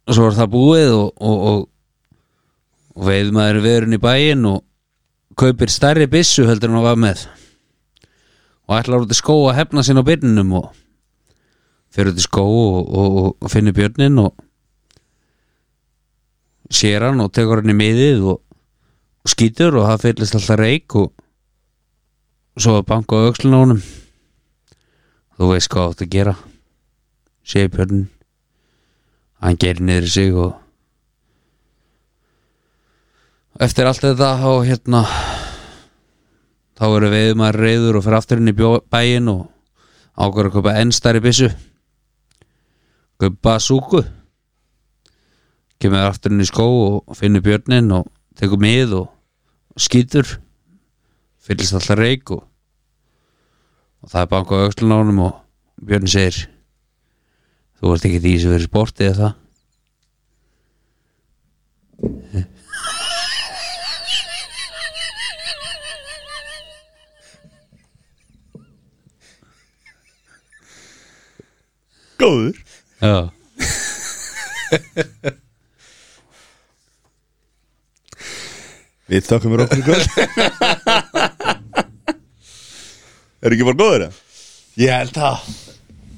og svo er það búið og, og, og, og veiðmaður verun í bæinn og kaupir stærri byssu heldur en hann var með og ætlar út í skó að hefna sín á byrninum og fyrir út í skó og, og, og, og finnir björnin og sér hann og tekur hann í miðið og, og skýtur og það fyllist alltaf reik og svo að banka á öxlun á honum þú veist hvað átt að gera segir Björn hann gerir niður í sig og eftir allt þetta og hérna þá eru veiðmaður reyður og fyrir aftur inn í bjó- bæinn og ákveður að kaupa ennstæri byssu kaupa súku kemur aftur inn í skó og finnur björnin og tekur mið og skýtur fyllist alltaf reik og, og það er bankað á öxlun á honum og björnin segir þú ert ekki því sem verið sportið eða það Góður Já Við þökkum við okkur í kvöld [laughs] Er ekki bara góður það? Ég held það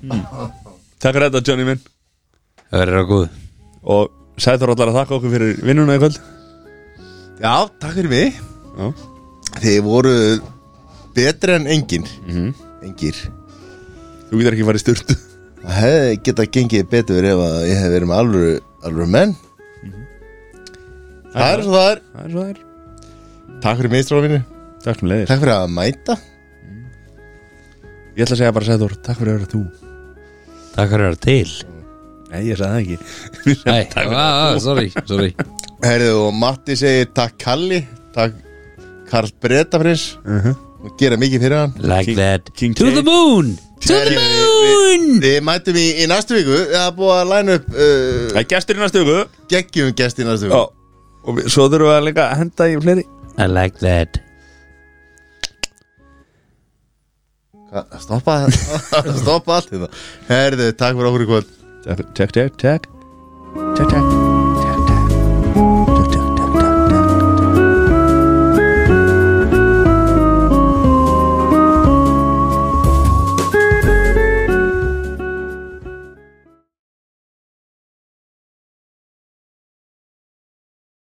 Takk fyrir þetta Johnny minn Það verður að góð Og Sæþór allar að þakka okkur fyrir vinnuna í kvöld Já, takk fyrir mig Já. Þið voru betri en engin Mhm. Engir Þú getur ekki farið sturt Það hefði getað gengið betur ef að ég hef verið með alvöru, alvöru menn Mhm. Það er svo það er Það er svo það er Takk fyrir mig, stráfinni Takk sem leiðis Takk fyrir að mæta Ég ætla að segja bara Sæþór Takk fyrir að vera þú Takk fyrir að vera til Nei, ég sagði það ekki [laughs] Nei, á, á, sorry, sorry Herðu, og Matti segir takk Kalli Takk Karl Bretafrins uh -huh. Og gera mikið fyrir hann Like King- that King To K. the moon To the Herðu, moon Við, við mætum í, í næstu viku Það er búið að læna upp uh, Það er gestur í næstu viku geggjum gest í næstu Já viku Og við- svo þurfum við að líka að henda í fleiri I like that Hva- Stoppa [laughs] Stoppa allt þetta Herðu, takk fyrir okkur í kvöld Takk, takk, takk Takk, takk